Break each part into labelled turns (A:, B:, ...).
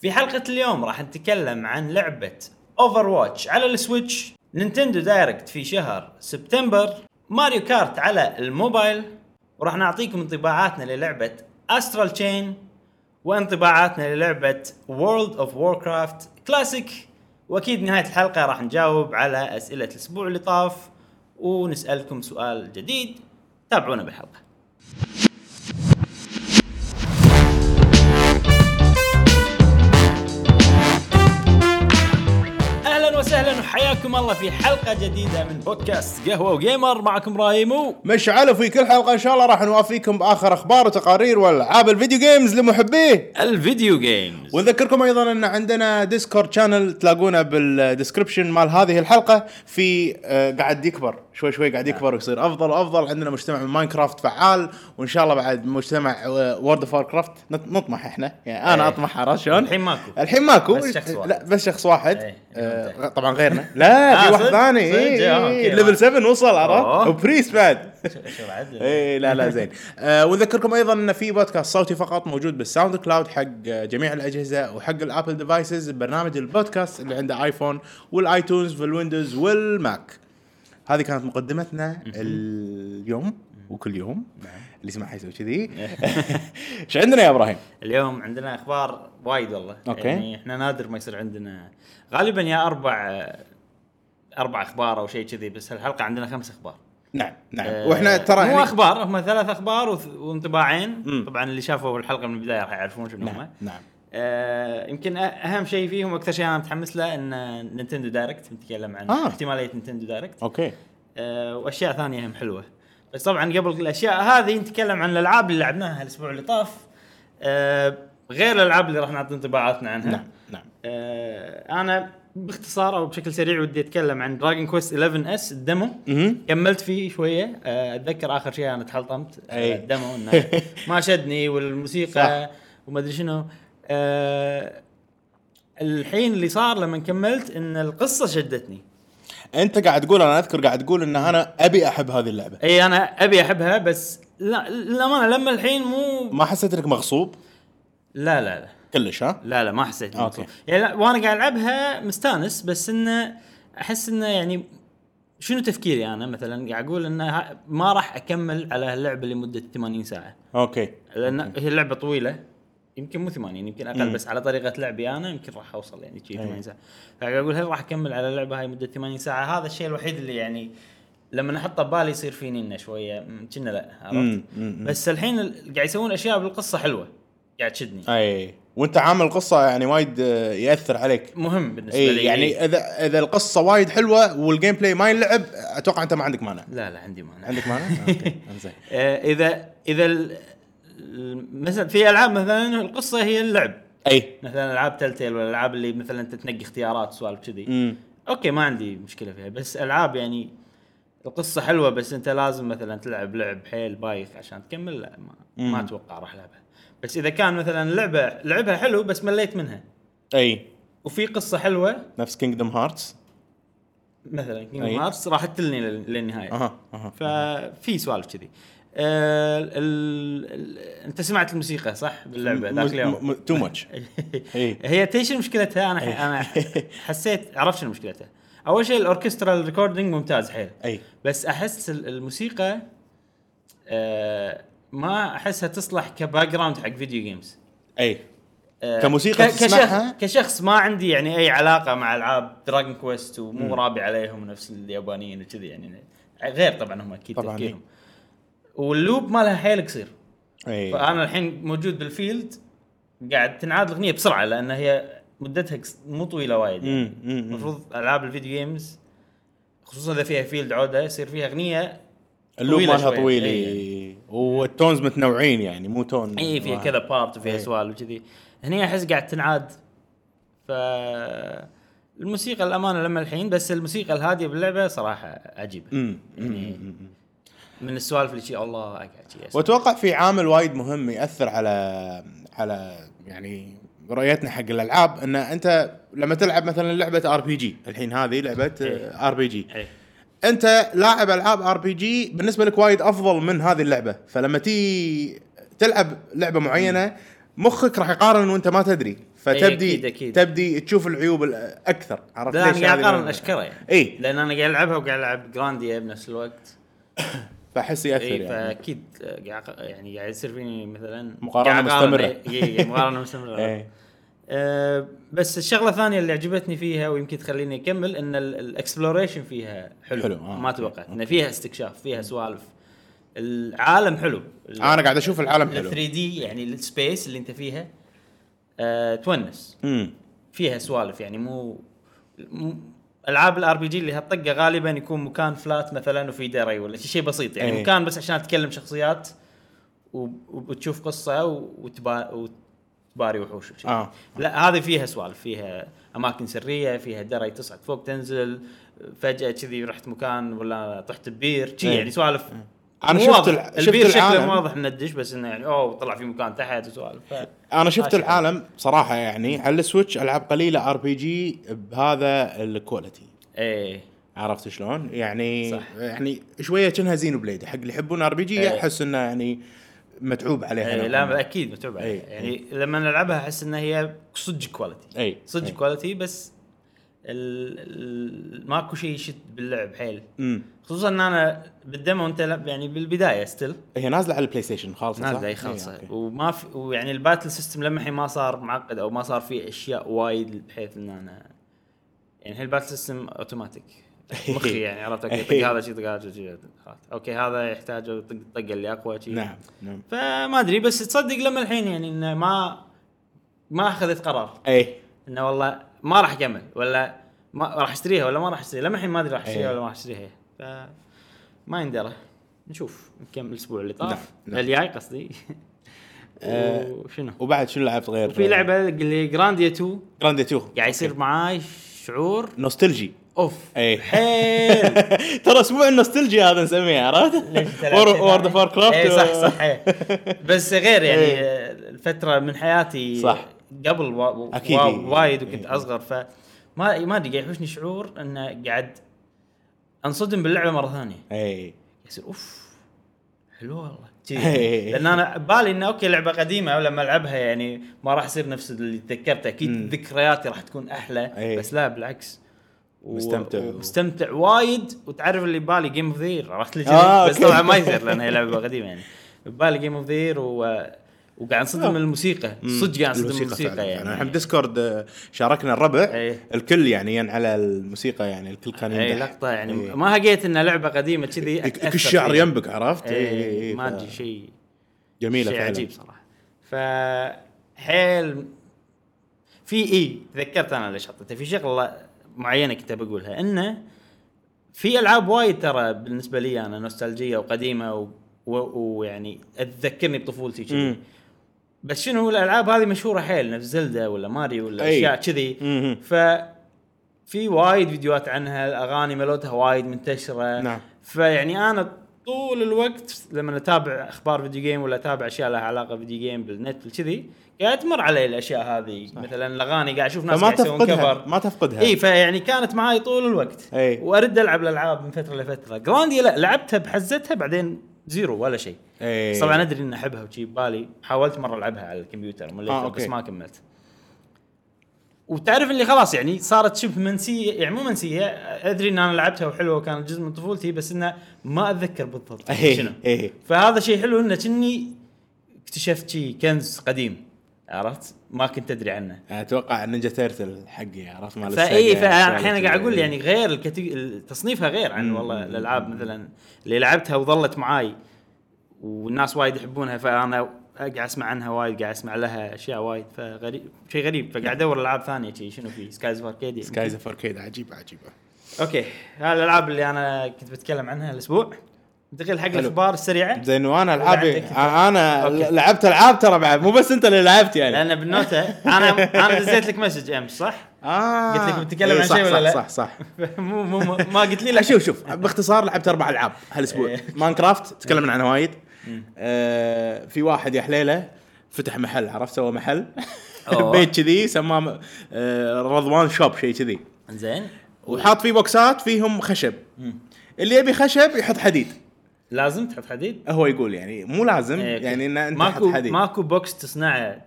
A: في حلقة اليوم راح نتكلم عن لعبة اوفر واتش على السويتش نينتندو دايركت في شهر سبتمبر ماريو كارت على الموبايل وراح نعطيكم انطباعاتنا للعبة استرال تشين وانطباعاتنا للعبة وورلد اوف ووركرافت كلاسيك واكيد نهاية الحلقة راح نجاوب على اسئلة الاسبوع اللي طاف ونسألكم سؤال جديد تابعونا بالحلقة اهلا وسهلا وحياكم الله في حلقه جديده من بودكاست قهوه وجيمر معكم رايمو
B: مشعل في كل حلقه ان شاء الله راح نوافيكم باخر اخبار وتقارير والعاب الفيديو جيمز لمحبيه
A: الفيديو جيمز
B: ونذكركم ايضا ان عندنا ديسكورد شانل تلاقونه بالدسكربشن مال هذه الحلقه في آه، قاعد يكبر شوي شوي قاعد يكبر ويصير افضل وافضل عندنا مجتمع من ماينكرافت فعال وان شاء الله بعد مجتمع آه، وورد اوف كرافت نطمح احنا يعني انا
A: إيه.
B: اطمح عرفت شلون؟
A: الحين ماكو.
B: الحين ماكو
A: بس شخص واحد.
B: لا بس شخص واحد
A: إيه،
B: آه،
A: فهمت.
B: طبعا غيرنا لا
A: آه،
B: في واحد
A: صدق؟
B: ثاني
A: صدق؟ آه، أوكي.
B: ليفل 7 وصل
A: أوه.
B: عرفت وبريست بعد
A: شو بعد؟
B: اي إيه، لا لا زين آه ونذكركم ايضا ان في بودكاست صوتي فقط موجود بالساوند كلاود حق آه، جميع الاجهزه وحق الابل ديفايسز برنامج البودكاست اللي عنده ايفون والايتونز والويندوز والماك هذه كانت مقدمتنا اليوم وكل يوم اللي يسمعها يسوي كذي ايش عندنا يا ابراهيم؟
A: اليوم عندنا اخبار وايد والله
B: أوكي.
A: يعني احنا نادر ما يصير عندنا غالبا يا اربع اربع اخبار او شيء كذي بس هالحلقه عندنا خمس اخبار
B: نعم
A: آه،
B: نعم واحنا ترى
A: مو
B: يعني-
A: اخبار هم ثلاث اخبار وث- وانطباعين
B: مم.
A: طبعا اللي شافوا الحلقه من البدايه راح يعرفون شنو هم
B: نعم نعم
A: آه، يمكن أ- اهم شيء فيهم واكثر شيء انا متحمس له ان نينتندو دايركت نتكلم عن آه.
B: آه.
A: احتماليه نينتندو دايركت
B: اوكي
A: آه واشياء ثانيه هم حلوه بس طبعا قبل الاشياء هذه نتكلم عن الالعاب اللي لعبناها الاسبوع اللي طاف آه غير الالعاب اللي راح نعطي انطباعاتنا عنها
B: نعم نعم
A: آه انا باختصار او بشكل سريع ودي اتكلم عن دراجون كويست 11 اس الدمو
B: مهم.
A: كملت فيه شويه آه اتذكر اخر شيء انا تحلطمت
B: أي.
A: آه الدمو انه ما شدني والموسيقى وما ادري شنو آه الحين اللي صار لما كملت ان القصه شدتني
B: انت قاعد تقول انا اذكر قاعد تقول ان انا ابي احب هذه اللعبه
A: اي انا ابي احبها بس لا للامانه لما الحين مو
B: ما حسيت انك مغصوب
A: لا لا لا
B: كلش ها؟
A: لا لا ما حسيت إني
B: أوكي.
A: مبسوط. يعني لا وانا قاعد العبها مستانس بس انه احس انه يعني شنو تفكيري انا مثلا قاعد اقول انه ها- ما راح اكمل على هاللعبه لمده 80 ساعه
B: اوكي
A: لان هي لعبه طويله يمكن مو 80 يمكن اقل بس على طريقه لعبي انا يمكن راح اوصل يعني
B: إيه.
A: شي 80 ساعه فقاعد اقول هل راح اكمل على اللعبه هاي مده 80 ساعه هذا الشيء الوحيد اللي يعني لما احطه ببالي يصير فيني انه شويه م، كنا لا عرفت
B: مم، مم، مم.
A: بس الحين ال- قاعد يسوون اشياء بالقصه حلوه قاعد تشدني
B: اي وانت عامل القصه يعني وايد آه، ياثر عليك
A: مهم بالنسبه لي
B: اي يعني اذا اذا القصه وايد حلوه والجيم بلاي ما يلعب اتوقع انت ما عندك مانع
A: لا لا عندي مانع
B: عندك مانع؟ اوكي انزين
A: آه، اذا اذا ال- ال- مثلا في العاب مثلا القصه هي اللعب
B: اي
A: مثلا العاب تلتيل ولا الالعاب اللي مثلا انت تنقي اختيارات سوالف كذي
B: امم
A: اوكي ما عندي مشكله فيها بس العاب يعني القصه حلوه بس انت لازم مثلا تلعب لعب حيل بايخ عشان تكمل لا ما, ما
B: مم.
A: اتوقع راح العبها بس اذا كان مثلا لعبه لعبها حلو بس مليت منها
B: اي
A: وفي قصه حلوه
B: نفس كينجدم هارتس
A: مثلا
B: أي.
A: كينجدم هارتس راح تلني لل- للنهايه
B: اها اها
A: ففي سوالف كذي آه، ال- ال- ال- انت سمعت الموسيقى صح باللعبه ذاك اليوم
B: تو ماتش إي.
A: هي تدري شنو مشكلتها انا انا حسيت عرفت شنو مشكلتها اول شيء الاوركسترا الريكوردينج ممتاز حيل
B: اي
A: بس احس ال- الموسيقى آه، ما احسها تصلح كباك جراوند حق فيديو جيمز
B: اي
A: آه،
B: كموسيقى
A: ك-
B: تسمعها؟
A: كشخص كشخص ما عندي يعني اي علاقه مع العاب دراجون كويست ومو رابي عليهم نفس اليابانيين وكذي يعني غير طبعا هم اكيد
B: طبعاً، إيه.
A: تفكيرهم واللوب مالها حيل قصير
B: اي
A: فانا الحين موجود بالفيلد قاعد تنعاد الاغنيه بسرعه لان هي مدتها قص- مو طويله وايد يعني.
B: مم، مم، مم.
A: المفروض العاب الفيديو جيمز خصوصا اذا فيها فيلد عوده يصير فيها اغنيه
B: اللوب
A: طويلة
B: مالها
A: شوية.
B: طويل
A: إي.
B: إي. والتونز متنوعين يعني مو تون
A: اي فيها
B: واحد.
A: كذا بارت وفيها
B: إيه.
A: سوالف وكذي هني احس قاعد تنعاد ف الموسيقى الامانه لما الحين بس الموسيقى الهاديه باللعبه صراحه عجيبه
B: مم، مم،
A: يعني-
B: مم، مم.
A: من السوالف اللي شي الله اقعد شي أسمع.
B: واتوقع في عامل وايد مهم ياثر على على يعني رؤيتنا حق الالعاب ان انت لما تلعب مثلا لعبه ار بي جي الحين هذه لعبه
A: إيه.
B: ار بي جي
A: إيه.
B: انت لاعب العاب ار بي جي بالنسبه لك وايد افضل من هذه اللعبه فلما تي تلعب لعبه معينه مخك راح يقارن وانت ما تدري فتبدي
A: إيه. أكيد- أكيد.
B: تبدي تشوف العيوب الاكثر عرفت
A: لا
B: ليش
A: انا قاعد
B: هذه إيه.
A: اقارن
B: من-
A: اشكره يعني
B: إي.
A: لان انا قاعد العبها وقاعد العب جرانديا بنفس الوقت
B: فاحس ياثر
A: اي
B: يعني
A: فاكيد قاعد أق- يعني قاعد يصير فيني مثلا
B: مقارنة
A: قاعد أقارن، إيه،
B: مستمرة.
A: إي- إي، إي، مقارنه مستمره
B: إيه.
A: أه، بس الشغله الثانيه اللي عجبتني فيها ويمكن تخليني اكمل ان الاكسبلوريشن فيها حلو,
B: حلو، آه،
A: ما
B: أوكي،
A: توقعت انه فيها استكشاف فيها سوالف العالم حلو
B: انا قاعد اشوف العالم
A: ال
B: حلو
A: 3 دي يعني السبيس اللي انت فيها أه تونس
B: امم
A: فيها سوالف يعني مو مو- العاب الار بي جي اللي هالطقه غالبا يكون مكان فلات مثلا وفي دري ولا شي- شيء بسيط يعني
B: إيه.
A: مكان بس عشان تتكلم شخصيات وب- وبتشوف قصه و- وتبا وتباري وحوش وشي.
B: آه.
A: لا هذه فيها سوالف فيها اماكن سريه فيها دري تصعد فوق تنزل فجاه كذي رحت مكان ولا طحت ببير شي
B: إيه.
A: يعني سوالف
B: أنا
A: مو
B: شفت
A: واضح.
B: الع- شفت
A: البير شكله
B: العالم. إيه.
A: مو واضح انه دش بس انه يعني اوه طلع في مكان تحت وسوالف ف-
B: انا شفت
A: ماشي.
B: العالم صراحه يعني على السويتش العاب قليله ار بي جي بهذا الكواليتي
A: ايه
B: عرفت شلون؟ يعني
A: صح.
B: يعني شويه كأنها زينو بليد حق اللي يحبون ار بي جي
A: إيه.
B: احس انه يعني متعوب عليها
A: اي
B: نوعاً
A: يعني لا
B: ما.
A: اكيد متعوب عليها
B: إي،
A: يعني لما نلعبها احس انها هي صدق كواليتي
B: اي
A: صدق
B: إي.
A: كواليتي بس ال... ال... ماكو شيء يشد باللعب حيل
B: امم
A: خصوصا ان انا بالدمو انت لا- يعني بالبدايه ستيل
B: إيه. هي نازله على البلاي ستيشن خالصه صح؟
A: نازله اي
B: إي،
A: خالصه
B: أوكي.
A: وما في ويعني الباتل سيستم لما الحين ما صار معقد او ما صار فيه اشياء وايد بحيث ان انا يعني هي الباتل سيستم اوتوماتيك مخي يعني عرفت أوكي، طق هذا شيء طق هذا شيء خلاص. اوكي هذا يحتاج طق الطقه اللي اقوى شيء
B: نعم نعم
A: فما ادري بس تصدق لما الحين يعني انه ما ما اخذت قرار
B: اي
A: انه والله ما راح اكمل ولا ما راح اشتريها ولا ما راح اشتريها لما الحين ما ادري راح اشتريها
B: إيه.
A: ولا ما راح اشتريها ف ما يندرى نشوف نكمل الاسبوع اللي طاف
B: نعم، آه، نعم.
A: الجاي قصدي وشنو
B: وبعد شنو لعبت غير؟
A: وفي لعبه اللي جرانديا 2
B: جراند 2
A: قاعد يصير معاي شعور
B: نوستلجي
A: اوف
B: اي
A: حيل
B: إيه. ترى اسبوع النوستلجي هذا نسميه عرفت؟ وورد اوف كرافت
A: اي صح صح إيه. بس غير يعني الفتره من حياتي
B: إيه. صح.
A: قبل وا-
B: أكيد،
A: وا-
B: إيه.
A: وايد وكنت
B: إيه.
A: اصغر فما ما ادري قاعد يحوشني شعور انه قاعد انصدم باللعبه مره ثانيه
B: اي
A: يصير اوف حلو والله كذي.
B: إيه.
A: لان انا بالي انه اوكي لعبه قديمه ولما العبها يعني ما راح يصير نفس اللي تذكرته
B: مم.
A: اكيد ذكرياتي راح تكون احلى
B: إيه.
A: بس لا بالعكس و-
B: مستمتع.
A: ومستمتع وايد وتعرف اللي بالي جيم اوف ذير عرفت لي
B: آه،
A: كذي؟ بس
B: أوكي.
A: طبعا ما يصير لان هي لعبه قديمه يعني بالي جيم اوف ذير وقاعد انصدم من الموسيقى صدق قاعد انصدم من الموسيقى
B: آه. فعلاً.
A: يعني
B: احنا بديسكورد آه، شاركنا الربع
A: إيه.
B: الكل يعني ين على الموسيقى يعني الكل كان
A: اي
B: يمدح
A: لقطه يعني
B: إيه.
A: ما هقيت انها لعبه قديمه كذي
B: يك-
A: أتأثر
B: يك الشعر
A: فيها.
B: ينبك عرفت؟ إيه،
A: إيه،
B: إيه، إيه،
A: ما
B: ف-
A: ادري شيء
B: جميله
A: شيء
B: فعلا
A: عجيب صراحه ف حيل في اي تذكرت انا ليش حطيته في شغله معينه كنت بقولها انه في العاب وايد ترى بالنسبه لي انا نوستالجيه وقديمه و- و- ويعني تذكرني بطفولتي كذي
B: مم.
A: بس شنو الالعاب هذه مشهوره حيل نفس زلدا ولا ماريو ولا
B: أي.
A: اشياء كذي
B: مهم.
A: ف في وايد فيديوهات عنها الاغاني ملوتها وايد منتشره
B: نعم.
A: فيعني انا طول الوقت لما اتابع اخبار فيديو جيم ولا اتابع اشياء لها علاقه فيديو جيم بالنت كذي قاعد تمر علي الاشياء هذه مثلا الاغاني قاعد اشوف ناس
B: فما
A: قاعد يسوون
B: تفقدها
A: كفر
B: ما تفقدها
A: اي فيعني كانت معاي طول الوقت
B: أي.
A: وارد العب الالعاب من فتره لفتره جراندي لا لعبتها بحزتها بعدين زيرو ولا شيء
B: إيه.
A: بس طبعا ادري اني احبها وشي ببالي حاولت مره العبها على الكمبيوتر مليت
B: آه،
A: آه بس
B: أوكي.
A: ما كملت وتعرف اللي خلاص يعني صارت شبه منسيه يعني مو منسيه ادري ان انا لعبتها وحلوه وكانت جزء من طفولتي بس انه ما اتذكر بالضبط
B: إيه،
A: شنو
B: إيه.
A: فهذا شيء حلو انه كني اكتشفت شي كنز قديم عرفت ما كنت ادري عنه
B: اتوقع آه، نينجا تيرتل حقي عرفت مال
A: فاي
B: السيجا، السيجا
A: فالحين إيه، قاعد اقول
B: كذا.
A: يعني غير الكتي... تصنيفها غير عن
B: إيه. مم.
A: والله الالعاب مثلا اللي لعبتها وظلت معاي والناس وايد يحبونها فانا قاعد اسمع عنها وايد قاعد اسمع لها اشياء وايد فغريب شيء غريب
B: نعم.
A: فقاعد ادور العاب ثانيه شي شنو في سكايز اركيد
B: سكايز اوف اركيد عجيبه عجيبه
A: اوكي هاي الالعاب اللي انا كنت بتكلم عنها الاسبوع ننتقل حق الاخبار السريعه
B: زين وانا
A: ولا
B: العابي
A: عندك
B: انا
A: أوكي.
B: لعبت العاب ترى بعد مو بس انت اللي لعبت يعني
A: لان بالنوته انا انا دزيت لك مسج امس صح؟
B: اه
A: قلت لك بتتكلم
B: إيه،
A: عن
B: صح،
A: شيء ولا
B: صح،
A: لا؟
B: صح صح
A: مو مو مو- ما قلت لي
B: لا
A: لا
B: شوف شوف باختصار لعبت اربع العاب هالاسبوع
A: إيه.
B: ماينكرافت تكلمنا عنها وايد آه في واحد يا حليله فتح محل عرفت سوى محل
A: أوه.
B: بيت كذي سماه م- آه رضوان شوب شيء كذي
A: زين
B: وحاط فيه بوكسات فيهم خشب اللي يبي خشب يحط حديد
A: لازم تحط حديد
B: هو يقول يعني مو لازم
A: إيه، أوكي.
B: يعني ان انت
A: ماكو
B: تحط حديد
A: ماكو بوكس تصنعه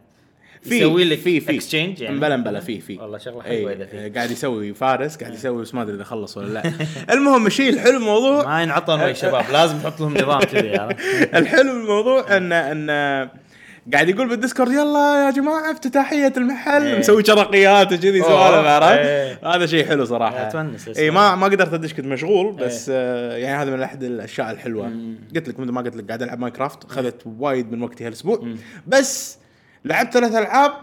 B: في
A: يسوي لك
B: في في
A: exchange يعني؟
B: بلا بلا في في
A: والله شغلة حلوة
B: إي،
A: إذا إيه. في.
B: إيه، قاعد يسوي فارس قاعد يسوي بس ما ادري اذا خلص ولا لا المهم الشيء الحلو الموضوع
A: ما ينعطى ويا شباب لازم تحط لهم نظام كذي عرفت؟
B: الحلو بالموضوع ان ان قاعد يقول بالديسكورد يلا يا جماعه افتتاحيه المحل
A: إيه.
B: مسوي شرقيات وكذي
A: أوه.
B: سوالف
A: إيه.
B: عرفت هذا شيء حلو صراحه
A: أتونس إيه.
B: اي
A: الصراحة.
B: ما ما قدرت ادش كنت مشغول بس آه، يعني هذا من احد الاشياء الحلوه قلت لك مثل ما قلت لك قاعد العب ماينكرافت اخذت وايد من وقتي هالاسبوع بس لعبت ثلاث العاب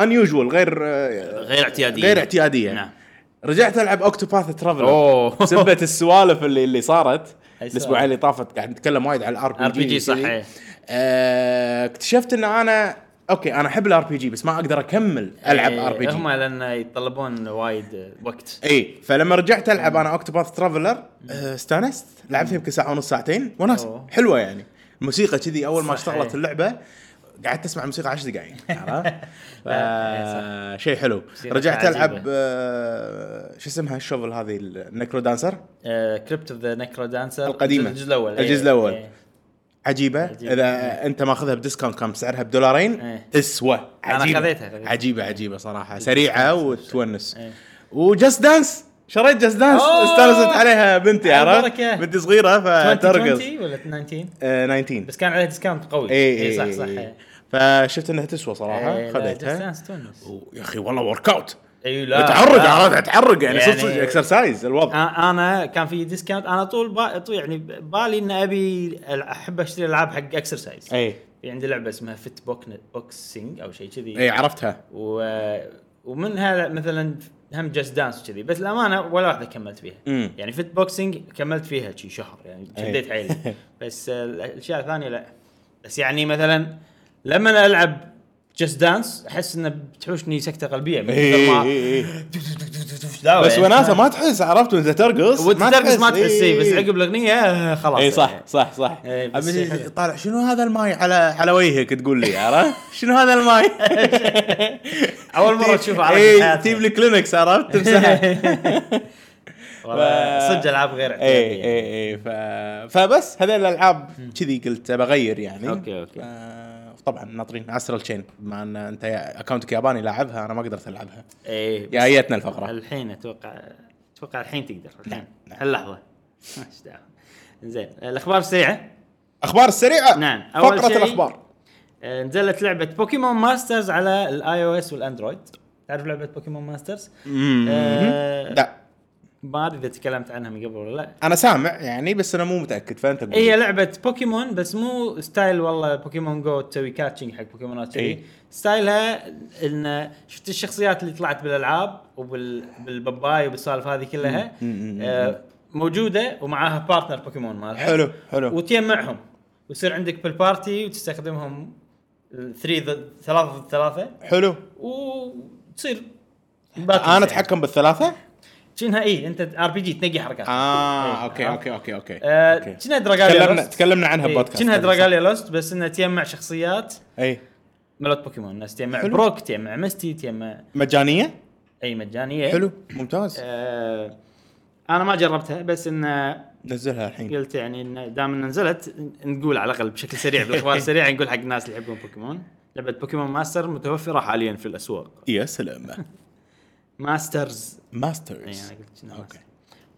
B: انيوجوال غير آه،
A: غير اعتيادية
B: غير اعتياديه
A: نعم.
B: رجعت العب اوكتوباث ترافلر
A: أوه.
B: بسبه السوالف اللي اللي صارت
A: أي
B: الاسبوعين اللي طافت قاعد نتكلم وايد على الار
A: RPG صحيح.
B: آه، اكتشفت ان انا اوكي انا احب الار بي جي بس ما اقدر اكمل العب
A: إيه،
B: ار بي جي
A: هم لان يتطلبون وايد وقت
B: اي فلما رجعت العب انا اوكتوباث ترافلر آه، استانست لعبت يمكن ساعه ونص ساعتين وناسه
A: أوه.
B: حلوه يعني موسيقى كذي اول
A: صح،
B: ما اشتغلت
A: إيه.
B: اللعبه قعدت تسمع موسيقى 10 دقائق عرفت؟ آه،
A: إيه،
B: شيء حلو
A: موسيقى
B: رجعت
A: عجيبة.
B: العب آه، شو اسمها الشوفل هذه النكرو دانسر
A: كريبت اوف ذا نكرو دانسر
B: القديمة.
A: الجزء الاول
B: الجزء
A: إيه،
B: الأول.
A: إيه.
B: عجيبة
A: عجيبة.
B: اذا انت ماخذها بديسكاونت كان سعرها بدولارين
A: إيه.
B: تسوى
A: أنا
B: عجيبة
A: خذيتها، خذيتها.
B: عجيبة عجيبة صراحة سريعة وتونس
A: إيه.
B: وجاست دانس شريت جاست دانس
A: أوه.
B: استانست عليها بنتي
A: على
B: عرفت
A: البركة.
B: بنتي صغيرة
A: 20
B: فترقص
A: ولا 19
B: آه، 19
A: بس كان عليها ديسكاونت قوي
B: اي اي
A: صح صح إيه.
B: فشفت انها تسوى
A: إيه،
B: صراحة
A: لا،
B: خذيتها
A: Just Dance تونس.
B: ويا اخي والله ورك اوت
A: اي لا
B: تعرق
A: لا.
B: عرفت اتعرق يعني
A: يعني- آه.
B: صدق اكسرسايز الوضع
A: أ- انا كان في ديسكاونت انا طول با... طول يعني بالي ان ابي ألع- احب اشتري العاب حق اكسرسايز
B: اي
A: في عندي لعبه اسمها فيت بوكن... بوكسينج او شيء كذي
B: اي إيه، عرفتها
A: و... ومنها مثلا هم جاست دانس كذي بس الامانه ولا واحده كملت فيها
B: مم.
A: يعني فيت بوكسينج كملت فيها شي شهر يعني
B: أي.
A: شديت حيلي بس آه، الاشياء الثانيه لا بس يعني مثلا لما أنا العب جاست دانس احس انه بتحوشني سكته قلبيه من
B: اي
A: كثر ما
B: اي اي
A: لا،
B: بس
A: يعني
B: وناسه ما تحس عرفت وانت ترقص
A: وتدرس ما تحس
B: إي.
A: إيه، بس عقب الاغنيه آه، خلاص
B: اي إيه، صح
A: يعني.
B: صح صح
A: إي، بس
B: أبي
A: حلو.
B: يعني طالع شنو هذا الماي على على وجهك تقول لي عرفت شنو هذا الماي
A: اول مره تشوفه على
B: اي إيه، تجيب لي كلينكس عرفت تمسحه ف-
A: صدق العاب غير يعني.
B: اي
A: اعتياديه
B: اي اي ف... فبس هذه الالعاب كذي قلت بغير يعني
A: أوكي، أوكي.
B: ف- طبعا ناطرين استرال تشين بما ان انت يا- اكونتك ياباني لاعبها انا ما قدرت العبها
A: اي
B: يا ايتنا الفقره
A: إيه، الحين اتوقع اتوقع الحين تقدر الحين هاللحظه ايش دعوه زين الاخبار السريعه
B: اخبار السريعه
A: نعم، أول
B: فقره
A: شيء-
B: الاخبار
A: آه، نزلت لعبه بوكيمون ماسترز على الاي او اس والاندرويد تعرف لعبه بوكيمون ماسترز؟ آه،
B: لا
A: ما ادري اذا تكلمت عنها من قبل ولا لا
B: انا سامع يعني بس انا مو متاكد فانت قول
A: إيه، هي
B: لي.
A: لعبه بوكيمون بس مو ستايل والله بوكيمون جو تسوي كاتشنج حق بوكيمونات
B: إي.
A: كذي ستايلها ان شفت الشخصيات اللي طلعت بالالعاب وبالباباي وبالسالف هذه كلها
B: مم، مم،
A: آه، موجوده ومعاها بارتنر بوكيمون مالها
B: حلو حلو
A: وتجمعهم ويصير عندك بالبارتي وتستخدمهم 3 ضد ثلاثة ضد ثلاثة
B: حلو
A: وتصير
B: انا اتحكم بالثلاثه
A: شنها اي انت ار بي جي تنقي حركات
B: اه
A: إيه.
B: اوكي اوكي اوكي اوكي
A: آه،
B: أوكي.
A: شنها دراجاليا
B: تكلمنا
A: لوست.
B: تكلمنا عنها
A: إيه،
B: ببودكاست
A: شنها
B: قبل،
A: دراجاليا لوست بس انها تجمع شخصيات
B: صح؟ اي
A: ملوت بوكيمون الناس تجمع
B: حلو.
A: بروك تجمع مستي تجمع
B: مجانيه
A: اي مجانيه
B: حلو ممتاز
A: إيه. آه انا ما جربتها بس انه
B: نزلها الحين
A: قلت يعني إن دام انها نزلت ن- نقول على الاقل بشكل سريع بالاخبار السريعه نقول حق الناس اللي يحبون بوكيمون لعبه بوكيمون ماستر متوفره حاليا في الاسواق
B: يا سلام
A: ماسترز اي
B: ماسترز
A: انا إيه، قلت شنو
B: اوكي
A: ماستر.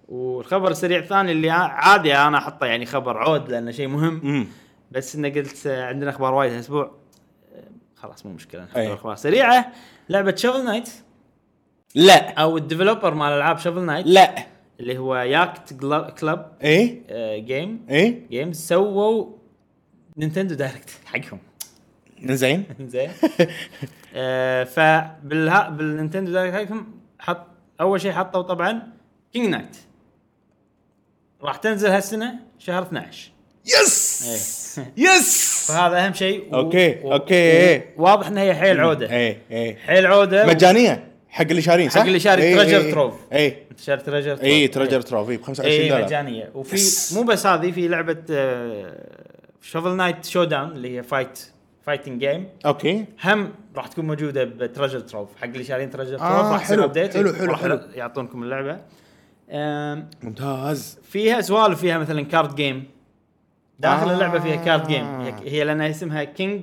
A: والخبر السريع الثاني اللي ع- عادي انا احطه يعني خبر عود لانه شيء مهم
B: امم
A: بس انه قلت آه، عندنا اخبار وايد هالاسبوع آه، خلاص مو مشكله نحط
B: أي.
A: اخبار سريعه لعبه شوفل نايت
B: لا
A: او الديفلوبر مال العاب شوفل نايت
B: لا إيه؟
A: اللي هو ياكت كلب
B: اي
A: جيم
B: اي
A: جيمز آه، سووا نينتندو دايركت حقهم
B: زين
A: زين آه، فبالها بالنينتندو دايركت حقهم حط اول شيء حطوا طبعا كينج نايت راح تنزل هالسنه شهر 12
B: يس
A: إيه.
B: يس
A: فهذا اهم شيء
B: أوكي، أوكي. إيه.
A: واضح انها هي حيل عوده
B: اي اي
A: حيل عوده
B: مجانيه إيه. حق اللي شارين صح إيه،
A: حق اللي شاري
B: إي،
A: تريجر
B: إي،
A: تروف.
B: اي
A: تشارت تريجر
B: اي تريجر تروفي ب 25
A: اي
B: إيه، دولار
A: مجانيه إيه، وفي
B: يس.
A: مو بس هذه في آه، لعبه شوفل نايت شو داون اللي هي فايت فايتنج جيم
B: اوكي
A: هم راح تكون موجوده بترجر تروف حق اللي شارين ترجر تروف
B: آه،
A: راح يصير
B: حلو،
A: update
B: حلو، حلو،
A: وراح
B: حلو.
A: يعطونكم اللعبه أم،
B: ممتاز
A: فيها سوالف فيها مثلا كارد جيم داخل
B: آه.
A: اللعبه فيها كارد جيم هي لان اسمها كينج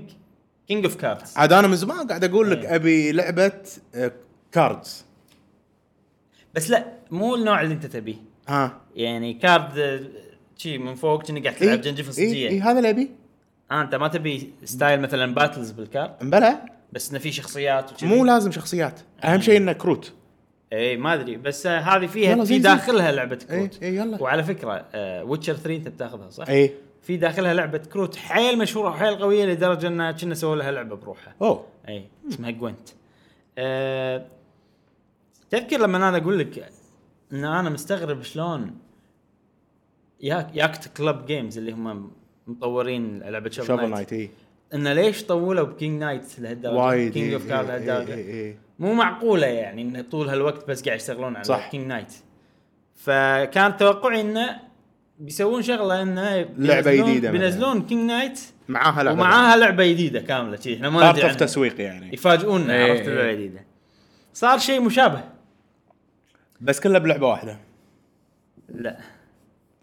A: كينج اوف كاردز
B: عاد انا من زمان قاعد اقول
A: إيه.
B: لك ابي لعبه آه، كاردز
A: بس لا مو النوع اللي انت تبيه
B: ها
A: يعني كارد آه، شي من فوق كأنك قاعد تلعب جنجفل
B: اي إيه
A: صجيه
B: هذا اللي ابي
A: آه انت ما تبي ستايل مثلا باتلز بالكارد
B: مبلى
A: بس انه في شخصيات وكذي
B: مو لازم شخصيات
A: آه.
B: اهم شيء انه كروت
A: اي ما ادري بس آه، هذه فيها
B: يلا
A: في
B: زين، زين.
A: داخلها لعبه كروت
B: إي، إي، يلا.
A: وعلى آه، فكره ويتشر 3 انت بتاخذها صح؟
B: اي
A: في داخلها لعبه كروت حيل مشهوره وحيل قويه لدرجه انها كنا سووا لها لعبه بروحها
B: اوه
A: اي اسمها جوينت أه تذكر لما انا اقول لك ان انا مستغرب شلون ياك ياكت كلب جيمز اللي هم مطورين لعبه شوفل
B: شوفل
A: نايت
B: نايت اي
A: انه ليش طولوا بكينج نايت لهالدرجه
B: إيه. وايد إيه،
A: كينج
B: إي،
A: اوف كارد
B: إي، إي،
A: لهالدرجه
B: إي، إي.
A: مو معقوله يعني انه طول هالوقت بس قاعد يشتغلون على
B: صح.
A: كينج نايت فكان توقعي انه بيسوون شغله انه
B: لعبة
A: بينزلون-
B: جديدة مثلاً.
A: بينزلون كينج نايت
B: معاها لعبه
A: ومعاها لعبه جديده كامله شي احنا ما
B: بارت
A: ندري
B: اوف
A: عنها.
B: تسويق يعني
A: يفاجئونا
C: إيه،
A: عرفت
C: إيه.
A: لعبه جديده صار شيء مشابه
B: بس كلها بلعبه واحده
A: لا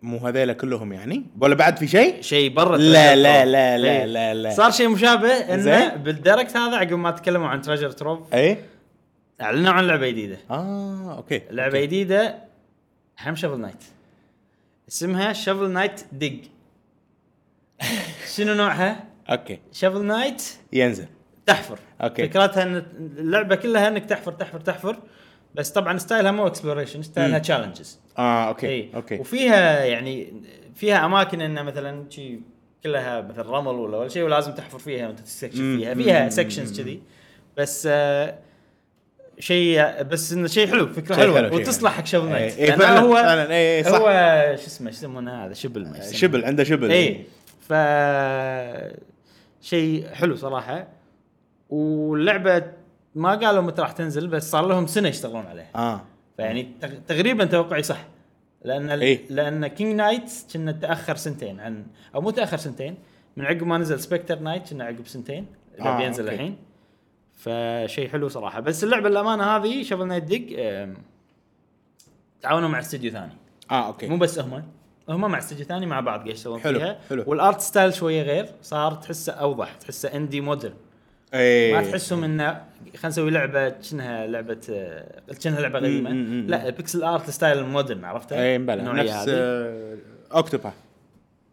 B: مو هذيلا كلهم يعني ولا بعد في شيء
A: شيء برا
B: لا،
A: Treasure
B: لا،
A: Trove.
B: لا، لا،
A: إيه.
B: لا، لا.
A: صار شيء مشابه انه
B: زين.
A: بالديركت هذا عقب ما تكلموا عن تريجر تروف
B: اي
A: اعلنوا عن لعبه جديده
B: اه اوكي
A: لعبه جديده هم شفل نايت اسمها شفل نايت ديج شنو نوعها؟
B: اوكي
A: شفل نايت
B: ينزل
A: تحفر
B: أوكي.
A: فكرتها ان اللعبه كلها انك تحفر تحفر تحفر بس طبعا ستايلها مو اكسبلوريشن ستايلها تشالنجز
B: اه اوكي
A: اي
B: اوكي
A: إيه. وفيها يعني فيها اماكن انه مثلا شي كلها مثل رمل ولا ولا شيء ولازم تحفر فيها وانت تستكشف
B: مم.
A: فيها فيها
B: مم.
A: سكشنز كذي بس آه شيء بس انه شيء حلو فكره
B: شيء
A: حلوه
B: حلو، شيء
A: وتصلح
B: حلو.
A: حق شغل
B: إيه،
A: نايت
B: إيه،
A: لأن
B: فعلاً،
A: هو
B: فعلاً، إيه، صح.
A: هو شو اسمه شو يسمونه هذا شبل ما يسمونه.
B: شبل عنده شبل
A: اي ف شيء حلو صراحه واللعبه ما قالوا متى راح تنزل بس صار لهم سنه يشتغلون عليها
B: اه
A: فيعني تغ- تقريبا توقعي صح لان
B: إيه.
A: ال- لان كينج نايت كنا تاخر سنتين عن او مو تاخر سنتين من عقب ما نزل سبكتر نايت كنا عقب سنتين اللي
B: آه،
A: آه بينزل
B: أوكي.
A: الحين فشيء حلو صراحه بس اللعبه الامانه هذه شفل نايت ديج أم، تعاونوا مع استوديو ثاني
B: اه
A: مو
B: اوكي
A: بس هم هم مع استوديو ثاني مع بعض قاعد يشتغلون
B: حلو،
A: فيها
B: حلو.
A: والارت ستايل شويه غير صار تحسه اوضح تحسه اندي مودرن
B: اي
A: ما تحسهم انه خلينا نسوي لعبه كأنها لعبه آه، كأنها لعبه قديمه
B: مم، مم، مم.
A: لا البيكسل ارت ستايل مودرن عرفتها؟
B: اي مبلى
A: النوعية
B: إيه، نفس آه،
A: هذه.
B: اوكتوبا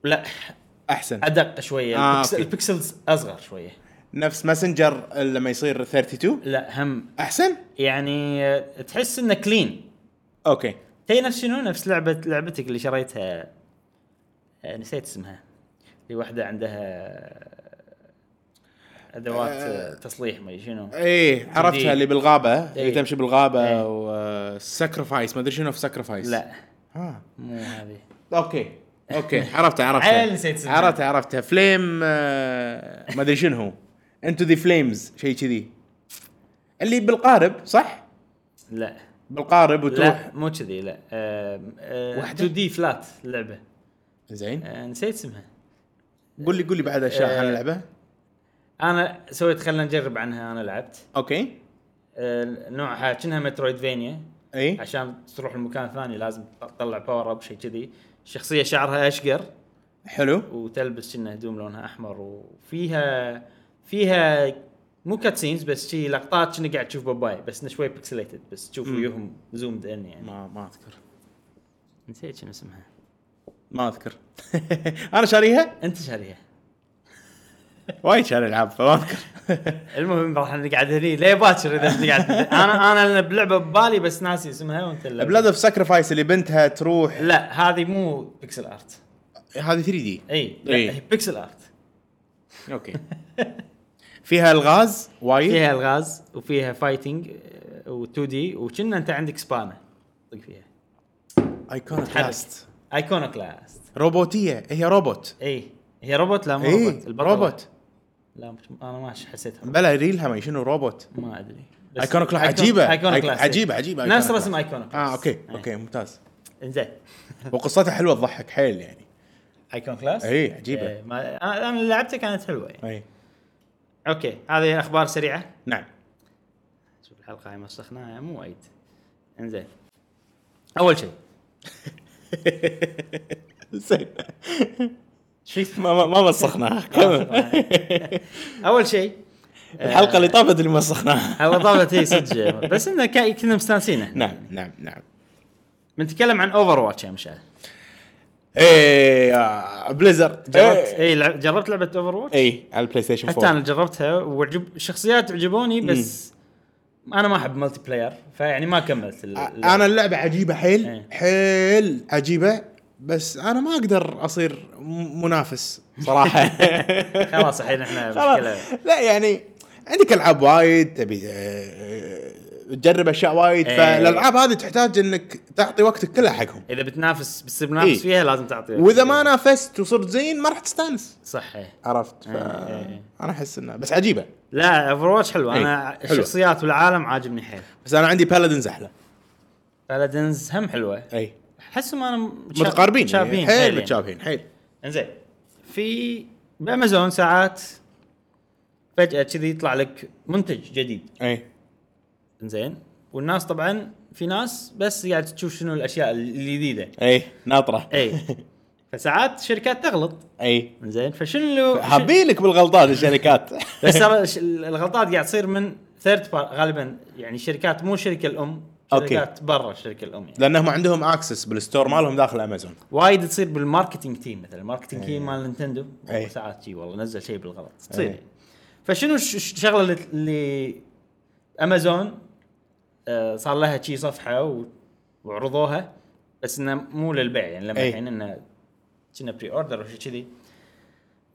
A: لا
B: احسن
A: ادق شويه
B: آه،
A: البيكسل
B: أوكي.
A: البيكسلز اصغر شويه
B: نفس ماسنجر لما يصير 32
A: لا هم
B: احسن
A: يعني آه، تحس انه كلين
B: اوكي
A: تي نفس شنو نفس لعبه لعبتك اللي شريتها آه، نسيت اسمها اللي واحده عندها ادوات آه، تصليح ما أدري شنو
B: ايه عرفتها اللي بالغابه اللي
A: إيه.
B: تمشي بالغابه
A: إيه.
B: وسكرفايس ما ادري شنو في سكرفايس
A: لا
B: ها
A: مو هذه
B: اوكي اوكي عرفتها
A: عيل
B: عرفتها
A: نسيت اسمها.
B: عرفتها عرفتها فليم آه، ما ادري شنو هو انتو ذا فليمز شيء كذي اللي بالقارب صح؟
A: لا
B: بالقارب وتروح
A: لا مو كذي لا آم، آه،
B: واحدة؟
A: 2 دي فلات اللعبه
B: زين
A: آه، نسيت اسمها
B: قول لي قول لي بعد اشياء
A: آه.
B: عن اللعبه
A: انا سويت خلنا نجرب عنها انا لعبت
B: اوكي
A: آه، نوعها كأنها مترويدفينيا
B: اي
A: عشان تروح المكان ثاني لازم تطلع باور اب شيء كذي شخصيه شعرها اشقر
B: حلو
A: وتلبس كنا هدوم لونها احمر وفيها فيها مو كات سينز بس شي لقطات كنا قاعد تشوف باباي بس إنه شوي بيكسليتد بس تشوف وجوههم زومد ان يعني
B: ما ما اذكر
A: نسيت شنو اسمها
B: ما اذكر انا شاريها
A: انت شاريها
B: وايد شاري العاب فما اذكر
A: المهم راح نقعد هني ليه باكر اذا نقعد انا انا بلعبه ببالي بس ناسي اسمها وانت اللعبة.
B: بلاد اوف ساكرفايس اللي بنتها تروح
A: لا هذه مو بيكسل ارت
B: هذه 3 دي
A: اي لا
B: إي.
A: هي بيكسل ارت
B: اوكي فيها الغاز وايد
A: فيها الغاز وفيها آه، فايتنج و2 دي وكنا انت عندك سبانه طق فيها
B: ايكونيك
A: تتحرك.
B: كلاست
A: ايكونا كلاس
B: روبوتيه هي روبوت
A: اي هي روبوت لا مو
B: اي
A: روبوت البطلة.
B: روبوت
A: لا مش- انا ما حسيتها
B: بلا ريلها ما شنو روبوت
A: ما ادري
B: Iconoclast عجيبة.
A: ايكونا
B: Ic-
A: كلاس
B: عجيبة- عجيبة
A: نفس
B: Iconoclast.
A: رسم ايكونا
B: اه
A: إيه.
B: اوكي اوكي ممتاز
A: انزين
B: وقصتها حلوه تضحك حيل يعني إيه،
A: ايكونا كلاس
B: اي عجيبه
A: إيه، ما انا أنا لعبتها كانت حلوه يعني
B: اي
A: اوكي هذه اخبار سريعه
B: إيه. نعم
A: شوف الحلقه هاي مسخناها مو وايد انزين اول شيء
B: زين
A: شو آه.
D: ما ما- ما وسخناها كمل.
A: اول شيء
D: الحلقه اللي طافت اللي وسخناها
A: هو طابت هي صدق بس انه كا- كنا مستانسين احنا
D: نعم نعم نعم
A: بنتكلم عن اوفر واتش يا مشعل
D: ايه
B: إيه،
D: آه، بليزرد
A: جربت
D: جربت
A: اي لعب- جربت لعبه اوفر واتش
D: اي على البلاي ستيشن
A: حتى
D: 4
A: انا جربتها وعجب شخصيات عجبوني بس انا ما احب ملتي بلاير فيعني ما كملت ال- ال-
B: انا اللعبه عجيبه حيل
A: إيه.
B: حيل عجيبه بس انا ما اقدر اصير م- منافس
D: صراحه
A: خلاص الحين احنا
D: خلاص
A: مشكله
B: لا يعني عندك العاب وايد تبي آه، تجرب اشياء وايد
A: إيه.
B: فالالعاب هذه تحتاج انك تعطي وقتك كله حقهم
A: اذا بتنافس بتصير منافس
B: إيه.
A: فيها لازم تعطيها إيه.
B: واذا ما نافست وصرت زين ما راح تستانس
A: صح إيه.
B: عرفت ف...
A: إيه، إيه.
B: انا احس انه بس عجيبه
A: لا اوفر واتش حلو انا
B: إيه، حلو.
A: الشخصيات والعالم عاجبني حيل
B: بس انا عندي بالادنز احلى
A: بلدنز هم حلوه
B: اي
A: احسهم انا متشا-
B: متقاربين
A: متشابهين
B: يعني
A: حيل
B: حيل
A: يعني.
B: متشابهين حيل
A: انزين في بامازون ساعات فجاه كذي يطلع لك منتج جديد
D: اي
A: انزين والناس طبعا في ناس بس قاعد تشوف شنو الاشياء الجديده
D: اي ناطره
A: اي إيه. فساعات الشركات تغلط
D: اي
A: زين فشنو
D: حابين لك بالغلطات الشركات
A: بس ترى الش- الغلطات قاعد تصير من ثيرد غالبا يعني شركات مو شركه الام
D: أوكي.
A: شركات برا الشركه الام يعني.
B: لانهم عندهم اكسس بالستور مالهم داخل امازون
A: وايد تصير بالماركتينج تيم مثلا الماركتينج تيم مال نينتندو
B: أي.
A: ساعات شي والله نزل شيء بالغلط تصير
B: أي.
A: يعني. فشنو الش- الش- الشغله اللي- اللي امازون آه، صار لها شي صفحه و- وعرضوها بس انه مو للبيع يعني لما
D: أي.
A: الحين انه كنا بري اوردر او شيء كذي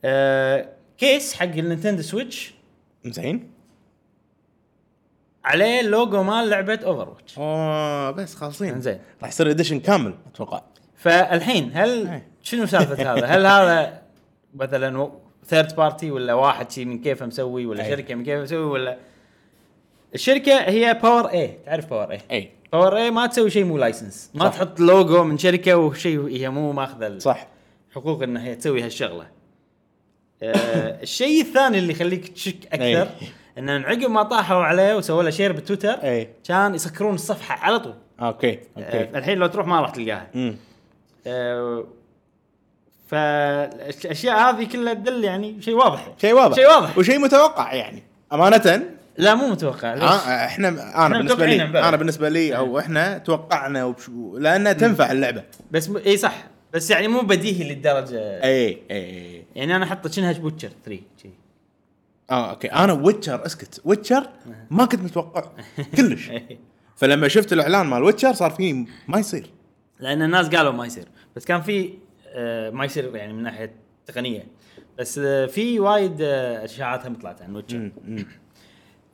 A: آه، كيس حق النينتندو سويتش
D: زين
A: عليه لوجو مال لعبه اوفر واتش
B: اوه بس خالصين
A: زين
D: راح يصير اديشن كامل اتوقع
A: فالحين هل
D: إيه.
B: أي.
A: شنو سالفه هذا؟ هل هذا مثلا ثيرد بارتي ولا واحد شي من كيفه مسوي ولا
D: أي.
A: شركه من كيفه مسوي ولا الشركه هي باور اي تعرف باور اي
D: اي
B: إيه.
A: باور اي ما تسوي شيء مو لايسنس ما
D: صح.
A: تحط لوجو من شركه وشيء هي مو ماخذه
D: صح
A: حقوق انها هي تسوي هالشغله. آه الشيء الثاني اللي يخليك تشك
D: أي.
A: اكثر ان عقب ما طاحوا عليه وسووا له شير بتويتر
B: إيه.
D: أي.
A: كان يسكرون الصفحه على طول
D: اوكي
A: آه
D: اوكي
A: الحين لو تروح ما راح تلقاها
D: امم
A: آه، فالاشياء هذه كلها تدل يعني شيء واضح
B: شيء واضح
A: شيء واضح
B: وشيء متوقع يعني امانه
A: لا مو متوقع ليش؟
B: آه، احنا انا بالنسبه
A: متوقعين
B: لي
A: امبارح.
B: انا بالنسبه لي او احنا توقعنا وبشو لانها تنفع اللعبه
A: بس م... اي صح بس يعني مو بديهي للدرجه
B: اي اي
A: يعني انا احط شنها بوتشر 3 شي.
B: اه اوكي انا
A: آه.
B: ويتشر اسكت ويتشر ما كنت متوقع كلش فلما شفت الاعلان مال ويتشر صار فيه ما يصير
A: لان الناس قالوا ما يصير بس كان في آه، ما يصير يعني من ناحيه تقنيه بس آه، في وايد آه، اشاعات هم طلعت عن ويتشر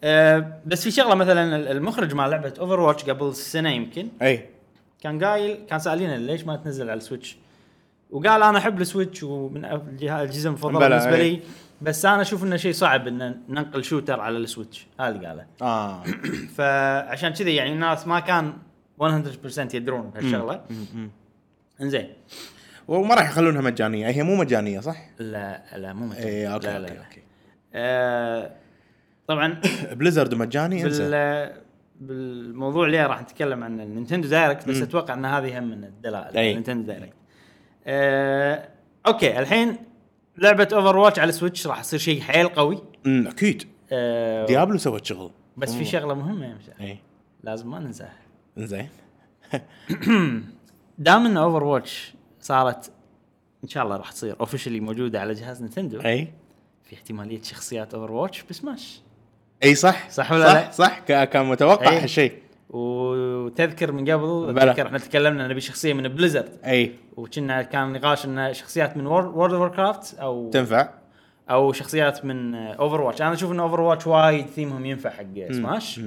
A: آه، بس في شغله مثلا المخرج مال لعبه اوفر واتش قبل سنه يمكن
B: اي
A: كان قايل كان سالينا ليش ما تنزل على السويتش وقال انا احب السويتش ومن أف- الجه- الاجهزه المفضله
B: بلى،
A: بالنسبه
B: أي.
A: لي بس انا اشوف انه شيء صعب ان ننقل شوتر على السويتش هذا اللي قاله
B: اه
A: فعشان كذا يعني الناس ما كان 100% يدرون بهالشغله انزين
B: وما راح يخلونها مجانيه هي مو مجانيه صح؟
A: لا لا مو متى
B: اي اوكي
A: لا لا
B: اوكي
A: لا.
B: اوكي
A: آه، طبعا
B: بليزرد مجاني انسى
A: بال بالموضوع اللي راح نتكلم عن النينتندو دايركت بس اتوقع ان هذه هم من الدلائل
D: أي.
A: النينتندو دايركت آه، اوكي الحين لعبه اوفر واتش على سويتش راح يصير شيء حيل قوي
B: أمم، اكيد
A: آه،
B: ديابلو سوت شغل إيه.
A: بس في شغله مهمه يا مشعل،
B: اي
A: لازم ما ننساها
B: انزين
A: دام ان اوفر واتش صارت ان شاء الله راح تصير اوفشلي موجوده على جهاز نينتندو
D: اي
B: إيه.
A: في احتماليه شخصيات اوفر واتش بسماش
B: اي إيه، صح
A: صح ولا لا؟ إيه.
B: صح, صح كا- كان متوقع
A: إي.
B: هالشيء
A: وتذكر من قبل
D: بلى.
A: تذكر احنا تكلمنا نبي شخصيه من بليزرد
B: اي
A: وكنا كان نقاش ان شخصيات من وورد اوف كرافت او
B: تنفع
A: او شخصيات من آه، اوفر واتش انا اشوف ان اوفر واتش وايد ثيمهم ينفع حق سماش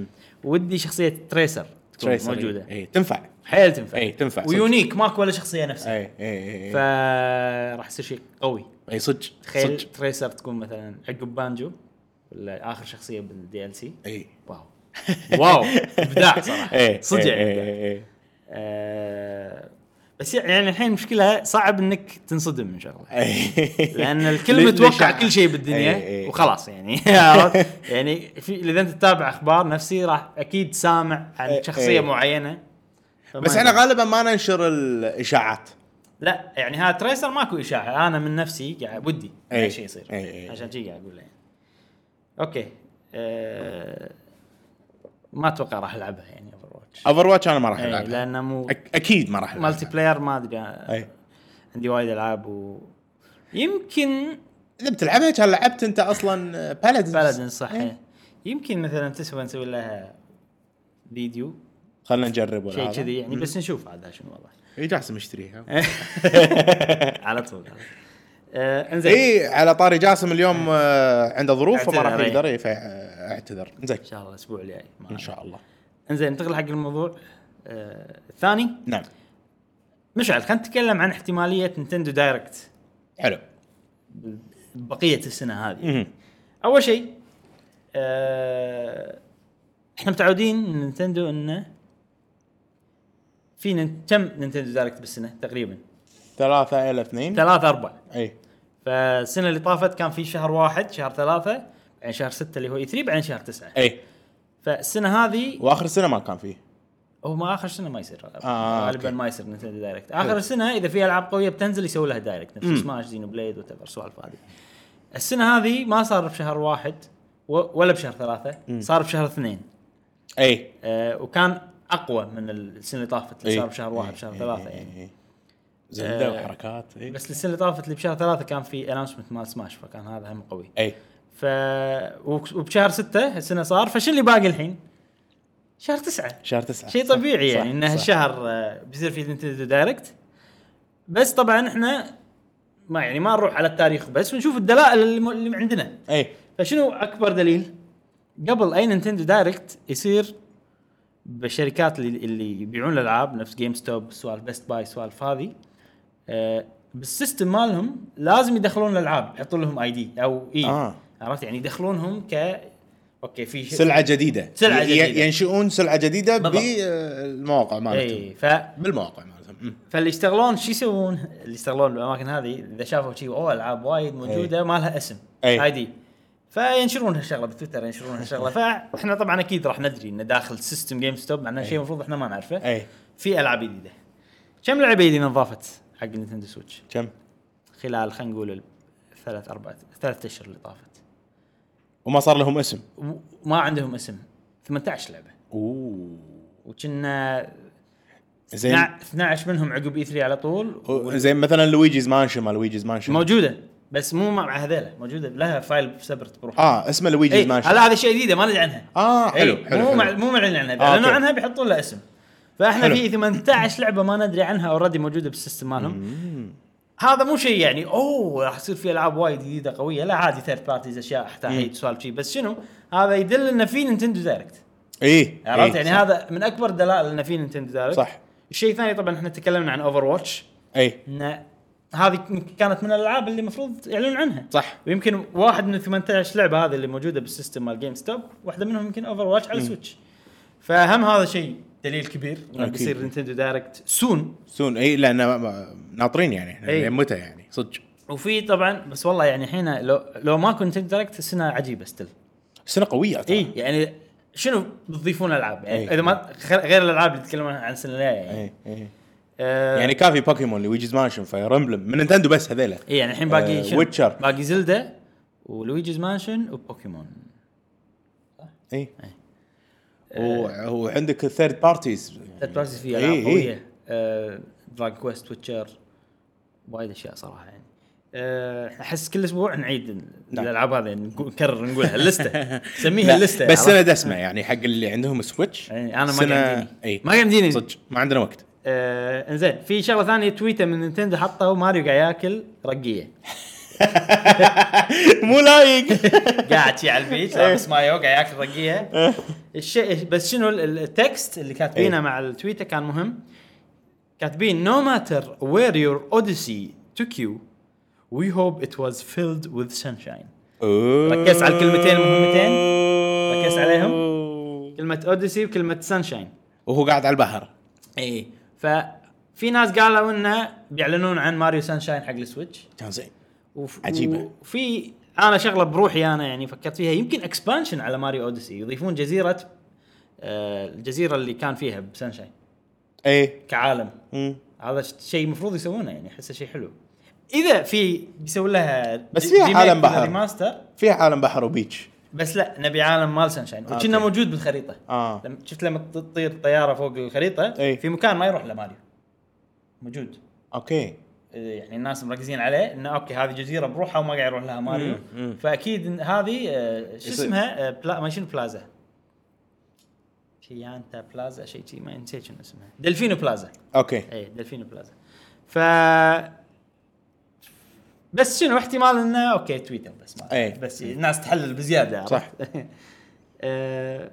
A: ودي شخصيه تريسر تكون
B: تريسر، إي.
A: موجوده
B: اي تنفع إيه،
A: حيل تنفع
B: إي، إيه. تنفع، صدق.
A: ويونيك ماكو ولا شخصيه نفسها
B: اي اي اي
A: فراح يصير شيء قوي
B: اي إيه، صدق
A: تخيل
B: صدق
A: تريسر تكون مثلا عقب بانجو ولا اخر شخصيه بالدي ال سي
B: اي
A: واو واو ابداع صراحه
B: إيه،
D: إي،
A: صدق
D: إي،
A: يعني
D: إي،
A: إبداع.
D: إي، إي.
A: آه، بس يعني الحين مشكلة صعب انك تنصدم من شغله
D: إي.
A: لان
B: إيه. ليش-
A: الكل متوقع
B: ليش-
A: كل شيء
D: إي- إي.
A: بالدنيا وخلاص يعني عرفت؟ يعني في اذا انت تتابع اخبار نفسي راح اكيد سامع عن
D: إي-
A: شخصية
D: إي.
A: معينة فما
B: بس احنا
A: أدري.
B: غالبا ما ننشر الاشاعات
A: لا يعني هذا تريسر ماكو اشاعه انا من نفسي قاعد ودي
B: أي.
A: شيء يصير
B: أي، أي.
A: عشان شي قاعد اقول له يعني. اوكي أه ما اتوقع راح العبها يعني اوفر واتش
B: اوفر واتش انا ما راح العبها
A: لانه مو
B: أك- اكيد ما راح إيه.
A: إيه،
B: العبها
A: مالتي بلاير ما ادري
B: أي.
A: عندي وايد العاب و يمكن
B: اذا بتلعبها كان لعبت انت اصلا بالادنس
A: بلد صح يمكن مثلا تسوى نسوي لها فيديو
B: خلينا نجرب ولا
A: شيء
B: هذا. إيه،
A: كذي يعني بس نشوف عاد شنو والله
E: اي جاسم اشتريها
A: على طول آه انزين
B: اي على طاري جاسم اليوم آه، عنده ظروف فما راح
A: إيه. اعتذر، إيه. إي.
B: يقدر إي، فا- اعتذر زين
A: ان شاء الله الاسبوع الجاي ما
B: ان شاء الله
A: انزين ننتقل حق الموضوع آه الثاني
B: نعم
A: مشعل خلينا نتكلم عن احتماليه نتندو دايركت
B: حلو
A: بقيه السنه هذه
B: مهم.
A: اول شيء آه احنا متعودين من نينتندو انه في نن- كم نينتندو دايركت بالسنه تقريبا؟
B: ثلاثة الى اثنين إيه.
A: ثلاثة أربعة
B: اي
A: فالسنه اللي طافت كان في شهر واحد شهر ثلاثة بعدين شهر ستة اللي هو اي 3 بعدين شهر تسعة
B: اي
A: فالسنه هذه
B: واخر السنة إيه. ما كان فيه
A: هو ما اخر سنه ما يصير
B: آه،
A: غالبا
B: أوكي.
A: ما يصير نتندو دايركت اخر السنه اذا في العاب قويه بتنزل يسوي لها دايركت نفس سماش زينو بليد وات ايفر سوالف هذه السنه هذه ما صار بشهر واحد و- ولا بشهر ثلاثه صار بشهر اثنين
B: اي
A: آه وكان اقوى من السنه اللي طافت اللي
B: إي.
A: صار بشهر واحد
B: إي،
A: بشهر
B: إي،
A: ثلاثه
B: إي،
A: يعني
B: إي. زلدة
A: آه،
B: إيه. وحركات إيه. اي
A: بس السنه اللي طافت اللي بشهر ثلاثه كان في اناونسمنت مال سماش فكان هذا هم قوي
B: اي
A: ف وك- وبشهر ستة السنه صار فشو اللي باقي الحين؟ شهر تسعة
B: شهر تسعة
A: شيء
B: صح،
A: طبيعي
B: صح،
A: يعني ان
B: صح.
A: هالشهر آه، بيصير في نتندو دايركت بس طبعا احنا ما يعني ما نروح على التاريخ بس ونشوف الدلائل اللي م- اللي عندنا
B: اي
A: فشنو اكبر دليل؟ قبل اي نينتندو دايركت يصير بالشركات اللي اللي يبيعون الالعاب نفس جيم ستوب سوالف بيست باي سوالف هذه آه، بالسيستم مالهم لازم يدخلون الالعاب يحطون لهم اي دي او اي
B: آه.
A: آه. عرفت يعني يدخلونهم ك اوكي في ش-
B: سلعة جديدة
A: سلعة
B: ي-
A: جديدة.
B: ينشئون سلعة جديدة
A: بالضبط. إيه.
B: بالمواقع مالتهم
A: اي ف
B: بالمواقع مالتهم مم.
A: فاللي يشتغلون شو يسوون؟ اللي يشتغلون بالاماكن هذه اذا شافوا شيء اوه العاب وايد موجوده ما لها اسم
B: أي.
A: اي دي فينشرون هالشغله بتويتر ينشرون هالشغله فاحنا طبعا اكيد راح ندري انه داخل سيستم جيم ستوب مع انه شيء المفروض احنا ما نعرفه
B: اي
A: في العاب جديده كم لعبه جديده انضافت حق نينتندو سويتش
B: كم
A: خلال خلينا نقول الثلاث اربع ثلاث اشهر اللي طافت
B: وما صار لهم اسم
A: وما عندهم اسم 18 لعبه
B: اوه
A: وكنا
B: زين
A: 12 منهم عقب اي 3 على طول
B: زين مثلا لويجيز مانشن مال لويجيز مانشن
A: موجوده بس مو مع هذيلا موجوده لها فايل سبرت بروحها
B: اه اسمه لويجيز
A: إيه،
B: مانشن
A: هلا هذا شيء جديد ما ندري عنها
B: آه، حلو،
A: إيه،
B: حلو،
A: مو
B: حلو.
A: مع- مو معلن عنها اذا
B: آه،
A: اعلنوا
B: أوكي.
A: عنها بيحطون لها اسم فاحنا
B: حلو.
A: في 18 لعبه ما ندري عنها اوريدي موجوده بالسيستم مالهم هذا مو شيء يعني اوه راح يصير في العاب وايد جديده قويه لا عادي ثيرد بارتيز اشياء حتى سوالف شيء بس شنو هذا يدل انه في نينتندو دايركت
B: اي
A: عرفت
B: إي،
A: يعني
B: إيه، صح.
A: هذا من اكبر دلائل انه في نينتندو دايركت
B: إيه، صح. إيه،
A: الشيء الثاني طبعا احنا تكلمنا عن اوفر واتش
B: اي
A: ان هذه كانت من الالعاب اللي المفروض يعلنون عنها
B: صح
A: ويمكن واحد من 18 لعبه هذه اللي موجوده بالسيستم مال جيم ستوب واحده منهم يمكن اوفر واتش على سويتش فهم هذا شيء دليل كبير انه
B: أكيد.
A: بيصير نينتندو دايركت سون
B: سون اي لان ما- ما- ناطرين يعني احنا
A: إي.
B: لين متى يعني صدق
A: وفي طبعا بس والله يعني الحين لو لو ماكو نينتندو دايركت السنه عجيبه ستيل
B: سنه قويه ترى.
A: اي يعني شنو بتضيفون العاب يعني
B: إي.
A: اذا ما خ- غير الالعاب اللي تكلمون عن السنه الجايه يعني
B: اي اي
A: آه،
B: إيه، يعني كافي بوكيمون لويجيز مانشن فاير امبلم من نينتندو بس هذيلا
A: اي يعني الحين باقي
B: آه،
A: شنو؟
B: ويتشر.
A: باقي زلدا ولويجيز مانشن وبوكيمون
B: اي
A: إيه.
B: و- وعندك الثيرد بارتيز
A: ثيرد بارتيز فيها
B: إي
A: العاب
B: إي.
A: قويه آه، دراج كويست ويتشر وايد اشياء صراحه يعني آه، احس كل اسبوع نعيد ال-
B: نعم.
A: الالعاب هذه نقول- نكرر نقولها اللسته نسميها اللسته
B: بس
A: عرفت؟
B: سنه دسمه يعني حق اللي عندهم سويتش
A: يعني أنا ما
B: سنة-
A: يمديني.
B: اي
A: ما يمديني.
B: إيه. صدق ما عندنا وقت
A: آه، انزين في شغله ثانيه تويته من نينتندو حطه ماريو قاعد ياكل رقيه
B: مو لايق
A: قاعد شي على البيتش
B: إيه.
A: لابس مايو قاعد ياكل رقيه الشيء بس شنو ال- ال- التكست اللي كاتبينه
B: إيه.
A: مع التويته كان مهم كاتبين no matter where your odyssey took you we hope it was filled with sunshine ركزت على الكلمتين المهمتين. ركزت عليهم. كلمه اوديسي وكلمه سانشاين
B: وهو قاعد على البحر إيه.
A: اي ففي ناس قالوا انه بيعلنون عن ماريو سانشاين حق السويتش
B: كان زين
A: وف...
B: عجيبة.
A: وفي انا شغله بروحي انا يعني فكرت فيها يمكن اكسبانشن على ماريو اوديسي يضيفون جزيره آه الجزيره اللي كان فيها بسانشاين
B: اي
A: كعالم
B: إيه. مم.
A: هذا ش- شيء المفروض يسوونه يعني احسه شيء حلو اذا في بيسوي لها
B: بس
A: د-
B: فيها
A: remake
B: عالم
A: ولا
B: بحر.
A: ريماستر
B: في عالم بحر وبيتش
A: بس لا نبي عالم مال سانشاين وكنا
B: آه، أوكي.
A: موجود بالخريطه
B: آه.
A: لما شفت لما ت- تطير طياره فوق الخريطه
B: أي.
A: في مكان ما يروح لماريو موجود
B: اوكي
A: إيه، يعني الناس مركزين عليه انه اوكي هذه جزيره بروحها وما قاعد يروح لها ماريو
B: مم، مم.
A: فاكيد إن هذه آه، شو
B: يصير.
A: اسمها آه، بلا ما شنو بلازا شيانتا بلازا شيء شيء ما نسيت شنو اسمها دلفينو بلازا
B: اوكي
A: اي دلفينو بلازا إيه، ف بس شنو احتمال انه اوكي تويتر بس ما
B: إيه.
A: بس الناس تحلل بزياده عرفت؟
B: صح.
A: آه،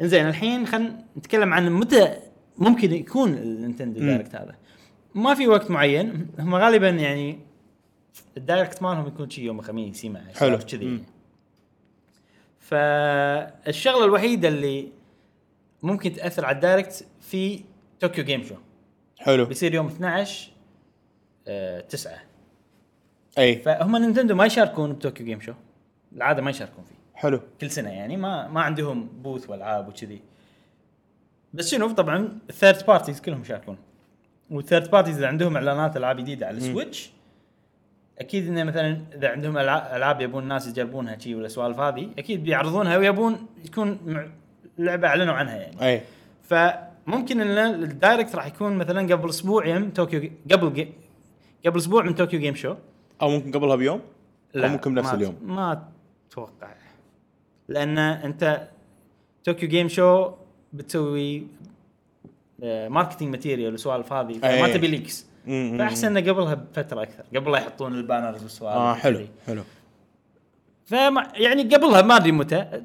A: انزين الحين خلينا نتكلم عن متى ممكن يكون النينتندو
B: مم.
A: دايركت هذا ما في وقت معين هم غالبا يعني الدايركت مالهم يكون شي يوم الخميس يمع
B: حلو.
A: سوالف كذي يعني. فالشغله الوحيده اللي ممكن تاثر على الدايركت في طوكيو جيم شو
B: حلو
A: بيصير يوم 12 آه 9
B: اي
A: فهم نينتندو ما يشاركون بطوكيو جيم شو العاده ما يشاركون فيه
B: حلو
A: كل سنه يعني ما ما عندهم بوث والعاب وكذي بس شنو طبعا الثيرد بارتيز كلهم يشاركون والثيرد بارتيز اذا عندهم اعلانات العاب جديده على السويتش اكيد انه مثلا اذا عندهم ألع- العاب يبون الناس يجربونها شي والسوالف هذه اكيد بيعرضونها ويبون يكون مع- لعبه اعلنوا عنها يعني
B: اي
A: فممكن ان الدايركت راح يكون مثلا قبل اسبوع يم طوكيو قبل جي- قبل اسبوع من طوكيو جيم شو
B: او ممكن قبلها بيوم أو ممكن بنفس
A: ما-
B: اليوم.
A: ما اتوقع لان انت طوكيو جيم شو بتسوي آه، ماركتينج ماتيريال والسوالف هذه ما
B: أي.
A: تبي ليكس
B: أمم.
A: فاحسن انه قبلها بفتره اكثر قبل لا يحطون البانرز والسوالف
B: اه حلو
A: وكذي.
B: حلو
A: فما يعني قبلها ما ادري متى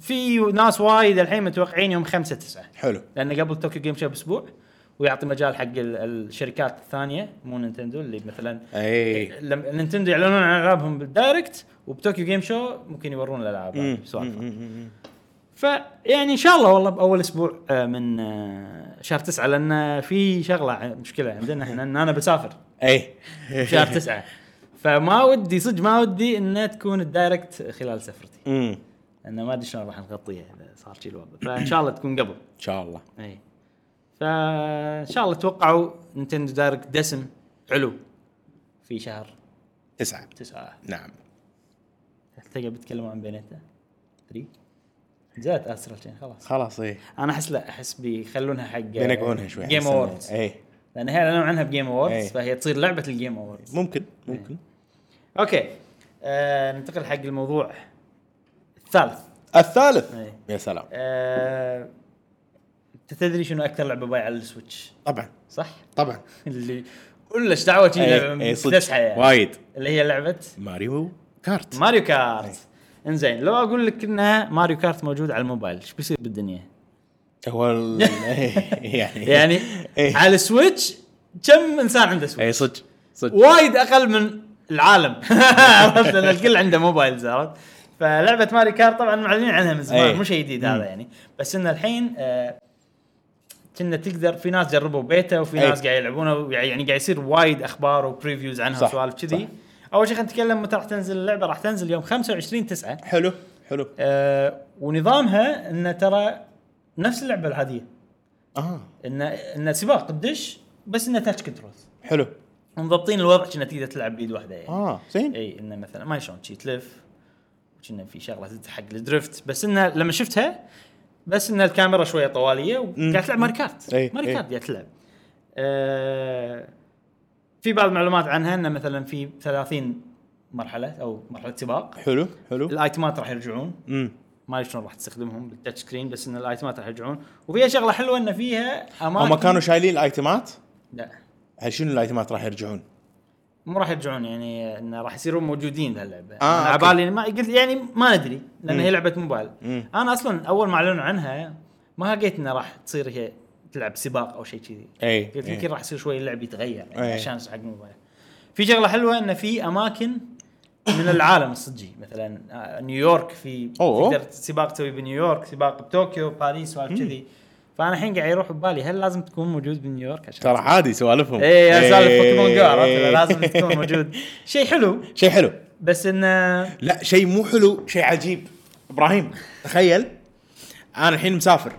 A: في ناس وايد الحين متوقعين يوم 5 9
B: حلو
A: لانه قبل طوكيو جيم شو باسبوع ويعطي مجال حق ال- الشركات الثانيه مو نينتندو اللي مثلا
B: اي
A: لما نينتندو يعلنون عن العابهم بالدايركت وبطوكيو جيم شو ممكن يورون الالعاب هذه
B: أمم.
A: بسوالف.
B: أمم. أمم.
A: فيعني ان شاء الله والله باول اسبوع آه، من آه، شهر تسعة لان في شغله ع- مشكله عندنا احنا ان انا بسافر
B: اي
A: شهر تسعة فما ودي صدق ما ودي انها تكون الدايركت خلال سفرتي
B: أمم.
A: لان ما ادري شلون راح نغطيها اذا صار شي الوضع فان شاء الله تكون قبل
B: ان شاء الله
A: اي فان شاء الله توقعوا نينتندو دايركت دسم حلو في شهر
B: تسعه
A: تسعة
B: نعم
A: تلقى بيتكلموا عن بينتا 3 جات استرال تشين خلاص
B: خلاص اي
A: انا احس لا احس بيخلونها حق
B: بينقعونها شوي
A: جيم
B: أحسن. يعني.
A: اووردز
B: اي
A: لان هي اعلنوا عنها بجيم اووردز
B: إيه.
A: فهي تصير لعبه الجيم اووردز
B: ممكن ممكن
A: اوكي آه ننتقل حق الموضوع الثالث
B: الثالث
A: إيه.
B: يا سلام
A: آه انت تدري شنو اكثر لعبه بايعه على السويتش
B: طبعا
A: صح؟
B: طبعا
A: اللي كلش دعوه شي لعبه
B: اي إيه، صدق
A: مكتسحه يعني
B: وايد
A: اللي هي لعبه
B: ماريو كارت
A: ماريو
B: إيه.
A: كارت انزين لو اقول لك انها ماريو كارت موجود على الموبايل ايش بيصير بالدنيا؟
B: هو ال- يعني
A: يعني
B: إيه.
A: على السويتش كم انسان عنده سويتش؟
B: اي إيه، صدق صدق
A: وايد اقل من العالم عرفت لان الكل عنده موبايلز عرفت؟ فلعبه ماري كارت طبعا معلنين عنها من زمان
B: إيه.
A: مو شيء جديد هذا يعني بس انه الحين آه، كنا تقدر في ناس جربوا بيتا وفي
B: إيه.
A: ناس قاعد يلعبونها ويع- يعني قاعد يصير وايد اخبار وبريفيوز عنها
B: صح،
A: وسوالف كذي
B: صح.
A: اول شيء خلينا نتكلم متى راح تنزل اللعبه راح تنزل يوم 25 9
B: حلو حلو
A: آه، ونظامها انه ترى نفس اللعبه العاديه
B: اه
A: انه انه سباق تدش بس انه تاتش كنترولز
B: حلو
A: مضبطين الوضع كنا تقدر تلعب بيد واحده يعني
B: اه زين
A: اي انه مثلا ما شلون شي تلف كنا في شغله تدز حق الدرفت بس انه لما شفتها بس ان الكاميرا شويه طواليه وقاعد تلعب ماري كارت
B: إي،
A: ماري
B: إي.
A: كارت قاعد تلعب آه في بعض المعلومات عنها انه مثلا في 30 مرحله او مرحله سباق
B: حلو حلو
A: الايتمات راح يرجعون
B: امم
A: ما ادري شلون راح تستخدمهم بالتاتش سكرين بس ان الايتمات راح يرجعون وفيها شغله حلوه ان فيها اماكن
B: هم كانوا شايلين الايتمات
A: لا
B: هل شنو الايتمات راح يرجعون؟
A: مو راح يرجعون يعني انه راح يصيرون موجودين بهاللعبه
B: آه،
A: انا
B: أوكي.
A: عبالي ما قلت يعني ما ادري لان
B: مم.
A: هي لعبه موبايل
B: مم.
A: انا اصلا اول ما اعلنوا عنها ما لقيت انها راح تصير هي تلعب سباق او شيء كذي
B: اي
A: قلت يمكن راح يصير شوي اللعب يتغير يعني
B: إيه.
A: عشان حق موبايل في شغله حلوه انه في اماكن من العالم الصجي مثلا آه، نيويورك في
B: أوه.
A: تقدر سباق تسوي بنيويورك سباق بطوكيو باريس وهالشذي كذي فانا الحين قاعد يروح ببالي هل لازم تكون موجود بنيويورك عشان
B: ترى عادي سوالفهم
A: اي إيه، يا سالفه بوكيمون جو عرفت
B: إيه.
A: لازم تكون موجود شيء حلو
B: شيء حلو
A: بس آه، انه
B: لا شيء مو حلو شيء عجيب ابراهيم تخيل انا الحين مسافر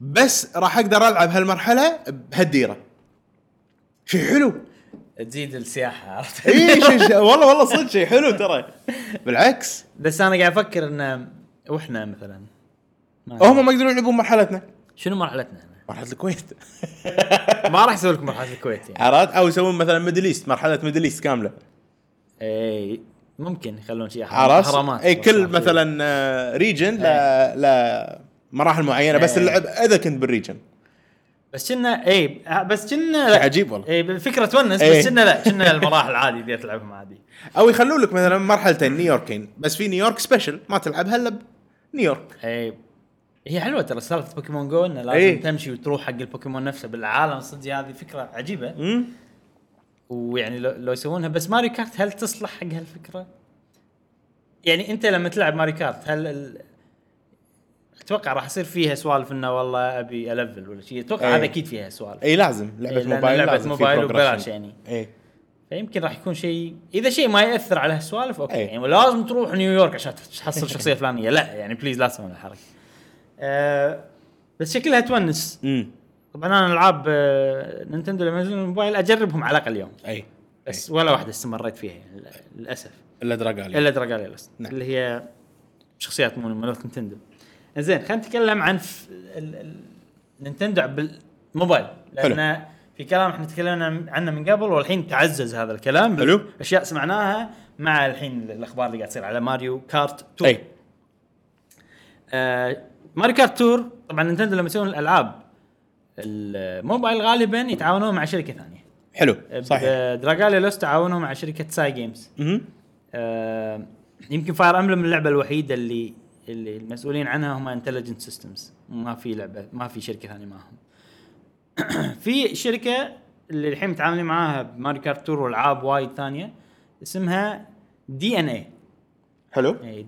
B: بس راح اقدر العب هالمرحله بهالديره شيء حلو
A: تزيد السياحه عرفت
B: اي شيء شيء- والله والله صدق شيء حلو ترى بالعكس
A: بس انا قاعد افكر ان واحنا مثلا ما أدري.
B: هم ما يقدرون يلعبون مرحلتنا
A: شنو مرحلتنا احنا؟
B: مرحله الكويت
A: ما راح اسوي لكم مرحله الكويت يعني
B: عرفت او يسوون مثلا ميدل ايست مرحله ميدل ايست كامله
A: اي إيه، ممكن يخلون شيء
B: عرفت
A: حرامات
B: اي كل مثلا ريجن لا لا مراحل معينه بس
A: إيه.
B: اللعب اذا كنت بالريجن
A: بس كنا اي بس كنا
B: شيء
A: لا.
B: عجيب والله
A: اي الفكره تونس
B: إيه.
A: بس كنا لا كنا المراحل عادي اللي تلعبهم عادي
B: او يخلوا لك مثلا مرحلتين نيويوركين بس في نيويورك سبيشل ما تلعبها الا بنيويورك
A: اي إيه، هي حلوه ترى سالفه بوكيمون جو انه لازم
B: إيه.
A: تمشي وتروح حق البوكيمون نفسه بالعالم صدق هذه فكره عجيبه
B: امم
A: ويعني لو, لو يسوونها بس ماري كارت هل تصلح حق هالفكره؟ يعني انت لما تلعب ماري كارت هل ال... اتوقع راح يصير فيها سوالف انه والله ابي الفل ولا شيء اتوقع
B: إيه.
A: هذا اكيد فيها سوالف
B: اي لازم لعبه
A: إيه، لأن
B: موبايل
A: لعبة
B: لازم في
A: موبايل
B: progression.
A: وببلاش يعني.
B: اي
A: فيمكن راح يكون شيء اذا شيء ما ياثر على هالسوالف اوكي
B: أي.
A: يعني لازم تروح نيويورك عشان تحصل شخصيه فلانيه لا يعني بليز لا تسوون الحركه أه بس شكلها تونس
B: امم
A: طبعا انا العاب آه، نينتندو لما ينزلون الموبايل اجربهم على الاقل يوم
B: اي
A: بس ولا واحده استمريت فيها يعني لل- للاسف
B: الا دراجالي
A: الا دراجاليلس
B: نعم.
A: اللي هي شخصيات مو مالت نينتندو زين خلينا نتكلم عن ف- ال- ال- نينتندو بالموبايل لان في كلام احنا تكلمنا عنه من قبل والحين تعزز هذا الكلام
B: حلو.
A: اشياء سمعناها مع الحين الاخبار اللي قاعد تصير على ماريو كارت 2
B: اي
A: آه ماريو كارت تور طبعا نينتندو لما يسوون الالعاب الموبايل غالبا يتعاونون مع شركه ثانيه إيه،
B: حلو صحيح
A: دراجاليلوس تعاونوا مع شركه ساي جيمز
B: امم
A: آه، يمكن فاير امبلم اللعبه الوحيده اللي اللي المسؤولين عنها هم انتليجنت سيستمز ما في لعبه ما في شركه ثانيه معاهم في شركه اللي الحين متعاملين معاها بماري كارت تور والعاب وايد ثانيه اسمها دي ان
B: حلو
A: اي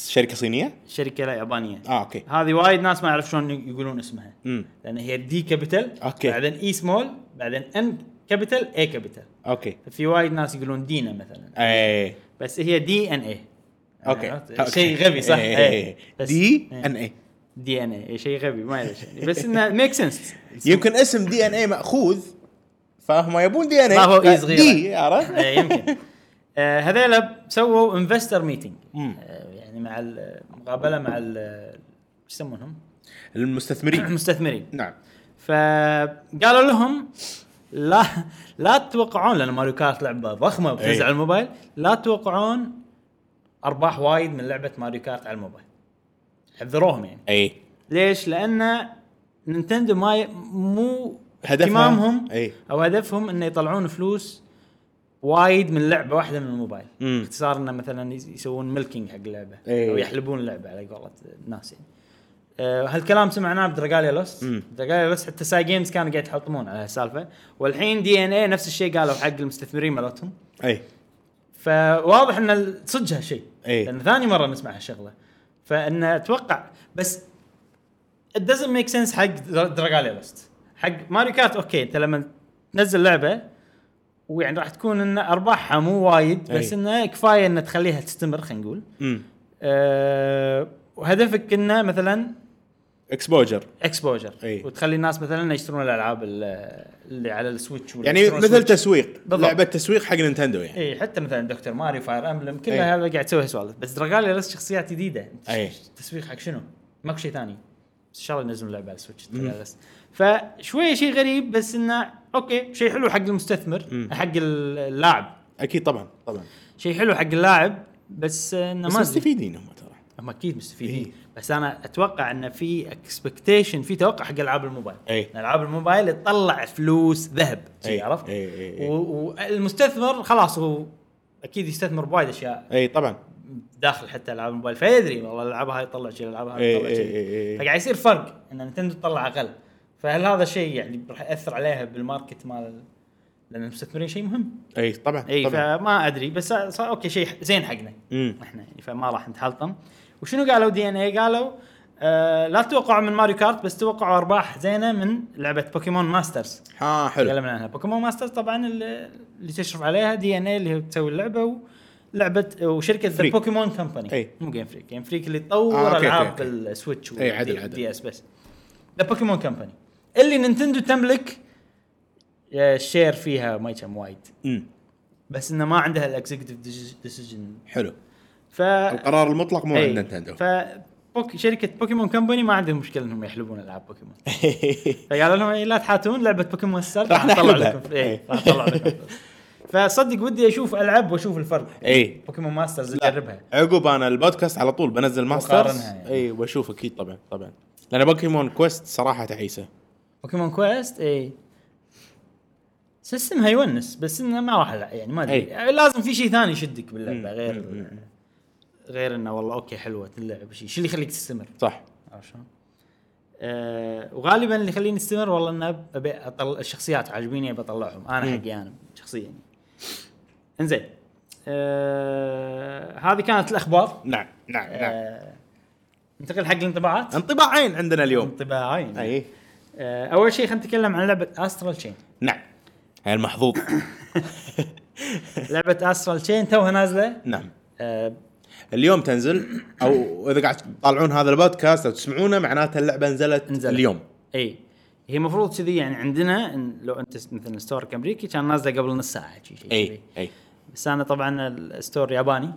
B: شركه صينيه
A: شركه يعني لا يابانيه
B: اه اوكي
A: هذه وايد ناس ما يعرف شلون يقولون اسمها
B: امم
A: لان هي دي كابيتال
B: أوكي.
A: بعدين اي سمول بعدين ان كابيتال اي كابيتال
B: اوكي
A: ففي وايد ناس يقولون دينا مثلا
B: اي
A: بس هي دي ان اي
B: اوكي
A: عرفت؟
B: أوكي.
A: يعني شيء غبي صح
B: إيه.
A: إيه. بس-
B: دي
A: إيه.
B: ان اي
A: دي ان اي إيه، شيء غبي ما ادري يعني بس انه ميك سنس
B: يمكن اسم دي ان اي ماخوذ فهم يبون دي ان اي
A: ما هو اي صغيره
B: دي عرفت
A: إيه، يمكن آه، هذيلا سووا انفستر ميتنج
B: مم.
A: يعني مع ال- مقابله مع ال- شو يسمونهم؟
B: المستثمرين
A: المستثمرين
B: نعم
A: فقالوا لهم لا لا تتوقعون لان ماريو كارت لعبه ضخمه
B: إيه.
A: وتنزل على الموبايل لا تتوقعون ارباح وايد من لعبه ماريو كارت على الموبايل حذروهم يعني
B: اي
A: ليش؟ لان نينتندو ما ي... مو
B: هدفها-
A: اهتمامهم
B: أي.
A: او هدفهم انه يطلعون فلوس وايد من لعبه واحده من الموبايل
B: مم.
A: باختصار انه مثلا يس- يسوون ملكينج حق اللعبه
B: أي.
A: او يحلبون اللعبه على قولة الناس يعني أه هالكلام سمعناه بدراجاليلوس
B: مم.
A: دراجاليلوس حتى ساي جيمز كانوا قاعد يحطمون على هالسالفه والحين دي ان اي نفس الشيء قالوا حق المستثمرين مالتهم
B: اي
A: فواضح ان ال- صدق هالشيء
B: إيه.
A: لان ثاني مره نسمع هالشغله فان اتوقع بس it doesn't make sense حق دراجاليلست حق ماريو كارت اوكي انت لما تنزل لعبه ويعني راح تكون ان ارباحها مو وايد بس
B: إيه.
A: انه كفايه ان تخليها تستمر خلينا نقول
B: امم
A: أه وهدفك انه مثلا
B: اكسبوجر
A: اكسبوجر
B: إيه.
A: وتخلي الناس مثلا يشترون الالعاب ال- اللي على السويتش ولا
B: يعني
A: يشترون
B: مثل
A: سويتش.
B: تسويق
A: بالضبط.
B: لعبه تسويق حق نينتندو يعني
A: اي إيه، حتى مثلا دكتور ماريو فاير امبلم
B: إي.
A: كلها هذا قاعد تسوي سوالف بس دراجاليا لسه شخصيات جديده
B: إي.
A: تسويق حق شنو؟ ماكو شيء ثاني بس ان شاء الله ينزلون لعبه على السويتش Dragalia List. فشويه شيء غريب بس انه اوكي شيء حلو حق المستثمر حق اللاعب
B: اكيد طبعا طبعا
A: شيء حلو حق اللاعب بس انه
B: بس
A: ما أدري.
B: مستفيدين هم ترى
A: هم اكيد مستفيدين
B: إي.
A: بس انا اتوقع انه في اكسبكتيشن في توقع حق العاب الموبايل
B: إي.
A: إن العاب الموبايل تطلع فلوس ذهب شي
B: إي.
A: عرفت؟
B: إي إي إي.
A: و- والمستثمر خلاص هو اكيد يستثمر بوايد اشياء
B: اي طبعا
A: داخل حتى العاب الموبايل فيدري والله الالعاب هاي تطلع شيء الالعاب هاي
B: إي
A: تطلع
B: إي
A: شيء
B: إي إي.
A: فقاعد يصير فرق ان نتندو تطلع اقل فهل هذا شيء يعني راح ياثر عليها بالماركت مال لان المستثمرين شيء مهم
B: اي طبعا
A: اي
B: طبعا
A: إيه، فما ادري بس صار اوكي شيء زين حقنا
B: مم.
A: احنا يعني فما راح نتحلطم وشنو قالوا دي ان اي قالوا آه لا تتوقعوا من ماريو كارت بس توقعوا ارباح زينه من لعبه بوكيمون ماسترز
B: ها حلو
A: تكلمنا عنها بوكيمون ماسترز طبعا اللي اللي تشرف عليها دي ان اي اللي هي تسوي اللعبه ولعبه وشركه
B: Freak.
A: بوكيمون كمباني
B: إي.
A: مو جيم فريك جيم فريك اللي تطور
B: آه، أوكي،
A: آه
B: أوكي،
A: العاب
B: أوكي.
A: السويتش
B: إي، عدل، عدل.
A: اس بس ذا بوكيمون كمباني اللي نينتندو تملك
F: الشير فيها ما كان وايد
B: امم
A: بس انه ما عندها الاكزكتيف ديسيجن
B: حلو
A: ف
B: القرار المطلق
A: إيه.
B: مو عند نينتندو
A: ف بوك شركه بوكيمون كومباني ما عندهم مشكله انهم يحلبون العاب بوكيمون فقالوا لهم إيه، لا تحاتون لعبه بوكيمون السر
B: إيه. راح
A: نطلع
B: نحلبها.
A: لكم إيه، راح نطلع لكم فصدق ودي اشوف العب واشوف الفرق
B: اي
A: بوكيمون ماسترز
B: إيه. لا.
A: اجربها
B: عقب انا البودكاست على طول بنزل ماسترز إيه،
A: يعني.
B: اي واشوف اكيد طبعا طبعا لان بوكيمون كويست صراحه تعيسه
A: بوكيمون كويست اي سيستمها يونس بس انه ما راح ألع- يعني ما
B: إيه.
A: ادري لازم في شيء ثاني يشدك باللعبه غير غير انه والله اوكي حلوه تلعب شيء شو اللي يخليك تستمر
B: صح
A: عرفت شلون؟ آه وغالبا اللي يخليني استمر والله ان أب- ابي أطل... الشخصيات عاجبيني ابي اطلعهم انا حقي انا شخصيا انزين آه هذه كانت الاخبار
B: نعم نعم نعم
A: آه ننتقل حق الانطباعات
B: انطباعين عندنا اليوم
A: انطباعين
B: اي
A: آه اول شيء خلينا نتكلم عن لعبه استرال تشين
B: نعم هاي المحظوظ
A: لعبه استرال تشين توها نازله
B: نعم
A: آه
B: اليوم تنزل او اذا قاعد تطالعون هذا البودكاست او تسمعونه معناته اللعبه نزلت,
A: نزلت.
B: اليوم
A: اي هي المفروض كذي يعني عندنا إن لو انت مثلا ستور امريكي كان نازله قبل نص ساعه شي شي
B: اي
A: كذي.
B: اي
A: بس انا طبعا الستور ياباني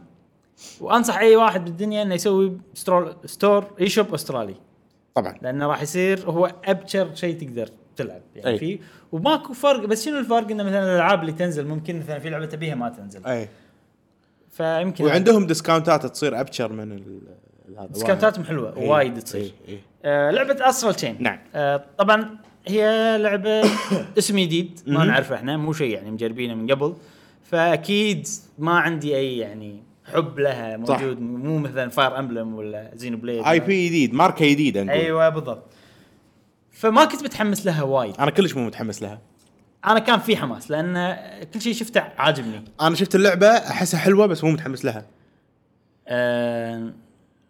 A: وانصح اي واحد بالدنيا انه يسوي سترول ستور اي شوب استرالي
B: طبعا
A: لانه راح يصير هو ابشر شيء تقدر تلعب يعني
B: أي.
A: في وماكو فرق بس شنو الفرق انه مثلا الالعاب اللي تنزل ممكن مثلا في لعبه تبيها ما تنزل
B: اي
A: فيمكن
B: وعندهم ديسكاونتات تصير ابشر من ال- هذا
A: ديسكاونتاتهم حلوه
B: إي،
A: وايد تصير
B: إي، إي.
A: آه لعبه اسرل تشين
B: نعم.
A: آه طبعا هي لعبه اسم جديد ما نعرفه احنا مو شيء يعني مجربينه من قبل فاكيد ما عندي اي يعني حب لها
B: صح.
A: موجود مو مثلا فاير امبلم ولا زينو بليد
B: اي بي جديد ماركه جديده نقول
A: ايوه بالضبط فما كنت متحمس لها وايد
B: انا كلش مو متحمس لها
A: انا كان في حماس لان كل شيء شفته عاجبني
B: انا شفت اللعبه احسها حلوه بس مو متحمس لها
A: آه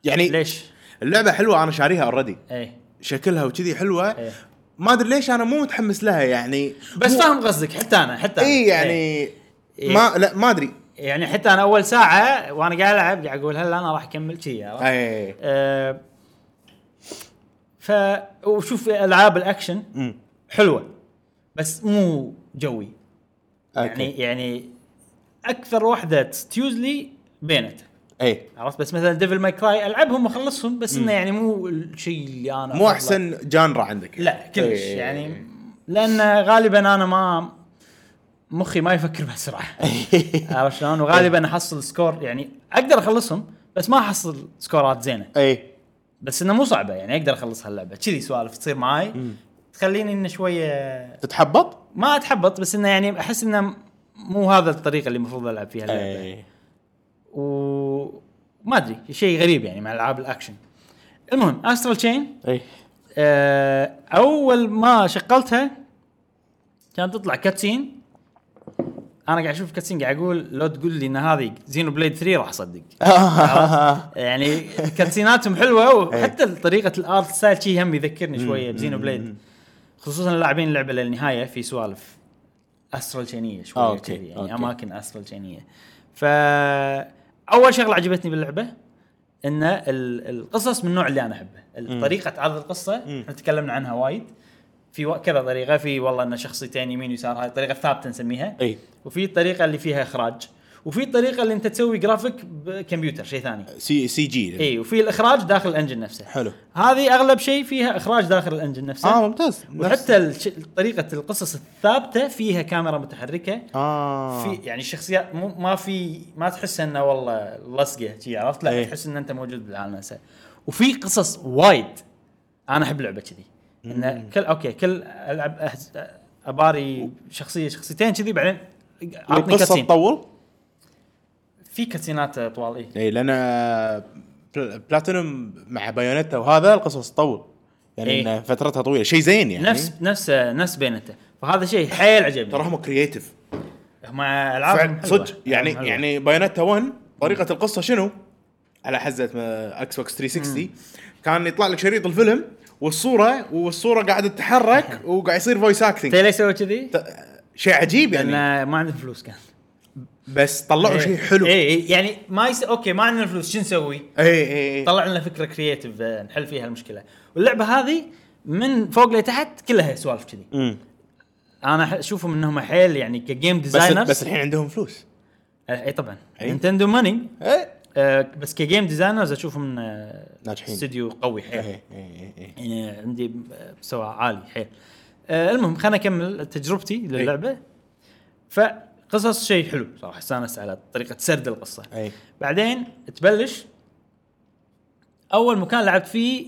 B: يعني
A: ليش
B: اللعبه حلوه انا شاريها اوريدي
A: ايه
B: شكلها وكذي حلوه
A: إيه.
B: ما ادري ليش انا مو متحمس لها يعني
A: بس
B: مو-
A: فاهم قصدك حتى انا حتى أنا.
B: اي
A: إيه.
B: يعني
A: إيه.
B: ما لا ما ادري
A: يعني حتى انا اول ساعه وانا قاعد العب قاعد اقول هلا انا راح اكمل شي عرفت؟
B: اي
A: آه، ف وشوف العاب الاكشن
B: مم.
A: حلوه بس مو جوي يعني
B: أوكي.
A: يعني اكثر واحده تستيوز لي بينت
B: اي
A: عرفت بس مثلا ديفل ماي كراي العبهم واخلصهم بس انه يعني مو الشيء اللي انا
B: مو
A: أفضله.
B: احسن جانرا عندك
A: لا كلش
B: إيه.
A: يعني لان غالبا انا ما مخي ما يفكر بسرعه عرفت شلون؟ وغالبا احصل سكور يعني اقدر اخلصهم بس ما احصل سكورات زينه
B: اي
A: بس انه مو صعبه يعني اقدر اخلص هاللعبه كذي سوالف تصير معاي تخليني انه شويه
B: تتحبط
A: ما اتحبط بس انه يعني احس انه مو هذا الطريقه اللي المفروض العب فيها اللعبه
B: اي
A: وما ادري شيء غريب يعني مع العاب الاكشن المهم استرال تشين
B: اي
A: آه، اول ما شغلتها كانت تطلع كاتسين انا قاعد اشوف كاتسين قاعد اقول لو تقول لي ان هذه زينو بليد 3 راح اصدق يعني كاتسيناتهم حلوه
B: إيه.
A: وحتى طريقه الارت ستايل شي هم يذكرني شويه بزينو بليد خصوصا اللاعبين اللعبه للنهايه في سوالف استرال تشينيه شويه
B: آه، أوكي،
A: كذي، يعني
B: أوكي.
A: اماكن استرال تشينيه ف اول شغله عجبتني باللعبه ان ال- القصص من النوع اللي انا احبه طريقه عرض القصه احنا تكلمنا عنها وايد في و- كذا طريقه في والله ان شخصيتين يمين ويسار هاي الطريقه الثابته نسميها
B: اي
A: وفي الطريقه اللي فيها اخراج وفي الطريقه اللي انت تسوي جرافيك بكمبيوتر شيء ثاني
B: سي سي جي
A: اي إيه، وفي الاخراج داخل الانجن نفسه
B: حلو.
A: هذه اغلب شيء فيها اخراج داخل الانجن نفسه
B: اه
A: آه
B: ممتاز نفس-
A: وحتى الش... طريقه القصص الثابته فيها كاميرا متحركه
B: اه
A: في يعني الشخصيات مو ما في ما تحس انه والله لصقه شي عرفت لا
B: إيه.
A: تحس ان انت موجود بالعالم نفسه وفي قصص وايد انا احب لعبه كذي انه كل اوكي كل العب أهز... اباري شخصيه شخصيتين كذي بعدين عطني
B: والقصه
A: كاتسين
B: تطول
A: في كاتسينات طوال إيه. اي
B: اي لان إيه، بل- بلاتينوم مع بايونيتا وهذا القصص تطول يعني
A: إيه.
B: إن فترتها طويله شيء زين يعني
A: نفس نفس نفس بينته فهذا شيء حيل عجبني
B: ترى هم كرييتيف
A: هم العابهم آه، حلوة.
B: صدق يعني
A: ألعابهم حلوة.
B: يعني بايونيتا 1 طريقه القصه شنو؟ على حزه ما- اكس بوكس 360 كان يطلع لك شريط الفيلم والصوره والصوره قاعده تتحرك وقاعد يصير فويس
A: انت
B: اكتنج
A: ليش سويت كذي؟
B: شيء عجيب يعني
A: لان ما عندنا فلوس كان
B: بس
A: إيه.
B: طلعوا شيء حلو اي
A: اي اي يعني ما يس... اوكي ما عندنا فلوس شو نسوي؟
B: اي إي.
A: طلع لنا فكره كرييتيف نحل فيها المشكله واللعبه هذه من فوق لتحت كلها سوالف كذي
B: أمم.
A: انا أح- اشوفهم انهم حيل يعني كجيم
B: بس
A: ديزاينرز
B: بس إيه. الحين عندهم فلوس
A: اي طبعا
B: أي.
A: نينتندو ماني
B: ايه
A: آه بس كجيم ديزاينرز اشوفهم آه
B: ناجحين.
A: استوديو قوي حيل
B: ايه ايه ايه
A: يعني عندي مستوى عالي حيل آه المهم خليني اكمل تجربتي
B: إيه.
A: للعبه فقصص شيء حلو صراحه استانست على طريقه سرد القصه
B: ايه
A: بعدين تبلش اول مكان لعبت فيه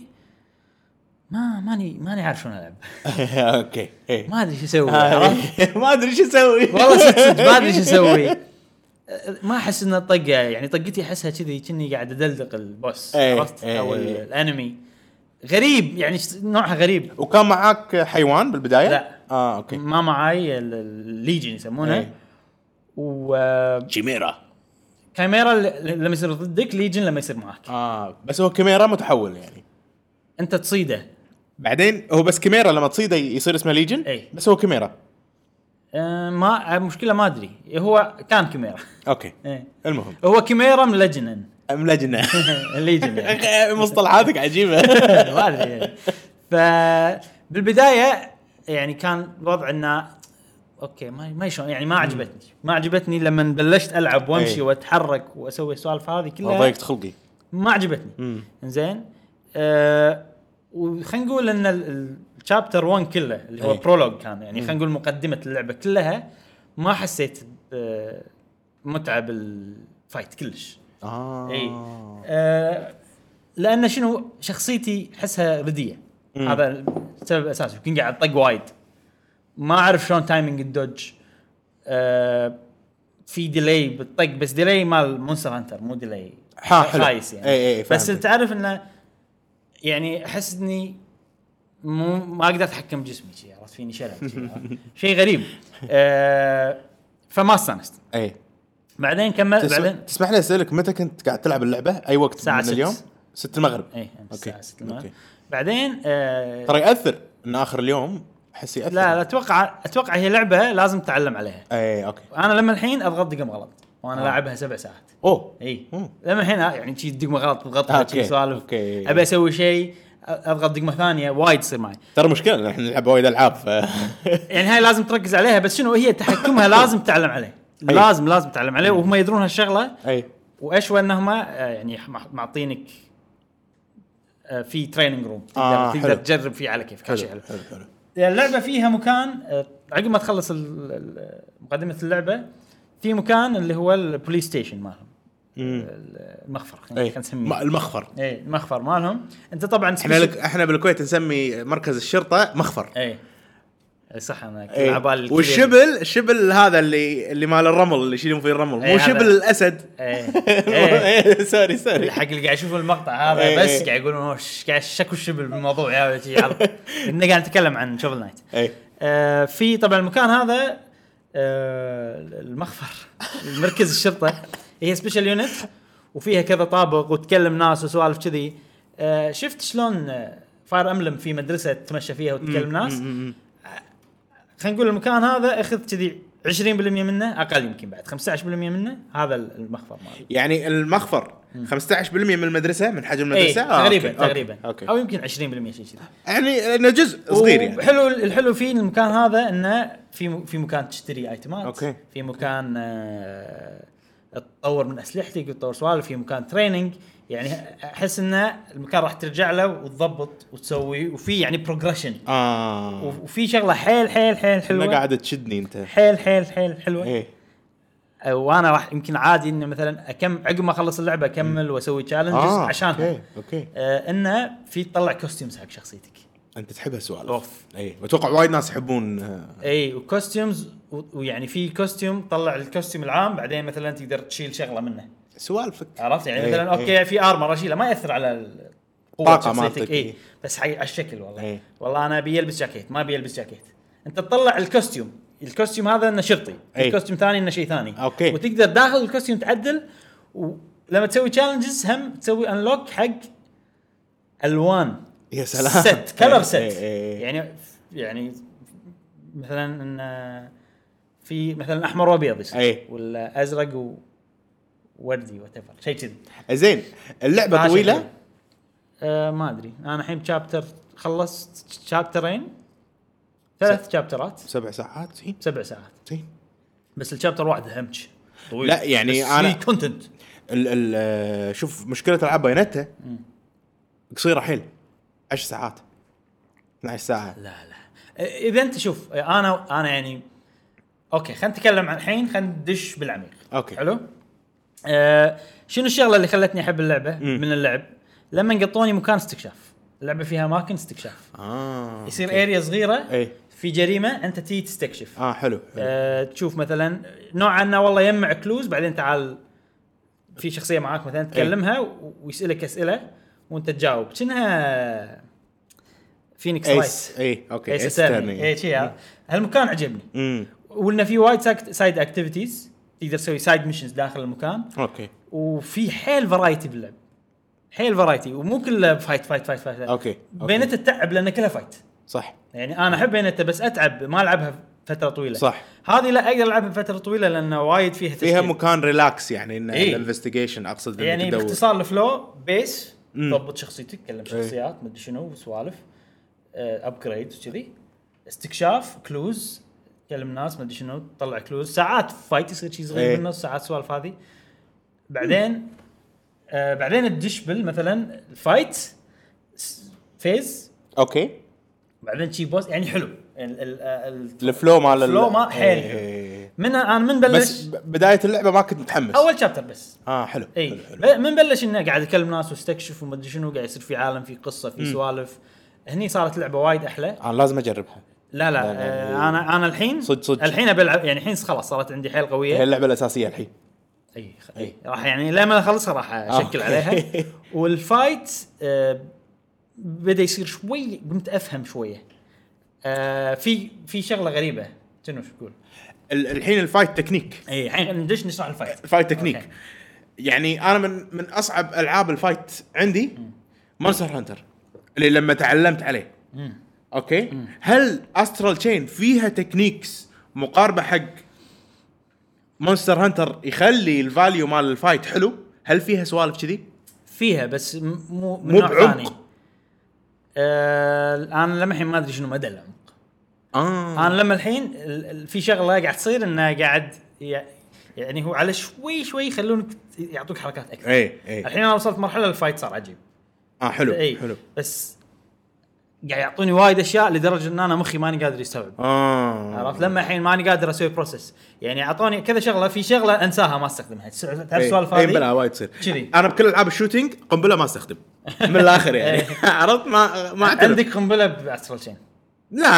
A: ما ماني ماني عارف شلون العب
B: اوكي ايه
A: ما ادري شو اسوي عرفت؟
B: آه، ما ادري شو اسوي
A: والله صدق صدق ما ادري شو اسوي أه، ما احس ان الطقه يعني طقتي احسها كذي كني قاعد ادلدق البوس
B: إيه،
A: عرفت
B: إيه،
A: او
B: إيه.
A: الانمي غريب يعني ش- نوعها غريب
B: وكان معاك حيوان بالبدايه؟
A: لا.
B: اه اوكي
A: ما معاي ال- الليجن يسمونه
B: إيه.
A: وكاميرا
B: جيميرا
A: ل- لما يصير ضدك ليجن لما يصير معاك
B: اه بس هو كاميرا متحول يعني
A: انت تصيده
B: بعدين هو بس كاميرا لما تصيده يصير اسمه ليجن
A: إيه.
B: بس هو كاميرا
A: أه، ما المشكله ما ادري هو كان كاميرا
B: اوكي
A: إيه.
B: المهم
A: هو كاميرا ملجنن
B: ملجنه
A: الليجن يعني
B: مصطلحاتك عجيبه
A: ما ادري يعني. فبالبدايه يعني كان الوضع انه اوكي ما ما شلون يعني ما عجبتني ما عجبتني لما بلشت العب وامشي
B: إيه.
A: واتحرك واسوي السوالف هذه كلها
B: ضيقت خلقي
A: ما عجبتني زين آه وخلينا نقول ان ال- ال- الشابتر 1 كله اللي هو
B: إيه.
A: برولوج كان يعني خلينا نقول مقدمه اللعبه كلها ما حسيت آه متعه بالفايت كلش
B: اه
A: اي آه لان شنو شخصيتي احسها رديه هذا السبب الاساسي يمكن قاعد طق وايد ما اعرف شلون تايمينج الدوج آه في ديلي بالطق بس ديلي مال مونستر هانتر مو ديلي
B: ها، حلو.
A: خايس يعني
B: إي إي،
A: بس
B: فهمتك.
A: تعرف انه يعني احس اني مو ما اقدر اتحكم بجسمي شي، عرفت فيني شلل شي، عرفت؟ شيء غريب آه فما استانست
B: اي
A: بعدين كملت
B: تسمح,
A: إيه. بعدين
B: تسمح لي اسالك متى كنت قاعد تلعب اللعبه اي وقت
A: ساعة
B: من
A: ست. إيه.
B: اليوم 6 المغرب
A: اي
B: أوكي.
A: الساعه 6 المغرب
B: أوكي.
A: بعدين آه
B: ترى ياثر ان اخر اليوم احس ياثر
A: لا لا اتوقع اتوقع هي لعبه لازم اتعلم عليها
B: اي اوكي
A: انا لما الحين اضغط دقم غلط
B: آه.
A: وانا لاعبها سبع ساعات
B: اوه
A: اي
B: مم.
A: لما الحين آه، يعني شي دقمه غلط
B: أوكي.
A: اضغط شي سوالف
B: أوكي.
A: ابي اسوي شيء أ- اضغط دقمه ثانيه وايد يصير معي
B: ترى مشكله لأن احنا نلعب وايد العاب ف
A: يعني هاي لازم تركز عليها بس شنو هي تحكمها لازم تتعلم عليه
B: أي.
A: لازم لازم تتعلم عليه وهم يدرون هالشغله
B: اي
A: واشوى انهم آه، يعني مع- معطينك آه، في تريننج روم تقدر,
B: آه،
A: تقدر
B: حلو.
A: تجرب فيه على كيفك شيء حلو
B: حلو حلو
A: اللعبه يعني فيها مكان آه، عقب ما تخلص ال- ال- مقدمه اللعبه في مكان اللي هو البوليس ستيشن مالهم ال- المخفر
B: اي
A: خلينا
B: إيه. ما-
A: نسميه
B: المخفر
A: اي المخفر مالهم انت طبعا
G: احنا لك احنا بالكويت نسمي مركز الشرطه مخفر
A: اي أي إيه. صح انا كل
G: إيه.
A: عبال
G: والشبل الشبل هذا اللي اللي مال الرمل اللي يشيلون فيه الرمل
A: إيه،
G: مو
A: هذا.
G: شبل الاسد
A: اي إي.
B: سوري سوري
A: حق إيه. اللي قاعد يشوفون المقطع هذا
B: إيه،
A: بس
B: إيه.
A: قاعد يقولون "أوش، قاعد شكو الشبل بالموضوع يا ولد، يلا انه قاعد نتكلم عن شوفل نايت
B: اي
A: آه، في طبعا المكان هذا آه، المخفر مركز الشرطه هي سبيشال يونت وفيها كذا طابق وتكلم ناس وسوالف كذي آه، شفت شلون فاير املم في مدرسه تمشى فيها وتكلم ناس خلينا نقول المكان هذا اخذ كذي 20% منه اقل يمكن بعد 15% منه هذا المخفر ماله
G: يعني المخفر 15% من المدرسه من حجم
A: ايه
G: المدرسه آه،
A: تقريبا
G: أوكي، أوكي،
A: تقريبا
G: اوكي
A: او يمكن 20% شيء كذي
G: يعني لانه جزء صغير يعني
A: حلو الحلو في المكان هذا انه في م- في مكان تشتري ايتمات
B: أوكي.
A: في مكان آه، تطور من اسلحتك وتطور سوالف في مكان تريننج يعني احس انه المكان راح ترجع له وتضبط وتسوي وفي يعني بروجريشن
B: اه
G: آه.
A: وفي شغله حيل حيل حيل
B: انا
A: حلوه
B: قاعد تشدني انت
A: حيل حيل حيل حلوه
G: إيه.
B: ايه
A: أه، وانا راح يمكن عادي انه مثلا اكم عقب ما اخلص اللعبه اكمل واسوي تشالنجز
B: آه،
A: آه عشانها
B: أوكي، أوكي.
A: آه انه في تطلع كوستيومز حق شخصيتك
B: انت تحب هالسوالف
A: أوف.
B: اي واتوقع إيه، وايد ناس يحبون آه،
A: اي وكوستيومز و- ويعني في كوستيوم طلع الكوستيوم العام بعدين مثلا تقدر تشيل شغله منه
B: سوالفك
A: عرفت يعني
B: إي،
A: مثلا
B: إي.
A: اوكي في ارمر اشيله ما ياثر على ال- قوة
B: إيه، طاقة
A: شخصيتك،
B: مالتك، إيه. إي.
A: اي بس حي... على الشكل والله
B: إي.
A: والله انا ابي البس جاكيت ما ابي البس جاكيت انت تطلع الكوستيوم الكوستيوم هذا انه شرطي
B: إي.
A: الكوستيوم ثاني انه شيء ثاني
B: إيه. أوكي.
A: وتقدر داخل الكوستيوم تعدل ولما تسوي تشالنجز هم تسوي انلوك حق الوان
B: يا سلام
A: ست كلر ست
B: إيه، إيه، إيه.
A: يعني يعني مثلا ان في مثلا احمر وابيض يصير.
B: إيه.
A: ولا ازرق ووردي وات شيء كذي
B: إيه.
A: يعني.
B: زين اللعبه
A: فاشل.
B: طويله
A: آه ما ادري انا الحين شابتر خلصت شابترين ثلاث شابترات
B: سبع ساعات زين
A: سبع ساعات
B: زين
A: بس الشابتر واحد همج طويل
B: لا، يعني أنا-
A: في كونتنت
B: ال ال آه، شوف مشكله العاب بايونتا قصيره حيل 10 ساعات 12 ساعه
A: لا لا اذا انت شوف انا انا يعني اوكي خلينا نتكلم عن الحين خلينا ندش بالعميق
B: أوكي.
A: حلو آه شنو الشغله اللي خلتني احب اللعبه مم. من اللعب لما قطوني مكان استكشاف اللعبه فيها اماكن استكشاف
B: اه
A: يصير اريا صغيره
B: إيه.
A: في جريمه انت تيجي تستكشف
B: اه حلو حلو.
A: آه، تشوف مثلا نوعا ما والله يجمع كلوز بعدين تعال في شخصيه معاك مثلا تكلمها و- ويسالك اسئله وانت تجاوب كأنها فينيكس رايت
B: ايس اي اوكي
A: ايس
B: ايس
A: أتارني.
B: تيرني
A: اي إيه، شي ها. هالمكان عجبني
B: امم
A: وانه في وايد ساك- سايد اكتيفيتيز تقدر تسوي سايد ميشنز داخل المكان
B: اوكي
A: وفي حيل فرايتي باللعب حيل فرايتي ومو كله فايت فايت فايت فايت
B: أوكي. أوكي.
A: بينته تتعب لان كلها فايت
B: صح
A: يعني انا احب بينته بس اتعب ما العبها فتره طويله
B: صح.
A: هذه لا اقدر العبها فتره طويله لان وايد فيها تسكيل.
B: فيها مكان ريلاكس يعني ان
A: إيه.
B: الانفستيجيشن اقصد إنك
A: يعني
B: تدور. إيه.
A: باختصار الفلو بيس ضبط شخصيتك تكلم شخصيات مدري شنو سوالف ابجريد وكذي استكشاف كلوز تكلم ناس مدري شنو تطلع كلوز ساعات فايت يصير شيء
B: إيه.
A: صغير بالنص ساعات سوالف هذه بعدين آه بعدين تدش بال مثلا فايت فيز
B: اوكي
A: بعدين شي بوس يعني حلو يعني ال- ال- ال-
B: الفلو مال ال-
A: الفلو ما حيل
B: إيه.
A: حلو. من انا من بلش
B: بس ب- بدايه اللعبه ما كنت متحمس
A: اول شابتر بس
B: اه حلو
A: اي
B: حلو، حلو.
A: ب- إيه. من بلش انه قاعد اكلم ناس واستكشف وما ادري شنو قاعد يصير في عالم في قصه في سوالف هني صارت لعبه وايد احلى
B: انا لازم اجربها
A: لا لا
B: لا،
A: آه انا انا الحين
B: صدق، صدق.
A: الحين بلعب يعني الحين خلاص صارت عندي حيل
B: هي
A: قويه
B: اللعبه الاساسيه الحين
A: اي خ- اي راح يعني لما اخلصها راح اشكل
B: أوكي.
A: عليها والفايت آه بدا يصير شوي قمت افهم شويه آه في في شغله غريبه شنو شو تقول؟
B: ال- الحين الفايت تكنيك
A: اي الحين ندش نشرح الفايت
B: الفايت تكنيك
A: أوكي.
B: يعني انا من من اصعب العاب الفايت عندي مونستر هانتر اللي لما تعلمت عليه اوكي هل استرال تشين فيها تكنيكس مقاربه حق مونستر هانتر يخلي الفاليو مال الفايت حلو هل فيها سوالف كذي
A: فيها بس م- مو من
B: مو
A: نوع
B: بعمق.
A: ثاني آه انا لما الحين ما ادري شنو مدى العمق
B: اه
A: انا لما الحين ال- ال- في شغله قاعد تصير انه قاعد ي- يعني هو على شوي شوي يخلونك ت- يعطوك حركات اكثر
B: اي اي
A: الحين انا وصلت مرحله الفايت صار عجيب آه،
B: اه إيه. حلو
A: اي
B: حلو
A: بس قاعد يعطوني وايد اشياء لدرجه ان انا مخي ماني قادر يستوعب
B: اه
A: عرفت لما الحين ماني قادر اسوي بروسس يعني اعطوني كذا شغله في شغله انساها ما استخدمها تس- تعرف
B: إيه.
A: السوالف
B: إيه، بلا
A: هذه
B: وايد تصير
A: كذي.
B: انا بكل العاب الشوتينج قنبله ما استخدم من الاخر يعني عرفت ما ما اعترف
A: إيه. عندك قنبله باسترال تشين
B: لا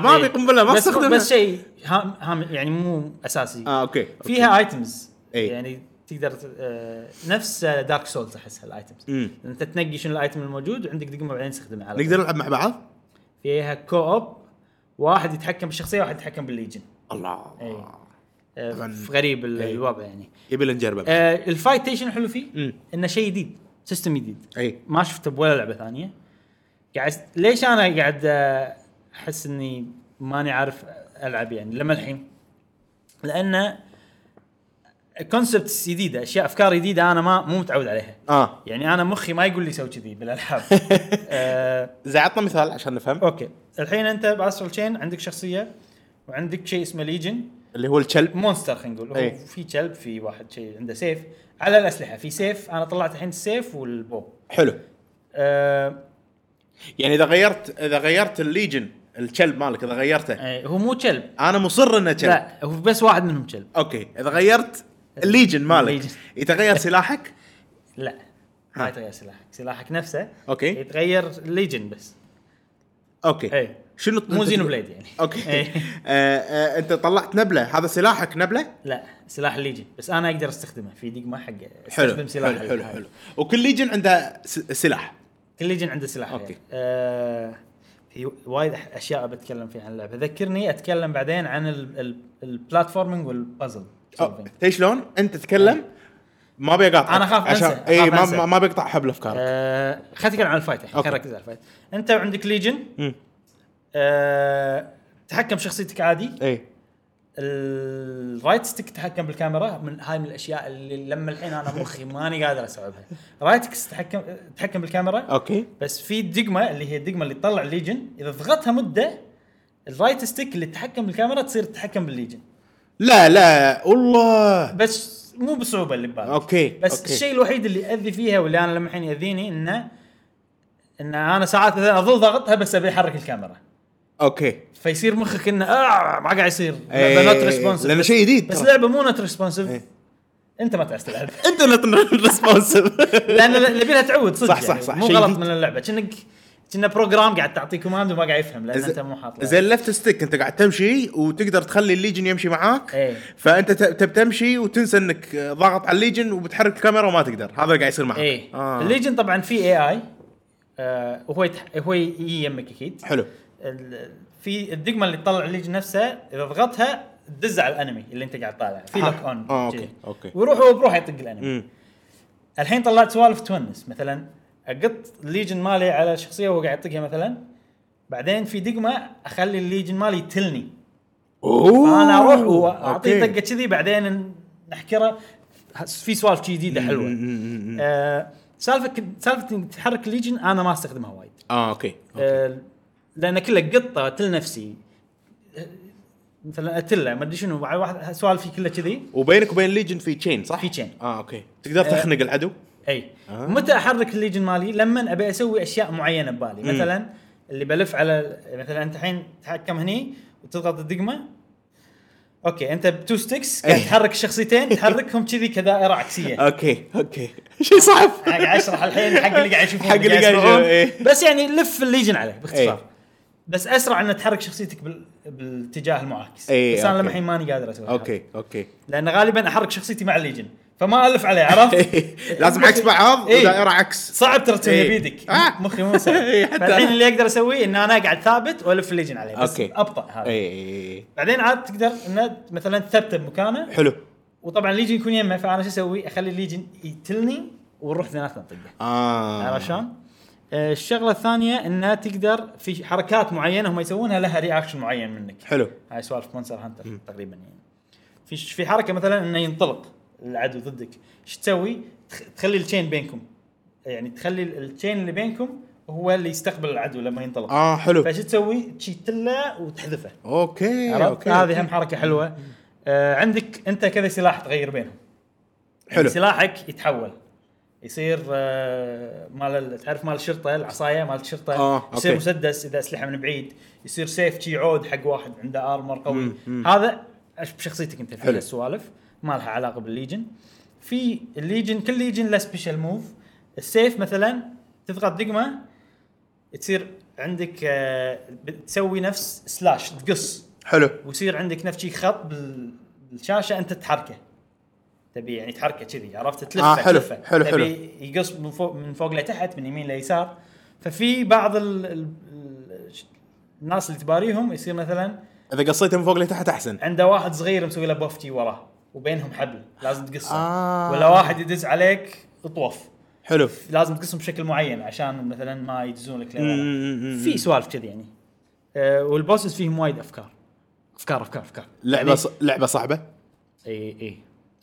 B: ما ابي قنبله ما
A: إيه. بس-
B: استخدمها
A: بس شيء هام هام يعني مو اساسي
B: اه اوكي أوكي. إيه.
A: فيها ايتمز
B: إي.
A: يعني تقدر ت- آه، نفس دارك سولز احسها الايتمز
B: مم.
A: انت تنقي شنو الايتم الموجود وعندك دقمه بعدين تستخدمه على
B: نقدر نلعب مع بعض؟
A: فيها كو اوب واحد يتحكم بالشخصيه واحد يتحكم بالليجن
B: الله
A: إي. آه،
B: طبعاً.
A: غريب ال-
B: إي.
A: الوضع يعني
B: يبي لنا نجربه
A: آه، الفايت تيشن حلو فيه
B: إيه. مم.
A: انه شيء جديد سيستم جديد
B: اي
A: ما شفته بولا لعبه ثانيه قاعد ليش انا قاعد آه، احس اني ماني عارف العب يعني لما الحين لان كونسبتس جديده اشياء افكار جديده انا ما مو متعود عليها
B: اه
A: يعني انا مخي ما يقول لي سوي كذي بالالعاب آه
B: زي عطنا مثال عشان نفهم
A: اوكي الحين انت باسترال تشين عندك شخصيه وعندك شيء اسمه ليجن
B: اللي هو الكلب
A: مونستر خلينا نقول
B: إيه.
A: هو في كلب في واحد شيء عنده سيف على الاسلحه في سيف انا طلعت الحين السيف والبو
B: حلو
A: آه
B: يعني اذا غيرت اذا غيرت الليجن الكلب مالك اذا غيرته
A: إيه، هو مو كلب
B: انا مصر انه كلب
A: لا هو بس واحد منهم كلب
B: اوكي اذا غيرت الليجن مالك
A: الليجن.
B: يتغير سلاحك
A: لا
B: ها.
A: ما يتغير سلاحك سلاحك نفسه
B: أوكي.
A: يتغير ليجن بس
B: اوكي
A: إي.
B: شنو
A: مو زينو بليد يعني
B: اوكي
A: إي.
B: آه، آه، انت طلعت نبله هذا سلاحك نبله
A: لا سلاح الليجن بس انا اقدر استخدمه في دقمه حق
B: حلو
A: استخدم سلاح
B: حلو حلو,
A: هذا.
B: حلو. وكل ليجن عنده س- سلاح
A: كل ليجن عنده سلاح
B: أوكي.
A: يعني. آه في وايد أح- اشياء بتكلم فيها عن اللعبه ذكرني اتكلم بعدين عن ال- ال- البلاتفورمينج والبازل
B: أو- تدري شلون؟ انت تتكلم ما ابي اقاطعك
A: أنا أخاف أنسى، أخاف
B: اي إيه، ما
A: أنسى.
B: ما- ما بقطع حبل افكارك
A: آه خلينا نتكلم عن الفايت الحين
B: أوكي.
A: خلينا نركز على الفايت انت عندك ليجن
B: مم.
A: آه تحكم شخصيتك عادي
B: اي
A: الرايت ستيك تحكم بالكاميرا من هاي من الاشياء اللي لما الحين انا مخي ماني قادر استوعبها رايت كس تحكم تحكم بالكاميرا
B: اوكي
A: بس في الدقمه اللي هي الدقمه اللي تطلع الليجن اذا ضغطتها مده الرايت ستيك اللي تتحكم بالكاميرا تصير تتحكم بالليجن
B: لا لا والله
A: بس مو بالصعوبه اللي ببالك
B: اوكي
A: بس
B: أوكي.
A: الشيء الوحيد اللي ياذي فيها واللي انا لما الحين ياذيني انه ان انا ساعات مثلا اظل ضغطها بس ابي احرك الكاميرا
B: اوكي
A: فيصير مخك انه آه ما قاعد يصير
B: إيه،
A: لعبه نوت ريسبونسيف
B: لأنه شيء جديد
A: بس
B: ترى.
A: لعبه مو نوت ريسبونسيف
B: إيه.
A: انت ما تعرف تلعب
B: انت ريسبونسيف
A: لان اللي يبي لها تعود صدق
B: صح، صح،
A: يعني.
B: صح،
A: مو
B: شيء
A: غلط
B: جديد.
A: من اللعبه كأنك كأنه بروجرام قاعد تعطيه كوماند وما قاعد يفهم لان انت مو حاط له.
B: زي اللفت ستيك انت قاعد تمشي وتقدر تخلي الليجن يمشي معاك
A: إيه.
B: فانت ت- تب تمشي وتنسى انك آه، ضاغط على الليجن وبتحرك الكاميرا وما تقدر هذا اللي قاعد يصير معاك
A: ايه
B: آه.
A: الليجن طبعا في اي اي آه وهو يتح... هو يجي يمك اكيد
B: حلو
A: ال- في الدقمه اللي تطلع الليجن نفسها اذا ضغطتها تدز على الانمي اللي انت قاعد طالعه في لوك اون
B: آه، أوكي، أوكي.
A: ويروح هو بروحه يطق الانمي
B: مم.
A: الحين طلعت سوالف تونس مثلا اقط الليجن مالي على شخصيه وهو قاعد يطقها مثلا بعدين في دقمه اخلي الليجن مالي يتلني فانا اروح واعطيه طقه كذي بعدين نحكره في سوالف جديده حلوه آه، سالفه كن- سالفه انك تحرك الليجن انا ما استخدمها وايد
B: اه اوكي
A: آه، لان كله قطه تل نفسي آه، مثلا اتله ما ادري شنو على واحد سوالفي كله كذي
B: وبينك وبين الليجن في تشين صح؟
A: في آه. تشين.
B: اه اوكي تقدر تخنق العدو
A: اي متى احرك الليجن مالي لما ابي اسوي اشياء معينه ببالي مثلا اللي بلف على مثلا انت الحين تتحكم هني وتضغط الدقمه اوكي انت بتو ستيكس قاعد
B: إيه.
A: تحرك الشخصيتين تحركهم كذي كدائره عكسيه
B: اوكي اوكي شيء صعب
A: انا قاعد اشرح الحين حق اللي قاعد يشوفون
B: حق اللي قاعد
A: يسمعون.
B: يشوفون، إيه.
A: بس يعني لف الليجن عليه باختصار
B: إيه.
A: بس اسرع ان تحرك شخصيتك بال... بالاتجاه المعاكس
B: إيه،
A: بس انا لما
B: أوكي.
A: الحين ماني قادر اسوي
B: اوكي اوكي
A: لان غالبا احرك شخصيتي مع الليجن فما الف عليه عرفت؟
B: لازم عكس بعض
A: إيه.
B: ودائره عكس
A: صعب ترى تسويها
B: إيه.
A: بيدك
B: آه.
A: مخي مو صعب
B: إيه، حتى
A: فالحين
B: أنا.
A: اللي اقدر اسويه ان انا اقعد ثابت والف الليجن عليه بس
B: أوكي. إيه.
A: ابطا هذا
B: اي اي اي
A: بعدين عاد تقدر انه مثلا تثبته بمكانه
B: حلو
A: وطبعا الليجن يكون يمه فانا شو اسوي؟ اخلي الليجن يتلني ونروح اثنيناتنا نطقه
B: اه
A: عرفت شلون؟ آه، الشغله الثانيه انها تقدر في حركات معينه هم يسوونها لها رياكشن معين منك
B: حلو
A: هاي سوالف مونستر هانتر تقريبا يعني في في حركه مثلا انه ينطلق العدو ضدك ايش تسوي؟ تخ- تخلي التشين بينكم يعني تخلي ال- التشين اللي بينكم هو اللي يستقبل العدو لما ينطلق
B: اه حلو
A: فايش تسوي؟ تشيتله وتحذفه
B: اوكي
A: عرفت؟
B: اوكي
A: هذه هم حركه حلوه آه عندك انت كذا سلاح تغير بينهم
B: حلو.
A: يعني سلاحك يتحول يصير آه مال ال- تعرف مال الشرطه العصايه مال الشرطه
B: آه،
A: يصير
B: أوكي.
A: مسدس اذا اسلحه من بعيد يصير سيف شي عود حق واحد عنده ارمر قوي هذا أش- بشخصيتك انت في
B: حلو.
A: السوالف ما لها علاقه بالليجن في الليجن كل ليجن له سبيشال موف السيف مثلا تضغط دقمه تصير عندك آه تسوي نفس سلاش تقص
B: حلو
A: ويصير عندك نفس شي خط بال- بالشاشه انت تحركه تبي يعني تحركه كذي عرفت تلفه
B: آه، حلو،
A: تلفه.
B: حلو، حلو.
A: تبي يقص من فوق من فوق لتحت من يمين ليسار ففي بعض ال... ال... ال... الناس اللي تباريهم يصير مثلا
B: اذا قصيته من فوق لتحت احسن
A: عنده واحد صغير مسوي له بوفتي وراه وبينهم حبل لازم تقصه
B: آه.
A: ولا واحد يدز عليك اطوف
B: حلو
A: لازم تقسم بشكل معين عشان مثلا ما يدزون لك لورا.
B: مم.
A: آه، في سوالف كذي يعني أه والبوسز فيهم وايد افكار افكار افكار افكار
B: لعبه
A: يعني-
B: ص- لعبه صعبه
A: اي اي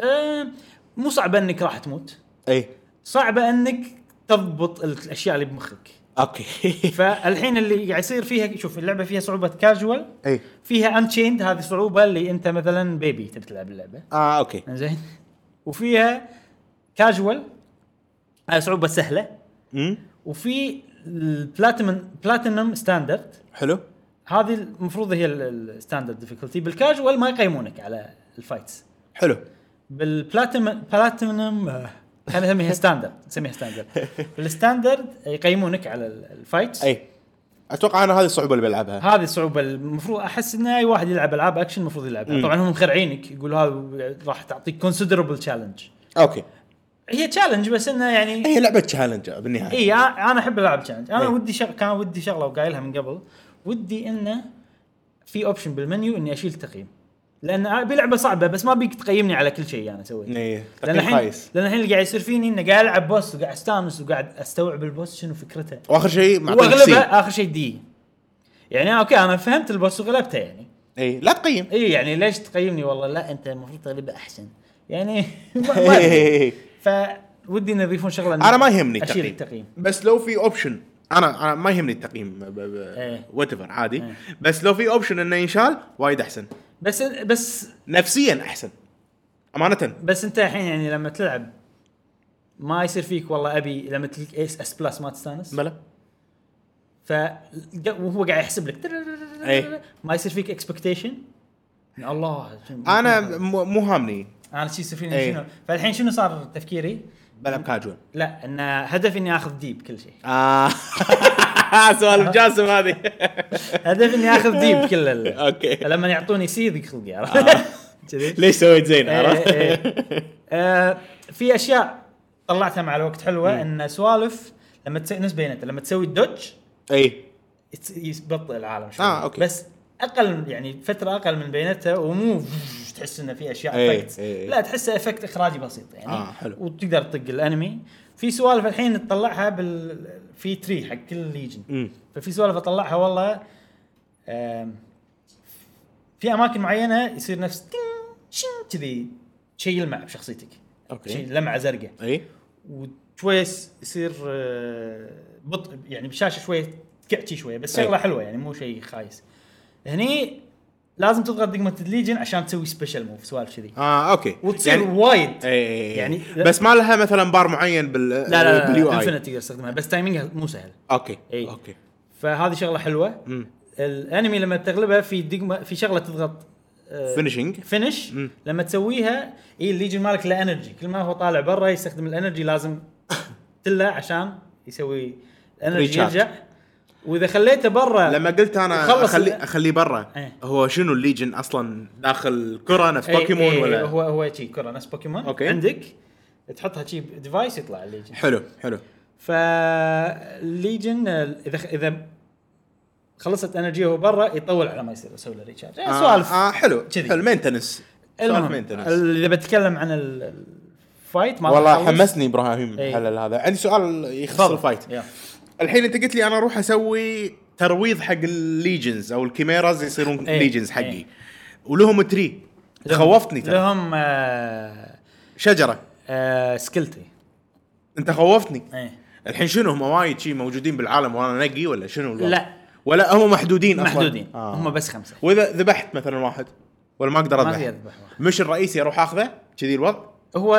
A: أه مو صعبه انك راح تموت إيه.
B: اي
A: صعبه انك تضبط ال- الاشياء اللي بمخك
B: اوكي
A: فالحين اللي قاعد يصير فيها شوف اللعبه فيها صعوبه كاجوال
B: اي
A: فيها انشيند هذه الصعوبه اللي انت مثلا بيبي تبي تلعب اللعبه
B: اه اوكي
A: زين وفيها كاجوال هذه صعوبه سهله
B: امم
A: وفي البلاتينم بلاتينم ستاندرد
B: حلو
A: هذه المفروض هي الستاندرد ديفيكولتي بالكاجوال ما يقيمونك على الفايتس
B: حلو
A: بالبلاتينم بلاتينم خلينا نسميها ستاندرد نسميها ستاندرد بالستاندرد يقيمونك على ال- الفايتس
B: اي اتوقع انا إيه. هذه الصعوبه اللي بلعبها
A: هذه الصعوبه المفروض احس ان اي واحد يلعب العاب اكشن المفروض يلعبها طبعا هم مخرعينك يقول هذا راح تعطيك كونسيدربل تشالنج
B: اوكي
A: هي تشالنج بس انه يعني
B: هي لعبه تشالنج بالنهايه
A: اي انا احب العب تشالنج انا
B: إيه.
A: ودي شغ... كان ودي شغله وقايلها من قبل ودي انه في اوبشن بالمنيو اني اشيل تقييم لان ابي لعبه صعبه بس ما بيك تقيمني على كل شيء انا سويته
B: اي
A: لان
B: تقييم
A: الحين
B: خايس
A: لان الحين اللي قاعد يصير فيني انه قاعد العب بوس وقاعد استانس وقاعد استوعب البوس شنو فكرته
B: واخر شيء معطيك سي
A: واغلبها اخر شيء دي يعني اوكي انا فهمت البوس وغلبته يعني
B: اي إيه. لا تقيم
A: اي يعني ليش تقيمني والله لا انت المفروض تغلبه احسن يعني ما ما أدري.
B: انا
A: فودي ان يضيفون شغله إن
B: ما يهمني
A: اشيل
B: التقييم
A: التقييم
B: بس لو في اوبشن انا انا ما يهمني التقييم
A: إيه.
B: وات ايفر عادي بس لو في اوبشن انه ينشال وايد احسن
A: بس بس
B: نفسيا احسن امانه
A: بس انت الحين يعني لما تلعب ما يصير فيك والله ابي لما تلك اس اس بلس ما تستانس
B: بلى
A: ف وهو قاعد يحسب لك
B: أي.
A: ما يصير فيك اكسبكتيشن الله
B: انا مو مو هامني
A: انا شي يصير فيني
B: أي.
A: شنو فالحين شنو صار تفكيري؟
B: بلعب كاجوال
A: لا ان هدفي اني اخذ ديب كل شيء
B: اه سوالف جاسم هذه
A: هدفي اني اخذ ديب كل ال...
B: أوكي.
A: لما يعطوني سي ذيك خلقي عرفت؟ كذي
B: ليش سويت زين
A: إيه،
B: عرفت؟
A: إيه. آه، في اشياء طلعتها مع الوقت حلوه ان سوالف لما تسوي نفس بينت لما تسوي الدوج
B: اي
A: يتس- يبطئ العالم شوي
B: آه، أوكي.
A: بس اقل يعني فتره اقل من بينتها ومو تحس انه في اشياء
B: إيه،
A: افكت
B: إيه.
A: لا تحسه افكت اخراجي بسيط يعني
B: آه، حلو.
A: وتقدر تطق الانمي في سوالف الحين تطلعها بال في تري حق كل ليجن
B: مم.
A: ففي سوالف اطلعها والله آم، في اماكن معينه يصير نفس تين، شين كذي شيء يلمع بشخصيتك
B: أوكي.
A: شيء لمعه زرقاء
B: اي
A: وشوي يس- يصير آه، بطء يعني بالشاشه شوي تكعتي شويه بس شغله
B: أي.
A: حلوه يعني مو شيء خايس هني لازم تضغط دقمه الليجن عشان تسوي سبيشل موف سوالف كذي
B: اه اوكي
A: وتصير
B: يعني-
A: وايد
B: اي
A: يعني-
B: يعني بس ما لها مثلا بار معين بال
A: لا إيه. لا لا,
B: باليو
A: لا
B: آي.
A: انفنت تقدر تستخدمها بس تايمينجها مو سهل
B: اوكي
A: إي.
B: اوكي
A: فهذه شغله حلوه
B: مم.
A: الانمي لما تغلبها في دقمه في شغله تضغط
B: فينشنج
A: فينش لما تسويها اي الليجن مالك له انرجي كل ما هو طالع برا يستخدم الانرجي لازم تله عشان يسوي الانرجي
B: Recharge.
A: يرجع واذا خليته برا
B: لما قلت انا
A: وخلص
B: اخلي
A: ال-
B: اخليه برا
A: إيه.
B: هو شنو الليجن اصلا داخل كره نفس
A: أي-
B: بوكيمون
A: أي-
B: ولا
A: إيه، هو هو شي كره نفس بوكيمون
B: أوكي.
A: عندك تحطها شي ديفايس يطلع الليجن
B: حلو حلو
A: فالليجن اذا اذا خلصت انرجي هو برا يطول على ما يصير اسوي له ريتشارج يعني سوالف
B: اه, آه حلو
A: كذي.
B: حلو مينتنس سوالف
A: المهم،
B: مينتنس
A: ال- اذا بتكلم عن ال- ال- الفايت ما راح
B: والله
A: أخلص.
B: حمسني ابراهيم
A: إي.
B: حلل هذا عندي سؤال يخص
A: إيه. تفضل. إيه.
B: الفايت
A: يلا.
B: الحين انت قلت لي انا اروح اسوي ترويض حق الليجنز او الكيميراز يصيرون
A: إيه.
B: ليجنز
A: إيه.
B: حقي ولهم تري خوفتني ترى
A: لهم آه
B: شجره
A: آه سكيلتي
B: انت خوفتني
A: ايه
B: الحين شنو هم وايد شي موجودين بالعالم وانا نقي ولا شنو الوضع؟
A: لا.
B: ولا هم محدودين اصلا
A: محدودين
B: آه.
A: هم بس خمسه
B: واذا ذبحت مثلا واحد ولا ما اقدر
A: ما
B: اذبح
A: في اذبح واحد.
B: مش الرئيسي اروح اخذه كذي الوضع
A: هو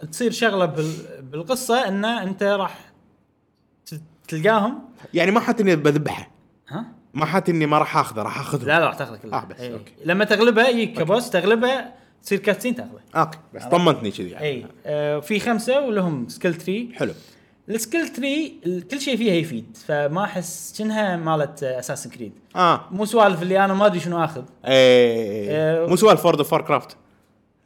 A: آه، تصير شغله بال... بالقصه ان انت راح ت- تلقاهم
B: يعني ما حط اني بذبحه
A: ها
B: ما حط اني ما راح اخذه راح اخذه
A: لا لا راح تاخذه كله
B: آه، بس، أوكي.
A: لما تغلبها يجيك كبوس تغلبها تصير كاتسين تاخذه
B: اوكي بس طمنتني كذي يعني
A: اي آه في خمسه ولهم سكيل تري
B: حلو
A: السكيل تري ال- كل شيء فيها يفيد فما احس كأنها مالت اساسن كريد
B: اه
A: مو سوالف اللي انا ما ادري شنو اخذ
B: ايه
A: إيه.
B: مو سؤال فورد فار كرافت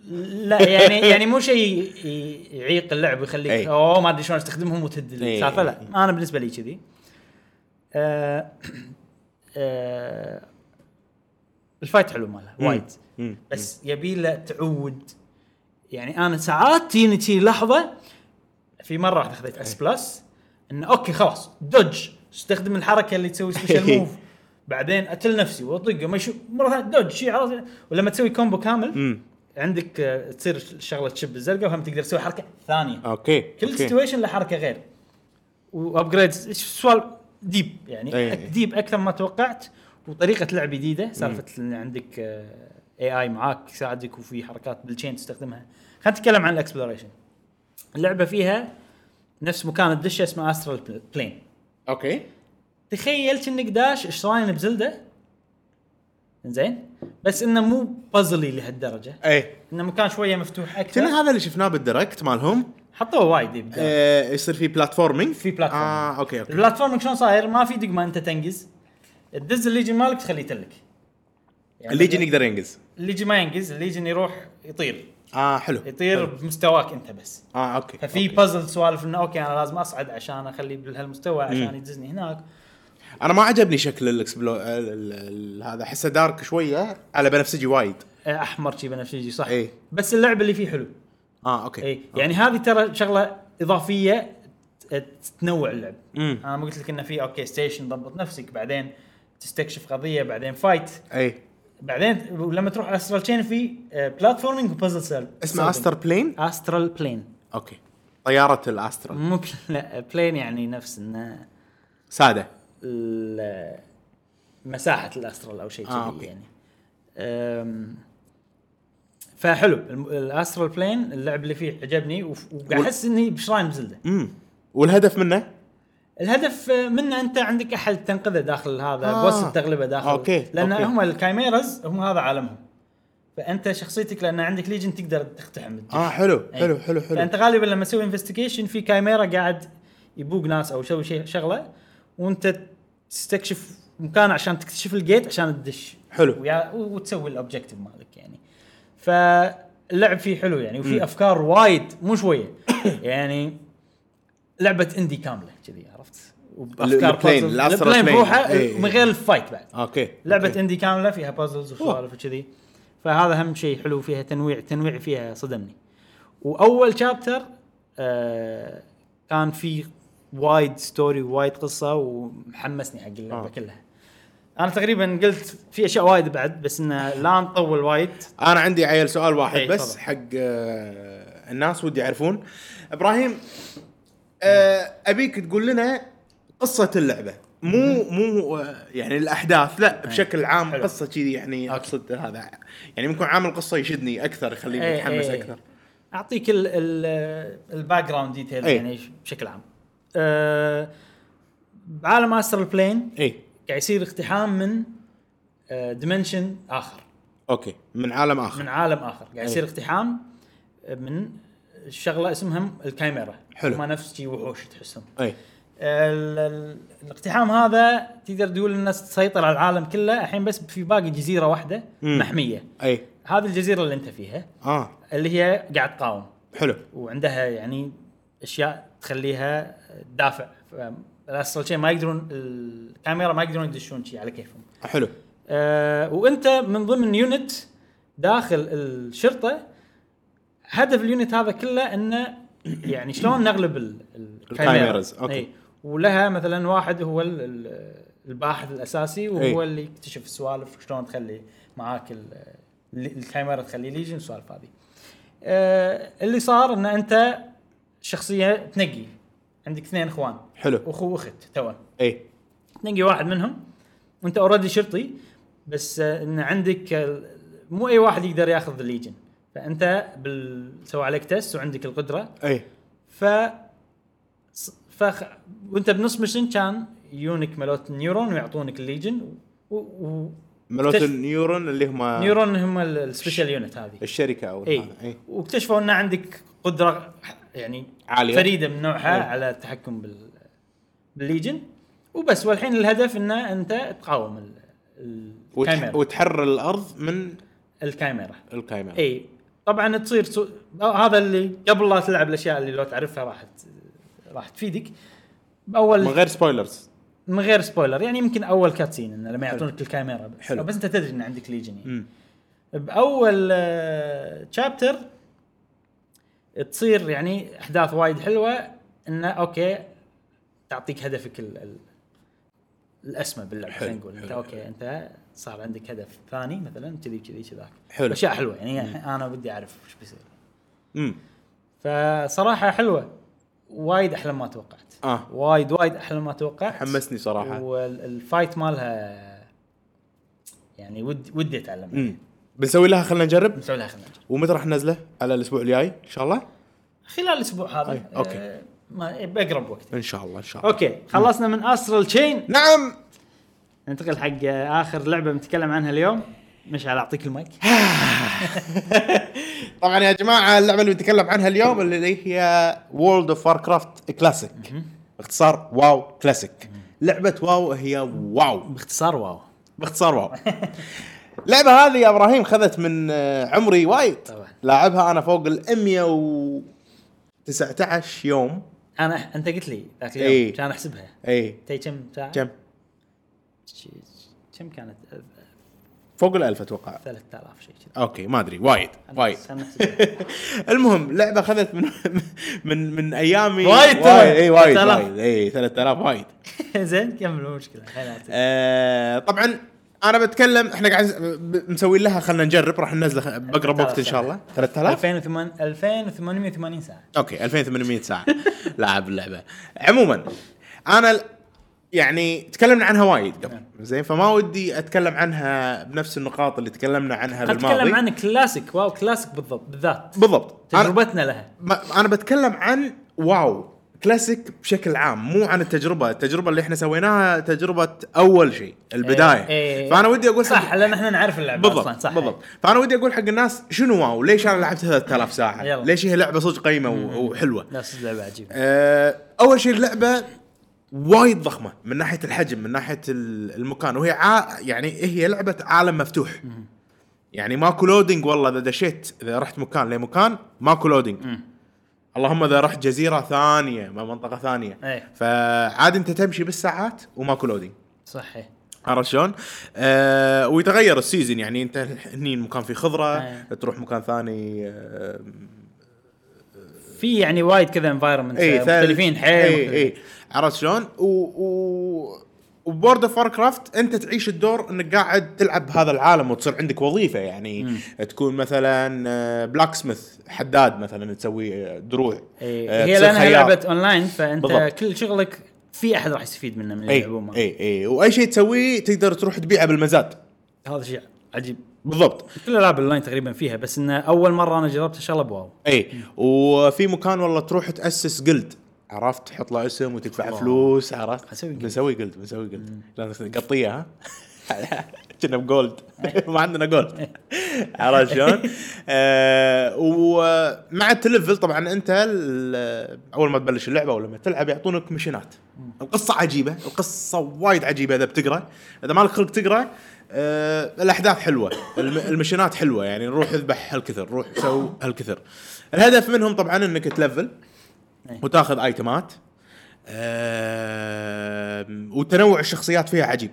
A: لا يعني يعني مو شيء ي- يعيق اللعب ويخليك
B: أي.
A: اوه ما ادري شلون استخدمهم وتهد
B: أي.
A: السالفه لا انا بالنسبه لي كذي آه، آه، الفايت حلو ماله وايد
B: مم.
A: بس يبي له تعود يعني انا ساعات تجيني تجي لحظه في مره واحده اخذت اس
B: إيه.
A: بلس انه اوكي خلاص دوج استخدم الحركه اللي تسوي سبيشال موف بعدين اتل نفسي واطقه ما يشوف مره ثانيه دوج شي عرفت ولما تسوي كومبو كامل
B: مم.
A: عندك آه، تصير الشغله تشب الزرقاء وهم تقدر تسوي حركه ثانيه
B: اوكي
A: كل
B: اوكي
A: سيتويشن له حركه غير وابجريد سوال ديب يعني
B: إيه.
A: أك- ديب اكثر ما توقعت وطريقه لعب جديده سالفه ان عندك اي اي معاك يساعدك وفي حركات بالتشين تستخدمها خلينا نتكلم عن الاكسبloration اللعبه فيها نفس مكان الدش اسمه استرال بلين
B: اوكي
A: تخيل انك داش شراين بزلده زين بس انه مو بازلي لهالدرجه
B: ايه
A: انه مكان شويه مفتوح
B: كنا
A: اكثر
B: هذا اللي شفناه بالديركت مالهم
A: حطوه وايد يبدأ.
B: إيه، يصير في بلاتفورمينج
A: في platforming.
B: اه اوكي اوكي
A: البلاتفورم شلون صاير ما في دقمه انت تنقز تدز الليجن مالك تخليه تلك يعني
B: الليجن يقدر ينقز
A: الليجن ما ينقز الليجن يروح يطير
B: اه حلو
A: يطير بمستواك انت بس
B: اه اوكي
A: ففي بازل سوالف انه اوكي انا لازم اصعد عشان اخليه بهالمستوى عشان يدزني هناك
B: انا ما عجبني شكل الاكسبلو ال- ال- ال- هذا احسه دارك شويه على بنفسجي وايد
A: آه، احمر شي بنفسجي صح
B: إيه.
A: بس اللعب اللي فيه حلو
B: اه اوكي
A: اي يعني هذه ترى شغله اضافيه ت- تنوع اللعب
B: مم.
A: انا ما قلت لك انه في اوكي ستيشن ضبط نفسك بعدين تستكشف قضيه بعدين فايت
B: اي
A: بعدين ولما تروح على استرال تشين في آه، بلاتفورمينج وبازل سيل
B: اسمه استر بلين
A: استرال بلين
B: اوكي طياره الاسترا
A: مو بل- لا بلين يعني نفس انه
B: ساده
A: ال- مساحه الاسترال او شيء كذي
B: آه،
A: آه
B: أوكي.
A: يعني أم، فحلو الم- الاسترال بلين اللعب اللي فيه عجبني وف- وقاعد احس اني بشراين بزلده
B: امم والهدف منه
A: الهدف آه، منه انت عندك احد تنقذه داخل هذا
B: آه.
A: آه. بوس تغلبه داخل
B: أوكي،
A: لان
B: أوكي.
A: هم الكايميرز هم هذا عالمهم فانت شخصيتك لان عندك ليجن تقدر تقتحم الجيش.
B: اه حلو
A: أي.
B: حلو حلو حلو
A: فانت غالبا لما تسوي انفستيجيشن في كايميرا قاعد يبوق ناس او يسوي شيء شغله وانت تستكشف مكان عشان تكتشف الجيت عشان تدش
B: حلو.
A: ويا وتسوي الاوبجيكتيف مالك يعني فاللعب فيه حلو يعني وفي افكار وايد مو شويه يعني لعبه اندي كامله كذي عرفت وبأفكار
B: البلين،
A: puzzle.
B: الأسترال
A: البلين
B: بلين.
A: بروحه
B: إي.
A: من غير الفايت بعد
B: اوكي
A: لعبه
B: أوكي.
A: اندي كامله فيها بازلز وسوالف وكذي فهذا اهم شيء حلو فيها تنويع تنويع فيها صدمني واول شابتر آه كان في وايد ستوري وايد قصه ومحمسني حق اللعبه
B: آه.
A: آه. كلها انا تقريبا قلت في اشياء وايد بعد بس انه لا نطول وايد
B: انا عندي عيل سؤال واحد
A: أي،
B: بس
A: إيه، تفضل.
B: حق آه، الناس ودي يعرفون ابراهيم آه، ابيك تقول لنا قصه اللعبه مو مو آه، يعني الاحداث لا بشكل عام
A: إيه، حلو.
B: قصه كذي يعني اقصد هذا يعني ممكن عامل قصه يشدني اكثر يخليني
A: إيه،
B: متحمس
A: إيه.
B: اكثر
A: اعطيك ال- ال- الباك جراوند ديتيل
B: إيه.
A: يعني بشكل عام آه بعالم استرال بلين
B: اي
A: قاعد يصير اقتحام من آه ديمنشن اخر
B: اوكي من عالم اخر
A: من عالم اخر قاعد
B: أيوه.
A: يصير اقتحام آه، من شغله اسمها الكاميرا
B: حلو.
A: ما نفس شي وحوش تحسهم
B: اي
A: ال- ال- الاقتحام هذا تقدر تقول الناس تسيطر على العالم كله الحين بس في باقي جزيره واحده
B: مم.
A: محميه
B: اي
A: هذه الجزيره اللي انت فيها
B: اه
A: اللي هي قاعد تقاوم
B: حلو
A: وعندها يعني اشياء تخليها تدافع الاسترال شيء ما يقدرون الكاميرا ما يقدرون يدشون شيء على كيفهم
B: حلو
A: آه، وانت من ضمن يونت داخل الشرطه هدف اليونت هذا كله انه يعني شلون نغلب ال- ال-
B: الكاميرز،
A: الكاميرا.
B: أوكي.
A: إي. ولها مثلا واحد هو ال- ال- الباحث الاساسي وهو
B: إي.
A: اللي يكتشف السوالف وشلون تخلي معاك ال- ال- الكاميرا تخلي ليجن السوالف هذه. آه، اللي صار ان انت شخصيه تنقي عندك اثنين اخوان
B: حلو إيه،
A: اخو واخت توأم.
B: اي
A: تنقي واحد منهم وانت اوريدي شرطي بس آه، ان عندك آه، مو اي واحد يقدر ياخذ الليجن فانت بال... سوى عليك تest وعندك القدره
B: اي
A: ف ص- فخ... وانت بنص مشن كان يونك ملوت نيورون ويعطونك الليجن و... و...
B: ملوت
A: تش-
B: النيورون اللي هم
A: نيورون إيه. هم ال- السبيشال يونت هذه
B: الشركه او
A: اي
B: هذا. إيه. اي
A: واكتشفوا ان عندك قدره يعني
B: عالية.
A: فريده من نوعها على التحكم بال بالليجن وبس والحين الهدف ان انت تقاوم ال- ال-
B: وتح-
A: الكاميرا
B: وتحرر الارض من
A: الكاميرا
B: الكاميرا
A: اي طبعا تصير سو... هذا اللي قبل لا تلعب الاشياء اللي لو تعرفها راح ت... راح تفيدك باول
B: من غير سبويلرز
A: من غير سبويلر يعني يمكن اول كاتسين انه لما يعطونك الكاميرا بس
B: حلو.
A: بس انت تدري ان عندك ليجن يعني
B: مم.
A: باول تشابتر آه، تصير يعني احداث وايد حلوه انه اوكي تعطيك هدفك ال ال الاسمى باللعبه خلينا نقول انت اوكي انت صار عندك هدف ثاني مثلا كذي كذي كذاك
B: حلو.
A: اشياء حلوه يعني انا ودي اعرف وش بيصير
B: امم
A: فصراحه حلوه وايد احلى ما توقعت
B: آه.
A: وايد وايد احلى ما توقعت
B: حمسني صراحه
A: والفايت مالها يعني ودي ودي اتعلم
B: امم بنسوي لها خلينا نجرب
A: نسوي لها خلينا نجرب.
B: ومتى راح ننزله على الاسبوع الجاي ان شاء الله
A: خلال الاسبوع هذا
B: أي، أوكي.
A: آه، ما باقرب وقت
B: ان شاء الله ان شاء الله
A: اوكي خلصنا من استرال تشين
B: نعم
A: ننتقل حق آه، اخر لعبه بنتكلم عنها اليوم مشعل اعطيك المايك
B: طبعا يا جماعه اللعبه اللي بنتكلم عنها اليوم اللي هي وورلد اوف كرافت كلاسيك باختصار واو كلاسيك لعبه واو هي واو
A: باختصار واو
B: باختصار واو اللعبه هذه يا ابراهيم خذت من آه، عمري وايد
A: طبعاً.
B: لاعبها انا فوق ال 119 يوم
A: انا انت قلت لي ذاك اليوم
B: إي.
A: كان احسبها
B: اي
A: تي كم ساعه؟
B: إيه. كم
A: شي- كم كانت آه،
B: فوق ال 1000 اتوقع
A: 3000 شيء كذا
B: اوكي ما ادري وايد
A: أنا-
B: وايد
A: أنا أحسبها.
B: المهم لعبه اخذت من من من ايامي
A: وايد ترى.
B: اي وايد
A: 3000.
B: وايد اي 3000 وايد
A: زين كمل مو مشكله خليني أعطيك.
B: آه طبعا انا بتكلم احنا قاعد ب- مسوين لها خلينا نجرب راح ننزله خ- باقرب وقت ان شاء الله 3000
A: 2800 2880 ساعه
B: اوكي 2800 ساعه لاعب اللعبه عموما انا ال- يعني تكلمنا عنها وايد
A: نعم.
B: قبل زين فما ودي اتكلم عنها بنفس النقاط اللي تكلمنا عنها بالماضي
A: اتكلم عن كلاسيك واو كلاسيك بالضبط بالذات
B: بالضبط أنا-
A: تجربتنا لها
B: ما- انا بتكلم عن واو كلاسيك بشكل عام مو عن التجربه التجربه اللي احنا سويناها تجربه اول شيء البدايه
A: إيه، إيه.
B: فانا ودي اقول حق-
A: صح لان احنا نعرف اللعبه
B: بالضبط
A: اصلا صح
B: بالضبط فانا ودي اقول حق الناس شنو واو ليش انا لعبت 3000 ساعه
A: يلا.
B: ليش هي لعبه صدق قيمه و- وحلوه
A: نفس اللعبه عجيبه
B: آه، اول شيء اللعبه وايد ضخمه من ناحيه الحجم من ناحيه ال- المكان وهي ع... يعني هي لعبه عالم مفتوح يعني ماكو لودنج والله اذا دشيت اذا رحت مكان لمكان ماكو لودنج اللهم اذا رحت جزيره ثانيه ما منطقه ثانيه
A: إيه.
B: فعادي انت تمشي بالساعات وماكو لودنج
A: صحيح
B: عرفت شلون؟ آه ويتغير السيزون يعني انت هني مكان فيه خضره
A: أي.
B: تروح مكان ثاني آه
A: في يعني وايد كذا انفايرمنت
B: اي
A: مختلفين حيل
B: اي
A: مختلفين.
B: اي إيه، عرفت شلون؟ و و وبورد اوف كرافت انت تعيش الدور انك قاعد تلعب بهذا العالم وتصير عندك وظيفه يعني تكون مثلا بلاك سميث حداد مثلا تسوي آه، دروع
A: إيه.
B: آه،
A: هي
B: تصير
A: لانها
B: خياط.
A: لعبه اونلاين فانت
B: بالضبط. إيه،
A: كل شغلك في احد راح يستفيد منه من اللي
B: اي
A: يلعبون
B: اي اي واي شيء تسويه تقدر تروح تبيعه بالمزاد
A: هذا شيء عجيب
B: بالضبط
A: كل الالعاب اونلاين تقريبا فيها بس انه اول مره انا جربتها ان شاء الله بواو
B: اي إيه. وفي مكان والله تروح تاسس جلد عرفت تحط له اسم وتدفع فلوس عرفت
A: أسوي جلد.
B: بنسوي جلد بنسوي جلد لأن قطيه ها كنا بجولد ما عندنا جولد عرفت شلون؟ آه ومع التلفل طبعا انت ال- اول ما تبلش اللعبه او لما تلعب يعطونك مشينات القصه عجيبه القصه وايد عجيبه اذا بتقرا اذا مالك خلق تقرا آه الاحداث حلوه الم- المشينات حلوه يعني نروح اذبح هالكثر روح سو هالكثر الهدف منهم طبعا انك تلفل وتاخذ ايتمات آه وتنوع الشخصيات فيها عجيب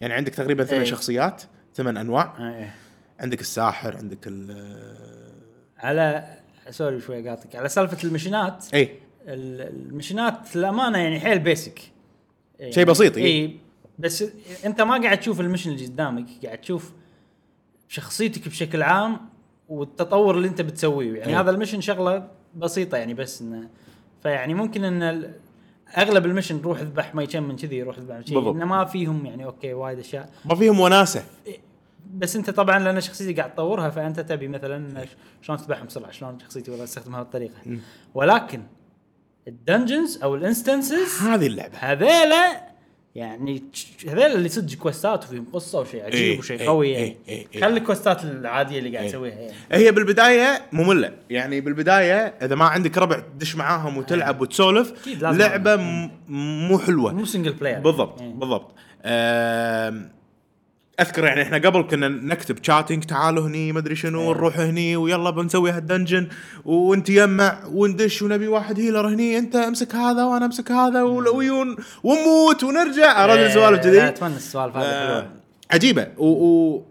B: يعني عندك تقريبا ثمان
A: إيه.
B: شخصيات ثمان انواع
A: إيه.
B: عندك الساحر عندك ال آه،
A: على سوري شوي قاطك على سالفه المشينات
B: اي
A: ال- المشينات للامانه يعني حيل بيسك يعني
B: شيء بسيط، إيه. إي.
A: اي بس انت ما قاعد تشوف المشن اللي قدامك قاعد تشوف شخصيتك بشكل عام والتطور اللي انت بتسويه يعني
B: إي.
A: هذا المشن شغله بسيطه يعني بس انه فيعني ممكن ان ال- اغلب المشن روح اذبح ما كم من كذي روح اذبح ما كذي
B: بالضبط.
A: انه ما فيهم يعني اوكي وايد اشياء
B: ما فيهم وناسه
A: بس انت طبعا لان شخصيتي قاعد تطورها فانت تبي مثلا ش- شلون تذبحهم بسرعه شلون شخصيتي والله استخدمها بهالطريقه ولكن الدنجنز او الانستنسز
B: هذه اللعبه
A: هذيلا يعني تش- هذيلا اللي صدق كوستات وفيهم قصه وشيء عجيب
B: ايه،
A: وشيء
B: ايه،
A: قوي
B: ايه،
A: يعني
B: ايه، ايه.
A: خلي الكوستات العاديه اللي قاعد تسويها يعني
B: هي بالبدايه ممله يعني بالبدايه اذا ما عندك ربع تدش معاهم وتلعب وتسولف
A: إيه. أكيد لازم.
B: لعبه م- مو حلوه
A: مو سنجل بلاير
B: بالضبط
A: يعني.
B: بالضبط آم، اذكر يعني احنا قبل كنا نكتب شاتنج تعالوا هني ما ادري
A: إيه.
B: شنو نروح هني ويلا بنسوي هالدنجن وانت يمع وندش ونبي واحد هيلر هني انت امسك هذا وانا امسك هذا ول-
A: إيه.
B: ويون ونموت ونرجع
A: ايه،
B: اراد سوالف
A: لا،
B: جديد
A: اتمنى السوالف هذه
B: آه،
A: حلوه
B: عجيبه و, و...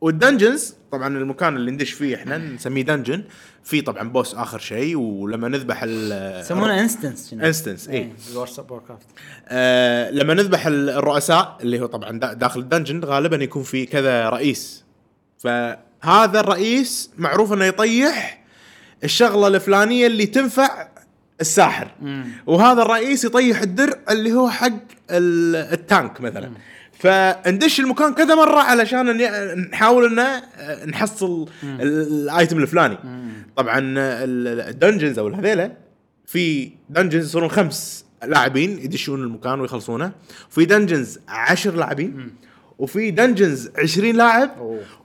B: والدنجنز طبعا المكان اللي ندش فيه احنا نسميه دنجن في طبعا بوس اخر شيء ولما نذبح ال
A: يسمونه إيه. انستنس
B: انستنس اي
A: ووركرافت
B: آه لما نذبح ال- الرؤساء اللي هو طبعا دا- داخل الدنجن غالبا يكون في كذا رئيس فهذا الرئيس معروف انه يطيح الشغله الفلانيه اللي تنفع الساحر وهذا الرئيس يطيح الدرع اللي هو حق ال- التانك مثلا فندش المكان كذا مره علشان إن- نحاول ان آه، نحصل ال- الايتم الفلاني طبعا ال- ال- الدنجنز او هذيله في دنجنز يصيرون خمس لاعبين يدشون المكان ويخلصونه في دنجنز عشر لاعبين وفي دنجنز 20 لاعب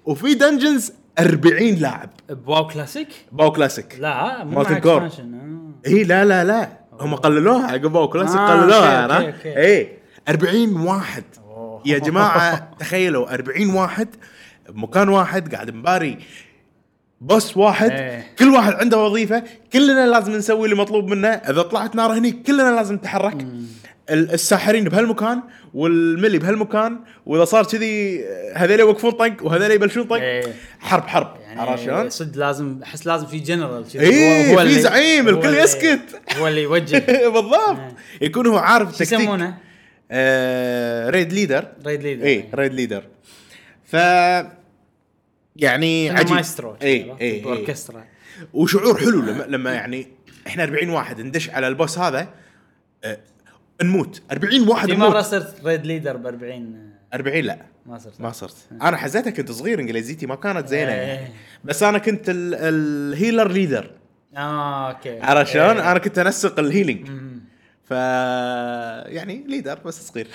B: وفي دنجنز 40 لاعب
A: بواو كلاسيك
B: باو كلاسيك
A: لا مو
B: Molten
A: مع
B: Core.
A: expansion، آه.
B: اي إيه، لا لا لا هم قللوها عقب باو كلاسيك
A: آه،
B: قللوها إيه.
A: أوكي،
B: أنا.
A: أوكي، أوكي.
B: اي 40 واحد
A: آه.
B: يا جماعه تخيلوا 40 واحد بمكان واحد قاعد مباري بوس واحد
A: إيه.
B: كل واحد عنده وظيفه كلنا لازم نسوي اللي مطلوب منا اذا طلعت نار هني كلنا لازم نتحرك ال- الساحرين بهالمكان والملي بهالمكان واذا صار كذي هذول يوقفون طق وهذول يبلشون طق
A: إيه.
B: حرب حرب عرفت شلون؟
A: يعني صدق لازم احس لازم في جنرال كذي
B: إيه،
A: هو- هو
B: في
A: اللي-
B: زعيم،
A: هو
B: الكل
A: اللي-
B: يسكت.
A: هو اللي يوجه
B: بالضبط يكون هو عارف
A: إيه. شو
B: التكتيك
A: يسمونه؟
B: آه ريد ليدر
A: ريد ليدر
B: اي ريد ليدر ف يعني
A: عجيب
B: عجيب إيه،
A: مايسترو
B: اي اي
A: اوركسترا
B: وشعور حلو لما لما يعني احنا 40 واحد ندش على البوس هذا آه، نموت 40 واحد
A: في مره
B: نموت
A: صرت ريد ليدر ب 40
B: 40 لا
A: ما صرت
B: ما صرت انا حزتها كنت صغير انجليزيتي ما كانت زينه
A: إيه.
B: يعني. بس انا كنت ال- الهيلر ليدر
A: اه اوكي
B: عرفت شلون؟ انا كنت انسق الهيلينج
A: مم.
B: ف يعني ليدر بس صغير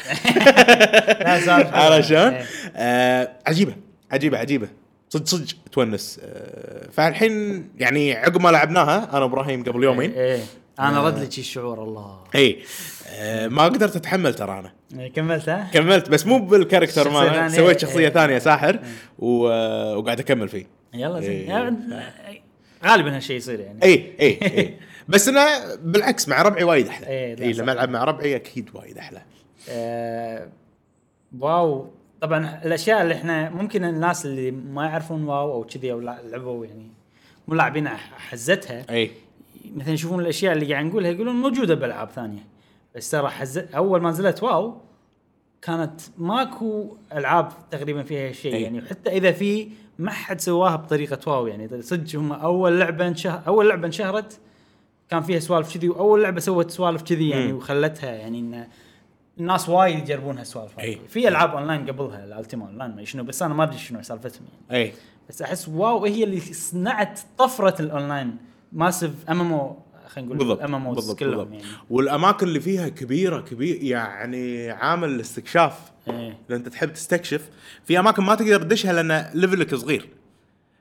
A: لا سالفة.
B: عرفت شلون؟
A: إيه.
B: آه، عجيبه عجيبه عجيبه صدق صدق تونس آه، فالحين يعني عقب ما لعبناها انا وابراهيم قبل يومين
A: ايه
B: آه.
A: انا رد لي شي الشعور الله
B: اي آه، ما قدرت اتحمل ترى انا
A: إيه، كملت ها؟
B: كملت بس مو بالكاركتر
A: شخصية
B: ماله
A: ثانية.
B: سويت شخصيه
A: إيه.
B: ثانيه ساحر و... آه، وقاعد اكمل فيه
A: يلا زين
B: إيه.
A: يعني غالبا هالشيء يصير يعني
B: اي اي اي إيه، بس انا بالعكس مع ربعي وايد احلى
A: إيه، لا
B: اي
A: صح.
B: لما العب مع ربعي اكيد وايد احلى
A: آه، واو طبعا الاشياء اللي احنا ممكن الناس اللي ما يعرفون واو او كذي او لا- لعبوا يعني مو لاعبين حزتها
B: اي
A: مثلا يشوفون الاشياء اللي قاعد نقولها يقولون موجوده بالعاب ثانيه بس ترى حز... اول ما نزلت واو كانت ماكو العاب تقريبا فيها شيء
B: أي.
A: يعني وحتى اذا في ما حد سواها بطريقه واو يعني صدق هم اول لعبه انشه... اول لعبه انشهرت كان فيها سوالف كذي واول لعبه سوت سوالف كذي يعني وخلتها يعني ان الناس وايد يجربون هالسوالف هذه.
B: أي.
A: في العاب اونلاين قبلها الالتيما اونلاين ما شنو بس انا ما ادري شنو سالفتهم يعني
B: اي
A: بس احس واو إيه هي اللي صنعت طفره الاونلاين ماسف ام ام او خلينا نقول
B: بالضبط
A: ام ام او
B: بالضبط
A: كلهم
B: بالضبط
A: يعني
B: والاماكن اللي فيها كبيره كبير يعني عامل الاستكشاف
A: إيه.
B: اذا انت تحب تستكشف في اماكن ما تقدر تدشها لان ليفلك صغير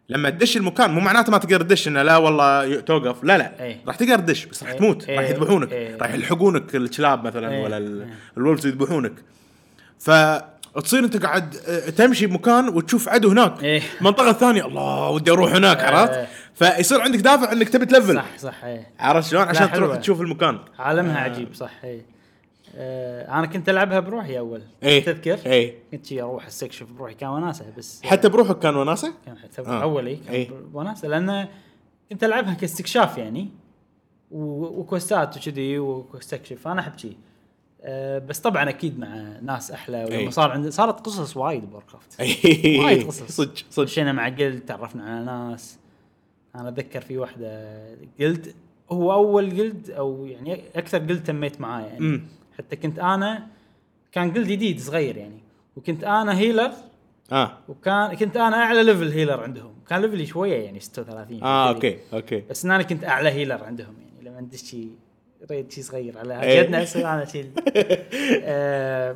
B: لما تدش المكان مو معناته ما تقدر تدش انه لا والله ي- توقف لا لا
A: إيه.
B: راح تقدر تدش بس راح
A: إيه.
B: تموت راح
A: إيه.
B: يذبحونك
A: إيه.
B: راح يلحقونك الكلاب مثلا
A: إيه.
B: ولا ال-
A: إيه.
B: الولفز يذبحونك فتصير انت قاعد آه، تمشي بمكان وتشوف عدو هناك
A: إيه.
B: منطقه ثانيه الله ودي اروح هناك
A: إيه.
B: عرفت فيصير عندك دافع انك تبي تلفل
A: صح صح ايه
B: عرفت شلون؟ عشان
A: حلوة.
B: تروح تشوف المكان
A: عالمها عجيب صح ايه آه انا كنت العبها بروحي اول
B: إيه.
A: تذكر
B: إيه.
A: كنت شي اروح استكشف بروحي كان وناسه بس
B: حتى بروحك كان وناسه؟
A: كان حتى
B: آه.
A: اولي كان
B: إيه.
A: ب- وناسه لان كنت العبها كاستكشاف يعني و- وكوستات وكذي واستكشف انا احب شي أه بس طبعا اكيد مع ناس احلى ولما
B: إيه.
A: صار عندي صارت قصص وايد بوركرافت وايد
B: وايد
A: قصص
B: إيه. صدق صدق
A: مشينا مع جلد تعرفنا على ناس انا اتذكر في واحده جلد هو اول جلد او يعني اكثر جلد تميت معاه يعني
B: مم.
A: حتى كنت انا كان جلد جديد صغير يعني وكنت انا هيلر
B: اه
A: وكان كنت انا اعلى ليفل هيلر عندهم كان ليفلي شويه يعني 36
B: اه
A: كذي.
B: اوكي اوكي
A: بس إن انا كنت اعلى هيلر عندهم يعني لما عندك شيء ريد شيء صغير على
B: إيه.
A: يدنا يصير انا شيء آه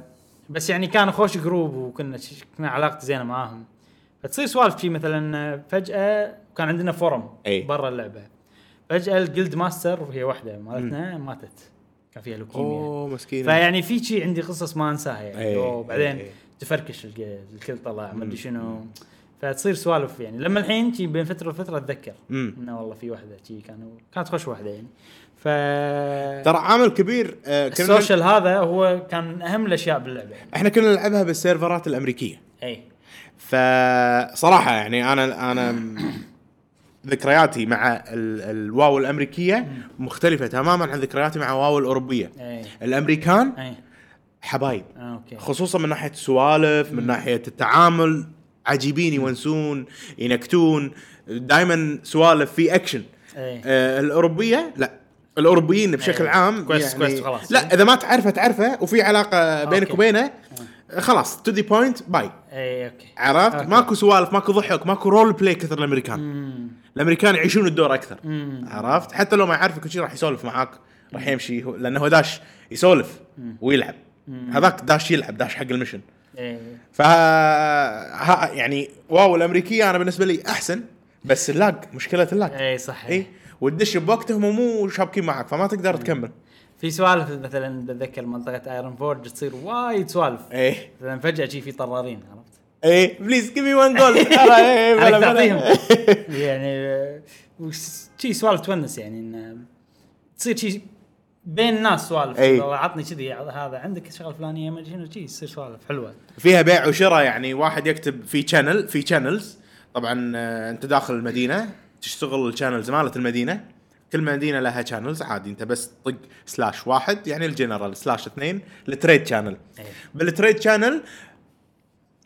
A: بس يعني كان خوش جروب وكنا ش- كنا علاقتي زينه معاهم فتصير سوالف شي مثلا فجاه كان عندنا فورم
B: إي.
A: برا اللعبه فجاه الجلد ماستر وهي واحده مالتنا ماتت كان فيها لوكيميا
B: اوه مسكين
A: فيعني في شي عندي قصص ما انساها يعني
B: إي.
A: وبعدين
B: إي.
A: تفركش الجلد الكل طلع ما ادري شنو فتصير سوالف يعني لما الحين شي بين فتره وفتره اتذكر
B: مم.
A: انه والله في واحده شي كانوا كانت خوش واحده يعني ف
B: ترى عامل كبير آه كنا
A: السوشيال هذا هو كان من اهم الاشياء باللعبه
B: احنا كنا نلعبها بالسيرفرات الامريكيه
A: اي
B: فصراحه يعني انا انا م- ذكرياتي مع ال الواو الامريكيه مختلفه تماما عن ذكرياتي مع واو الاوروبيه
A: اي
B: الامريكان
A: اي
B: حبايب
A: إيه، آه، اوكي
B: خصوصا من ناحيه السوالف من ناحيه التعامل عجيبين يونسون ينكتون دائما سوالف في اكشن
A: إيه.
B: آه الاوروبيه لا الاوروبيين بشكل
A: إيه.
B: عام يعني
A: كويس- كويس، خلاص.
B: لا اذا ما تعرفه تعرفه وفي علاقه بينك
A: أوكي.
B: وبينه خلاص تو ذا بوينت باي
A: اي اوكي
B: عرفت
A: إيه، أوكي.
B: ماكو سوالف ماكو ضحك ماكو رول بلاي كثر الامريكان
A: امم
B: الامريكان يعيشون الدور اكثر
A: أمم.
B: عرفت حتى لو ما يعرفك شيء راح يسولف معاك راح يمشي هو- لانه هو داش يسولف ويلعب هذاك داش يلعب داش حق المشن
A: اي
B: ف ها- يعني واو الامريكيه انا بالنسبه لي احسن بس اللاج مشكله اللاج
A: اي إيه، صح
B: اي والدش بوقتهم مو شابكين معك فما تقدر تكمل
A: في سوالف مثلا بتذكر منطقه ايرون فورج تصير وايد سوالف
B: ايه
A: مثلا فجاه شي في طرارين عرفت
B: ايه بليز جيف مي 1 جولد ترى
A: عليك تعطيهم يعني آه، وس- شي سوالف تونس يعني انه تصير شي بين الناس سوالف
B: أي.
A: والله عطني كذي هذا عندك شغله فلانيه ما ادري شنو شي يصير سوالف حلوه
B: فيها بيع وشراء يعني واحد يكتب في شانل في شانلز طبعا آه، انت داخل المدينه تشتغل الشانلز مالت المدينه كل مدينه لها شانلز عادي انت بس طق سلاش واحد يعني الجنرال سلاش اثنين التريد شانل
A: إيه.
B: بالتريد شانل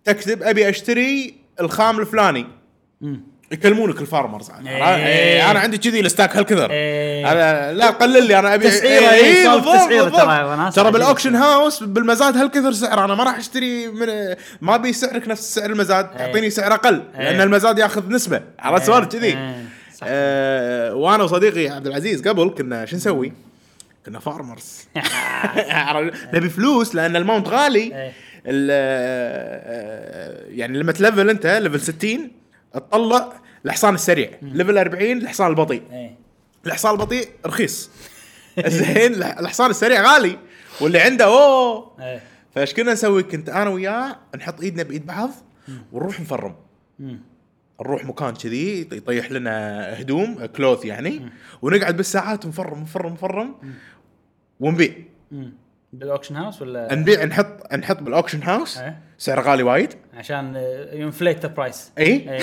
B: تكتب ابي اشتري الخام الفلاني يكلمونك الفارمرز عاد.
A: إيه.
B: إيه، انا عندي كذي الستاك هالكثر
A: إيه.
B: انا لا قلل لي انا ابي
A: تسعيرة،
B: إيه،
A: إيه، صار
B: بالضبط،
A: تسعيرة
B: بالضبط.
A: ترى، وناس
B: ترى
A: عجيبة.
B: بالاوكشن هاوس بالمزاد هالكثر سعر انا ما راح اشتري من ما ابي سعرك نفس سعر المزاد اعطيني سعر اقل لان المزاد ياخذ نسبه على سوالف كذي
A: إيه. صح.
B: آه، وانا وصديقي عبد العزيز قبل كنا شو نسوي؟ كنا فارمرز عرفت؟ نبي فلوس لان الماونت غالي
A: إيه.
B: ال- آه، يعني لما تلفل انت ليفل 60 تطلع الحصان السريع ليفل 40 الحصان البطيء
A: إيه.
B: الحصان البطيء رخيص زين الح- الحصان السريع غالي واللي عنده اوه
A: إيه.
B: فايش كنا نسوي كنت انا وياه نحط ايدنا بايد بعض ونروح نفرم نروح مكان كذي يط- يطيح لنا هدوم كلوث يعني ونقعد بالساعات نفرم نفرم نفرم ونبيع
A: بالاوكشن هاوس ولا
B: نبيع نحط نحط بالاوكشن هاوس
A: إيه.
B: سعر غالي وايد
A: عشان آه، ينفليت ذا برايس
B: اي
A: إيه.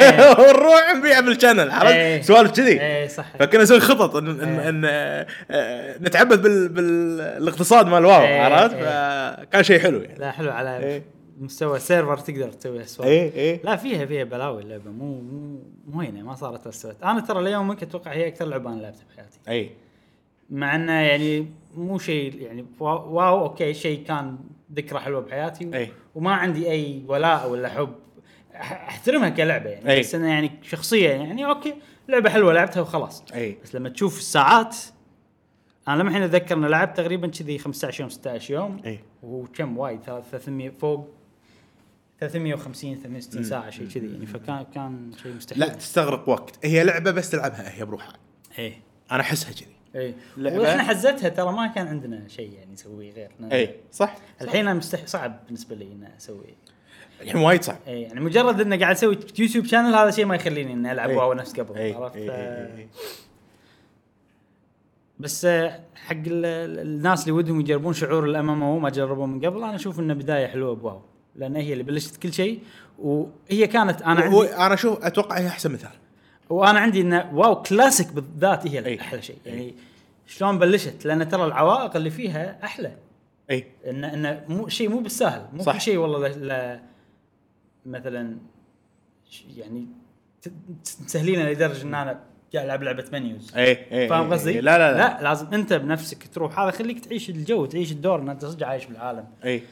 B: ونروح نبيع بالشانل
A: إيه.
B: عرفت سوالف كذي
A: اي صح
B: فكنا نسوي خطط ان ان, إن آه، آه، نتعبد بال بالاقتصاد مال
A: إيه،
B: واو عرفت
A: إيه.
B: فكان شيء حلو يعني
A: لا حلو على
B: إيه.
A: مستوى سيرفر تقدر تسوي اسوار
B: اي اي
A: لا فيها فيها بلاوي اللعبه مو مو مو هينه ما صارت استوت انا ترى ليومك اتوقع هي اكثر لعبه انا لعبتها بحياتي
B: اي
A: مع انه يعني مو شيء يعني وا- واو اوكي شيء كان ذكرى حلوه بحياتي و-
B: أي.
A: وما عندي اي ولاء ولا حب أح- احترمها كلعبه يعني
B: أي.
A: بس انا يعني شخصيه يعني اوكي لعبه حلوه لعبتها وخلاص
B: أي.
A: بس لما تشوف الساعات انا لما الحين اتذكر اني لعبت تقريبا كذي 15 يوم 16 يوم
B: أي.
A: وكم وايد ثلاث- 300 فوق 350 360 ساعه شيء كذي يعني فكان كان شيء مستحيل
B: لا تستغرق وقت هي لعبه بس تلعبها هي بروحها
A: ايه
B: انا احسها كذي
A: اي
B: لعبة-
A: واحنا إيه. حزتها ترى ما كان عندنا شيء يعني نسويه غير
B: اي صح
A: الحين أنا مستح... صعب بالنسبه لي اني اسوي
B: الحين وايد صعب
A: اي يعني مجرد اني قاعد اسوي يوتيوب شانل هذا شيء ما يخليني اني العب
B: إي.
A: واو نفس قبل
B: اي
A: عرفت
B: اي
A: آه،
B: اي
A: بس آه، حق ال- ال- الناس اللي ودهم يجربون شعور الامام او ما جربوه من قبل انا اشوف انه بدايه حلوه بواو لان هي اللي بلشت كل شيء وهي كانت انا
B: هو-
A: عندي
B: انا اشوف اتوقع هي احسن مثال
A: وانا عندي انه واو كلاسيك بالذات هي
B: إي.
A: احلى شيء يعني شلون بلشت لان ترى العوائق اللي فيها احلى
B: اي
A: ان ان مو شيء مو بالسهل مو
B: صح.
A: صح. شيء والله لا, لا مثلا ش- يعني ت- ت- تسهلينا لدرجه ان انا قاعد العب لعبه منيوز
B: اي اي
A: فاهم قصدي؟
B: لا إيه، لا لا,
A: لا لازم انت بنفسك تروح هذا خليك تعيش الجو تعيش الدور ان انت صدق عايش بالعالم
B: اي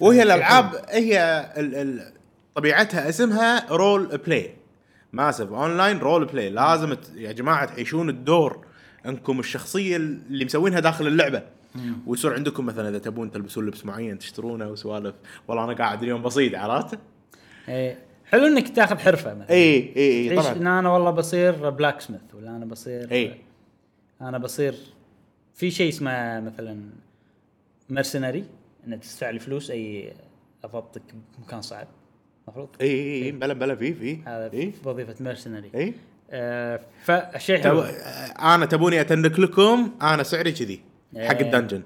B: وهي الالعاب هي ال ال طبيعتها اسمها رول بلاي ماسف اونلاين رول بلاي لازم ت- يا جماعه تعيشون الدور انكم الشخصيه اللي مسوينها داخل اللعبه ويصير عندكم مثلا اذا تبون تلبسون لبس معين تشترونه وسوالف والله انا قاعد اليوم بسيط عرفت؟ إيه.
A: اي حلو انك تاخذ حرفه مثلا
B: اي اي اي
A: تعيش ان
B: طبعا
A: انا والله بصير بلاك سميث ولا انا بصير
B: اي
A: انا بصير في شيء اسمه مثلا مرسنري ان تستعلي فلوس اي اضبطك بمكان صعب المفروض
B: اي اي اي إيه، بلا بلا في في إيه،
A: هذا
B: اي
A: وظيفه مرسنري
B: اي
A: آه فالشيء
B: تب...
A: حلو
B: انا تبوني اتنك لكم انا سعري كذي حق
A: إيه.
B: الدنجن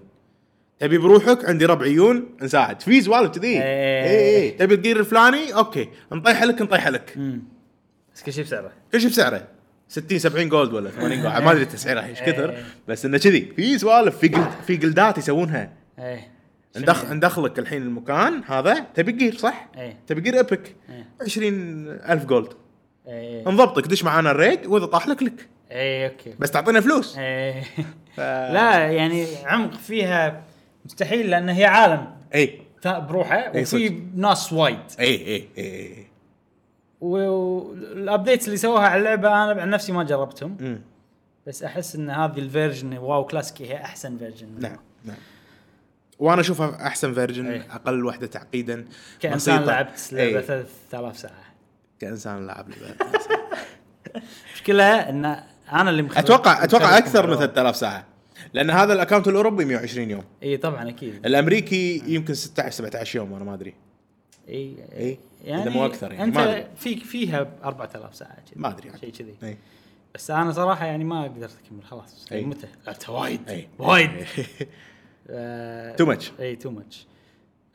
B: تبي بروحك عندي ربع عيون نساعد في سوالف كذي
A: إيه.
B: اي اي تبي الجير الفلاني اوكي نطيح لك نطيح لك
A: مم. بس كل شيء بسعره
B: كل شيء بسعره 60 70 جولد ولا 80 جولد ما ادري تسعيره ايش كثر
A: إيه.
B: بس انه كذي في سوالف في جلد في جلدات يسوونها
A: ايه
B: ندخ... ندخلك الحين المكان هذا تبي جير صح؟
A: إيه.
B: تبي جير ابيك
A: إيه.
B: 20000 جولد
A: ايه
B: نضبطك دش معانا الريد واذا طاح لك لك
A: ايه اوكي
B: بس تعطينا فلوس
A: ايه
B: ف...
A: لا يعني عمق فيها مستحيل لان هي عالم
B: اي
A: تا- بروحه
B: إيه،
A: وفي ناس وايد
B: اي اي اي
A: والابديتس اللي سووها على اللعبه انا عن نفسي ما جربتهم
B: مم.
A: بس احس ان هذه الفيرجن واو كلاسيك هي احسن فيرجن
B: نعم نعم وانا اشوفها احسن فيرجن
A: إيه.
B: اقل وحده تعقيدا
A: كانسان
B: بسيطة.
A: لعبت لعبه
B: إيه،
A: 3000 ساعه
B: كانسان لعب لعبة.
A: مشكلة ان انا اللي مخرب
B: اتوقع اتوقع
A: مخرب
B: اكثر من
A: الموضوع.
B: 3000 ساعه لان هذا الاكونت الاوروبي 120 يوم
A: اي طبعا اكيد
B: الامريكي يمكن 16 17 يوم انا ما ادري
A: اي
B: إي، إذا مو أكثر يعني،
A: انت
B: ما أدري.
A: في فيها 4000 ساعه كذي.
B: ما أدري يعني. عاد.
A: شيء كذي
B: اي
A: بس انا صراحه يعني ما قدرت اكمل خلاص يعني
B: إي.
A: متى لعبتها وايد
B: اي
A: وايد آه،
B: Too much.
A: اي تو ماتش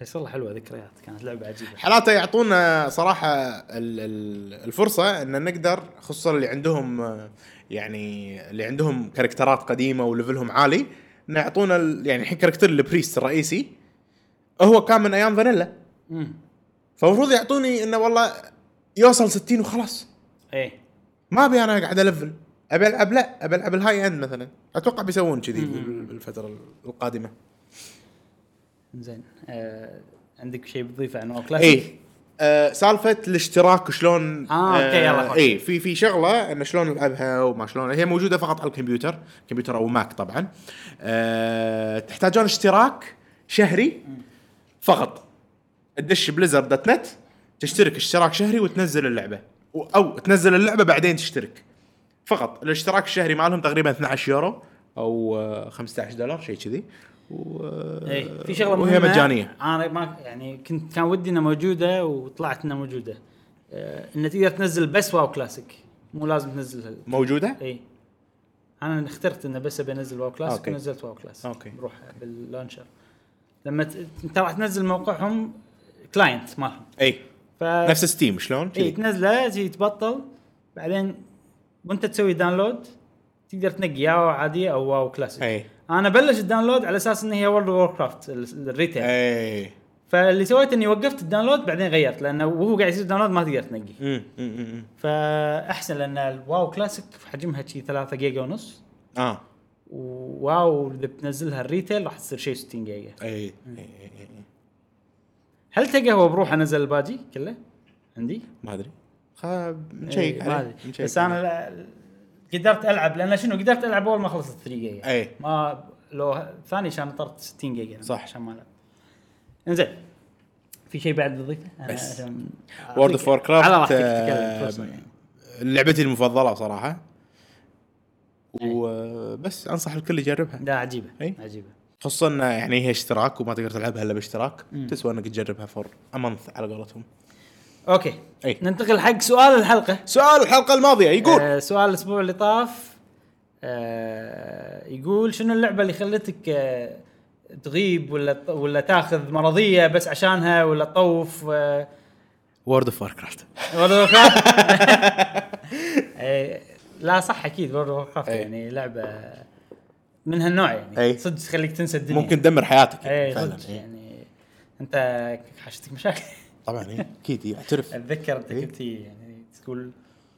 A: بس والله حلوه ذكريات كانت لعبه عجيبه
B: حالاته يعطونا صراحه ال- ال- الفرصه ان نقدر خصوصا اللي عندهم آه، يعني اللي عندهم كاركترات قديمه وليفلهم عالي إن يعطونا ال- يعني الحين كاركتر البريست الرئيسي هو كان من ايام فانيلا
A: مم.
B: فالمفروض يعطوني انه والله يوصل 60 وخلاص
A: إيه.
H: ايه
B: ما ابي انا قاعد الفل ابي العب لا ابي العب الهاي اند مثلا اتوقع بيسوون كذي بال- بالفتره القادمه
H: زين آه عندك شيء بتضيفه عن اوكلاس؟
B: اي إيه. آه سالفه الاشتراك وشلون
H: آه، أوكي، يلا، خش.
B: اي في في شغله انه شلون العبها وما شلون هي موجوده فقط على الكمبيوتر كمبيوتر او ماك طبعا آه تحتاجون اشتراك شهري فقط تدش بليزر دوت نت تشترك اشتراك شهري وتنزل اللعبه و- او تنزل اللعبه بعدين تشترك فقط الاشتراك الشهري مالهم تقريبا 12 يورو او آه، 15 دولار شيء كذي و... آه،
A: اي إيه. في شغله
B: وهي
A: مهمة.
B: مجانيه
A: انا ما يعني كنت كان ودي انها موجوده وطلعت انها موجوده آه انها تقدر تنزل بس واو كلاسيك مو لازم تنزل هال-
B: موجوده
A: اي انا اخترت انه بس ابي انزل واو كلاسيك
B: أوكي.
A: ونزلت واو كلاسيك
B: أوكي.
A: بروح باللانشر لما ت... انت راح تنزل موقعهم كلاينت مالهم
B: اي
A: ف...
B: إيه.
H: آه.
B: نفس ستيم شلون؟
A: اي
H: إيه.
A: تنزله تجي تبطل بعدين وانت تسوي داونلود تقدر تنقي يا واو عاديه او واو كلاسيك
B: اي
A: انا بلش الداونلود على اساس ان هي وورلد اوف كرافت الريتيل
B: إيه. اي
A: فاللي سويت اني وقفت الداونلود بعدين غيرت لانه وهو قاعد يصير داونلود ما تقدر تنقي
B: أمم، أمم، أمم.
A: فاحسن لان الواو كلاسيك حجمها شي 3 جيجا ونص
B: اه
A: وواو اذا بتنزلها الريتيل راح تصير شيء 60 جيجا
B: اي أي، أي، أي.
A: هل تلقى هو بروحه نزل الباجي كله عندي؟
B: ما ادري خاب
A: إيه،
B: نشيك
A: ما
B: عليه،
A: أدري.
B: نشيك
A: بس
B: عليه.
A: انا لا- قدرت العب لان شنو قدرت العب اول ما خلصت 3 جيجا
B: إيه.
A: ما لو ثاني عشان طرت 60 جيجا
B: صح.
A: عشان ما العب انزين في شيء بعد تضيفه؟ أنا
B: بس.
A: عشان
B: وورد اوف وور
A: أعطيك- على راحتك تتكلم فرصة يعني.
B: كرافت لعبتي المفضله صراحه
A: إيه.
B: وبس انصح الكل يجربها
A: لا عجيبه
B: إي.
A: عجيبه
B: خصوصا إنه يعني هي اشتراك وما تقدر تلعبها الا باشتراك تسوى انك تجربها فور امانث على قولتهم
A: اوكي
B: إي.
A: ننتقل حق سؤال الحلقه
B: سؤال الحلقه الماضيه يقول
A: آه سؤال الاسبوع اللي طاف آه يقول شنو اللعبه اللي خلتك آه تغيب ولا ولا تاخذ مرضيه بس عشانها ولا تطوف آه
B: وورد اوف كرافت
A: World of Warcraft؟ آه، لا صح اكيد وورد اوف كرافت
B: إي.
A: يعني لعبه من هالنوع يعني
B: إي.
A: صدق تخليك تنسى الدنيا
B: إيه. ممكن تدمر حياتك
A: اي
B: فعلا
A: صدق
B: إيه.
A: يعني انت حاشتك مشاكل
B: طبعا إيه، اكيد يعترف
A: اتذكر انت
B: إيه.
A: كنت يعني تقول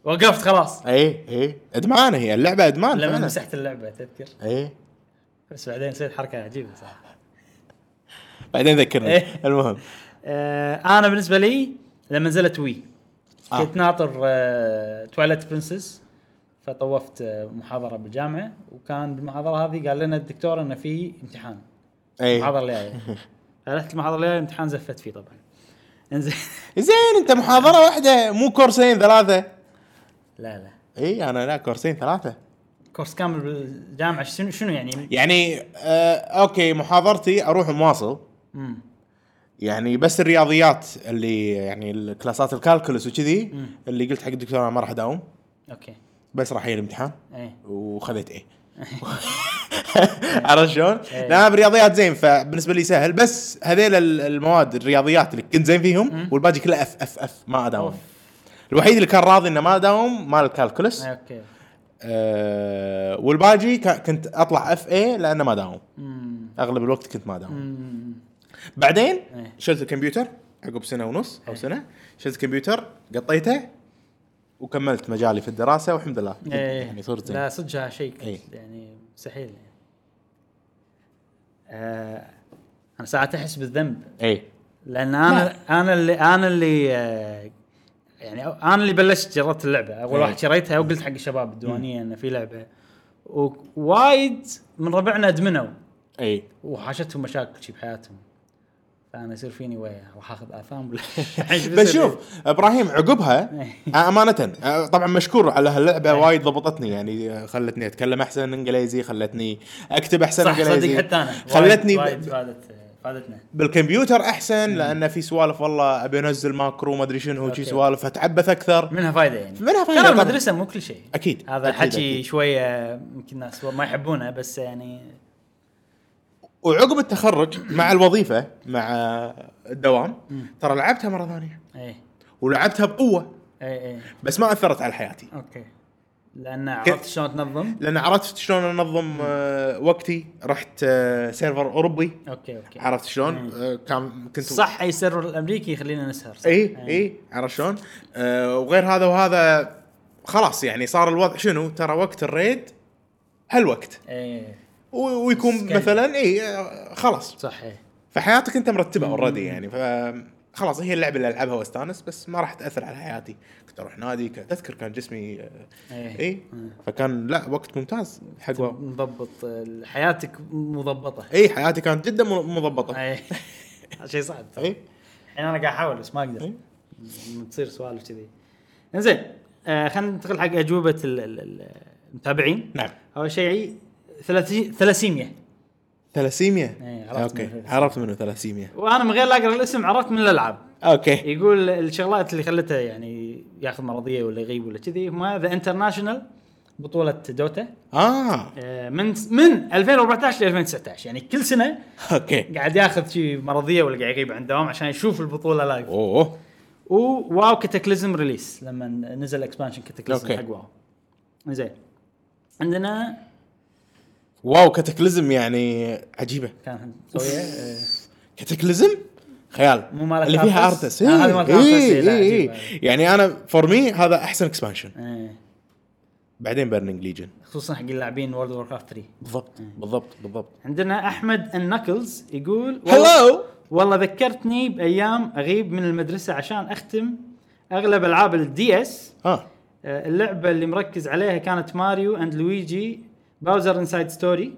A: وقفت خلاص
B: اي اي ادمان إيه، هي إيه. اللعبه ادمان
A: لما
B: فعلاً.
A: مسحت اللعبه تذكر
B: اي
A: بس بعدين صير حركه عجيبه صراحه
B: بعدين ذكرني
A: إيه.
B: المهم
A: آه انا بالنسبه لي لما نزلت وي
B: آه.
A: كنت ناطر آه تواليت برنسس فطوفت آه محاضره بالجامعه وكان بالمحاضره هذه قال لنا الدكتور انه في امتحان
B: اي إيه.
A: المحاضره اللي جايه فرحت المحاضره اللي جايه الامتحان زفت فيه طبعا انزين
B: زين انت محاضره واحده مو كورسين ثلاثه
A: لا لا
B: اي انا لا كورسين ثلاثه
A: كورس كامل بالجامعه شنو شنو يعني؟
B: يعني آه اوكي محاضرتي اروح مواصل
A: مم.
B: يعني بس الرياضيات اللي يعني الكلاسات الكالكولس وكذي اللي قلت حق الدكتور انا ما راح اداوم
A: اوكي
B: بس راح يجي الامتحان
A: ايه
B: وخذيت ايه عرفت شلون؟ لان انا بالرياضيات زين فبالنسبه لي سهل بس هذيل ال- المواد الرياضيات اللي كنت زين فيهم والباقي كله اف اف اف ما اداوم
A: أوف.
B: الوحيد اللي كان راضي انه ما اداوم مال الكالكولس
A: اوكي
B: أه والباجي كا- كنت اطلع اف اي لانه ما داوم
A: مم.
B: اغلب الوقت كنت ما داوم
A: مم.
B: بعدين
A: إيه.
B: شلت الكمبيوتر عقب سنه ونص او سنه شلت الكمبيوتر قطيته وكملت مجالي في الدراسه والحمد لله كنت-
A: إيه.
B: يعني صرت زين
A: لا صدق هذا شيء
B: إيه.
A: كنت يعني مستحيل يعني. آه انا ساعات احس بالذنب
B: اي
A: لان انا انا اللي انا اللي آه يعني أو- انا اللي بلشت جربت اللعبه اول
B: إيه.
A: واحد شريتها وقلت حق الشباب الديوانيه انه في لعبه ووايد من ربعنا ادمنوا
B: اي
A: إيه. وحاشتهم مشاكل شي بحياتهم فانا يصير فيني ويا راح اخذ اثام ولا
B: بس شوف ابراهيم عقبها
A: إيه.
B: آه، امانه آه، طبعا مشكور على هاللعبه وايد ضبطتني يعني آه، خلتني اتكلم احسن انجليزي خلتني اكتب احسن
A: صح
B: انجليزي
A: صدق حتى انا وايد-
B: خلتني
A: وايد
B: ب-
A: فادت فادتنا
B: بالكمبيوتر احسن لان في سوالف والله ابي انزل ماكرو ما ادري شنو
A: أوكي.
B: شي سوالف اتعبث اكثر
A: منها فائده يعني
B: منها فايدة
A: ترى
B: طبعاً.
A: المدرسه مو كل شيء
B: أكيد،
A: هذا
B: أكيد،
A: حكي
B: أكيد.
A: شويه يمكن ناس ما يحبونه بس يعني
B: وعقب التخرج مع الوظيفه مع الدوام ترى لعبتها مره ثانيه
A: ايه
B: ولعبتها بقوه
A: ايه ايه
B: بس ما اثرت على حياتي
A: اوكي لان عرفت
B: كيف-
A: شلون تنظم
B: لان عرفت شلون انظم آه، وقتي رحت آه، سيرفر اوروبي
A: اوكي اوكي
B: عرفت شلون آه، كان كنت إيه،
A: صح اي إيه. سيرفر الامريكي يخلينا نسهر صح؟
B: اي اي عرفت شلون آه، وغير هذا وهذا خلاص يعني صار الوضع شنو ترى وقت الريد هالوقت
A: ايه
B: و- ويكون
A: سكيل.
B: مثلا اي خلاص
A: صح ايه
B: فحياتك انت مرتبه اوريدي يعني ف خلاص هي اللعبه اللي العبها واستانس بس ما راح تاثر على حياتي كنت اروح نادي كنت اذكر كان جسمي آه،
A: إيه.
B: اي فكان لا وقت ممتاز حق واو
A: مضبط آه، حياتك مضبطه
B: اي حياتي كانت جدا م- مضبطه
A: ايه شيء صعب ترى.
B: اي
A: الحين انا قاعد احاول بس ما اقدر
B: إيه.
A: م- تصير سوالف كذي انزين آه خلينا ننتقل حق اجوبه ال- ال- ال- المتابعين
B: نعم
A: اول شيء ثلاثي- ثلاسيميا إيه،
B: ثلاسيميا
A: عرفت
B: اوكي
A: منه
B: عرفت منه ثلاسيميا
A: وانا من غير لا اقرا الاسم عرفت من الالعاب
B: اوكي
A: يقول الشغلات اللي خلته يعني ياخذ مرضيه ولا يغيب ولا كذي هم ذا انترناشونال بطوله دوتا
B: اه
A: آه، من من 2014 ل 2019 يعني كل سنه
B: اوكي
A: قاعد ياخذ شي مرضيه ولا قاعد يغيب عن الدوام عشان يشوف البطوله لايف
B: اوه
A: وواو كاتاكليزم ريليس لما نزل اكسبانشن كاتاكليزم
B: أوكي.
A: حق واو زين عندنا
B: واو كاتاكليزم يعني عجيبه
A: كان مسويه آه،
B: كاتاكليزم خيال
A: مو مالك
B: اللي فيها
A: أرتس؟
B: ارتس
A: آه، هذا مالك أرتس، إيه، لا، عجيبة.
B: يعني انا فور مي هذا احسن اكسبانشن
A: آه،
B: بعدين بيرنينج ليجن
A: خصوصا حق اللاعبين وورد اوف كرافت 3
B: بالضبط بالضبط بالضبط
A: عندنا احمد النكلز يقول والله-
B: هلو
A: والله ذكرتني بايام اغيب من المدرسه عشان اختم اغلب العاب الدي اس
B: ها
A: آه، اللعبه اللي مركز عليها كانت ماريو اند لويجي باوزر انسايد ستوري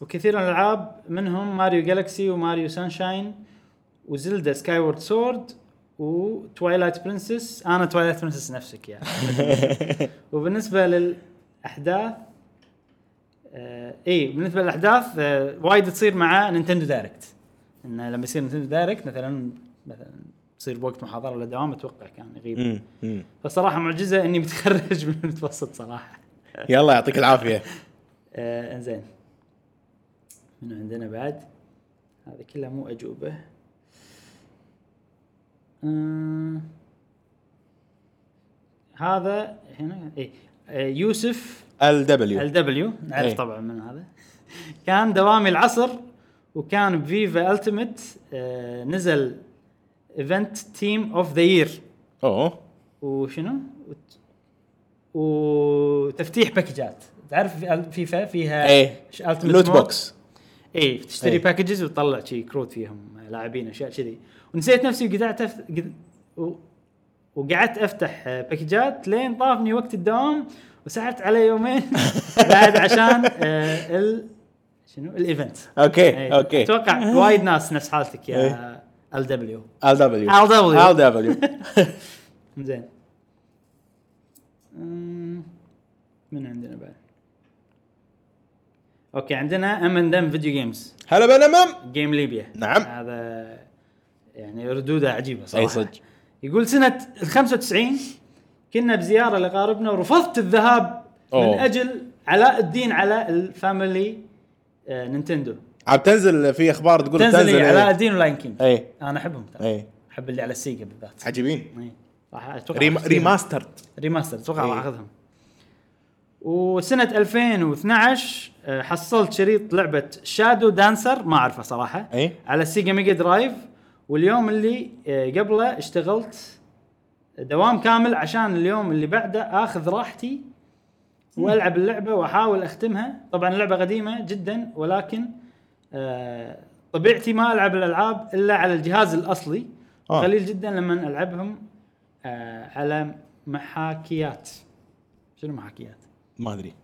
A: وكثير من الالعاب منهم ماريو جالكسي وماريو سانشاين وزلدا سكاي وورد سورد وتوايلايت برنسس انا توايلايت برنسس نفسك يعني وبالنسبه للاحداث آه اي بالنسبه للاحداث آه وايد تصير مع نينتندو دايركت انه لما يصير نينتندو دايركت مثلا مثلا تصير بوقت محاضره ولا دوام اتوقع كان يغيب
B: أمم، أمم.
A: فصراحه معجزه اني متخرج من المتوسط صراحه
B: يلا يعطيك العافيه
A: آه انزين من عندنا بعد هذا كله مو اجوبه آه هذا هنا اي آه يوسف
B: ال دبليو
A: ال دبليو نعرف
B: إيه.
A: طبعا من هذا كان دوامي العصر وكان بفيفا التيمت آه نزل ايفنت تيم اوف ذا يير
B: اوه
A: وشنو؟ وت- وتفتيح باكجات تعرف في ال- فيفا فيها
B: ايه
A: ش- Ultimate
B: لوت
A: Mode.
B: بوكس
A: اي تشتري
B: إيه.
A: باكجز وتطلع شي كروت فيهم لاعبين اشياء كذي ونسيت نفسي وقعدت أف... قد- و- وقعدت افتح آه، باكجات لين طافني وقت الدوام وسحبت على يومين بعد عشان آه، ال شنو الايفنت
B: اوكي
A: إيه.
B: اوكي
A: اتوقع وايد ناس نفس حالتك يا ال دبليو
B: ال دبليو
A: LW.
B: ال دبليو
A: زين أمم، من عندنا بعد اوكي عندنا ام اند ام فيديو جيمز
B: هلا بنمم
A: جيم ليبيا
B: نعم.
A: هذا يعني ردوده عجيبه صراحه
B: اي صدق
A: يقول سنه ال 95 كنا بزياره لقاربنا ورفضت الذهاب من
B: أوه.
A: اجل علاء الدين على الفاميلي آه نينتندو
B: عم تنزل في اخبار تقول
A: تنزل, تنزل
B: إيه.
A: علاء الدين ولاين كينج
B: اي
A: انا احبهم ترى
B: اي
A: احب اللي على السيجا بالذات
B: عجيبين
A: إي. راح اتوقع
B: ريما-
A: راح أشتريهم.
B: ريماسترد
A: ريماستر اتوقع
B: إيه.
A: راح اخذهم وسنه 2012 آه، حصلت شريط لعبه شادو دانسر ما اعرفه صراحه
B: إيه.
A: على السيجا ميجا درايف واليوم اللي آه، قبله اشتغلت دوام كامل عشان اليوم اللي بعده اخذ راحتي والعب اللعبه واحاول اختمها طبعا اللعبه قديمه جدا ولكن آه، طبيعتي ما العب الالعاب الا على الجهاز الاصلي
B: آه.
A: قليل جدا لما العبهم آه، على محاكيات شنو محاكيات؟
B: ما ادري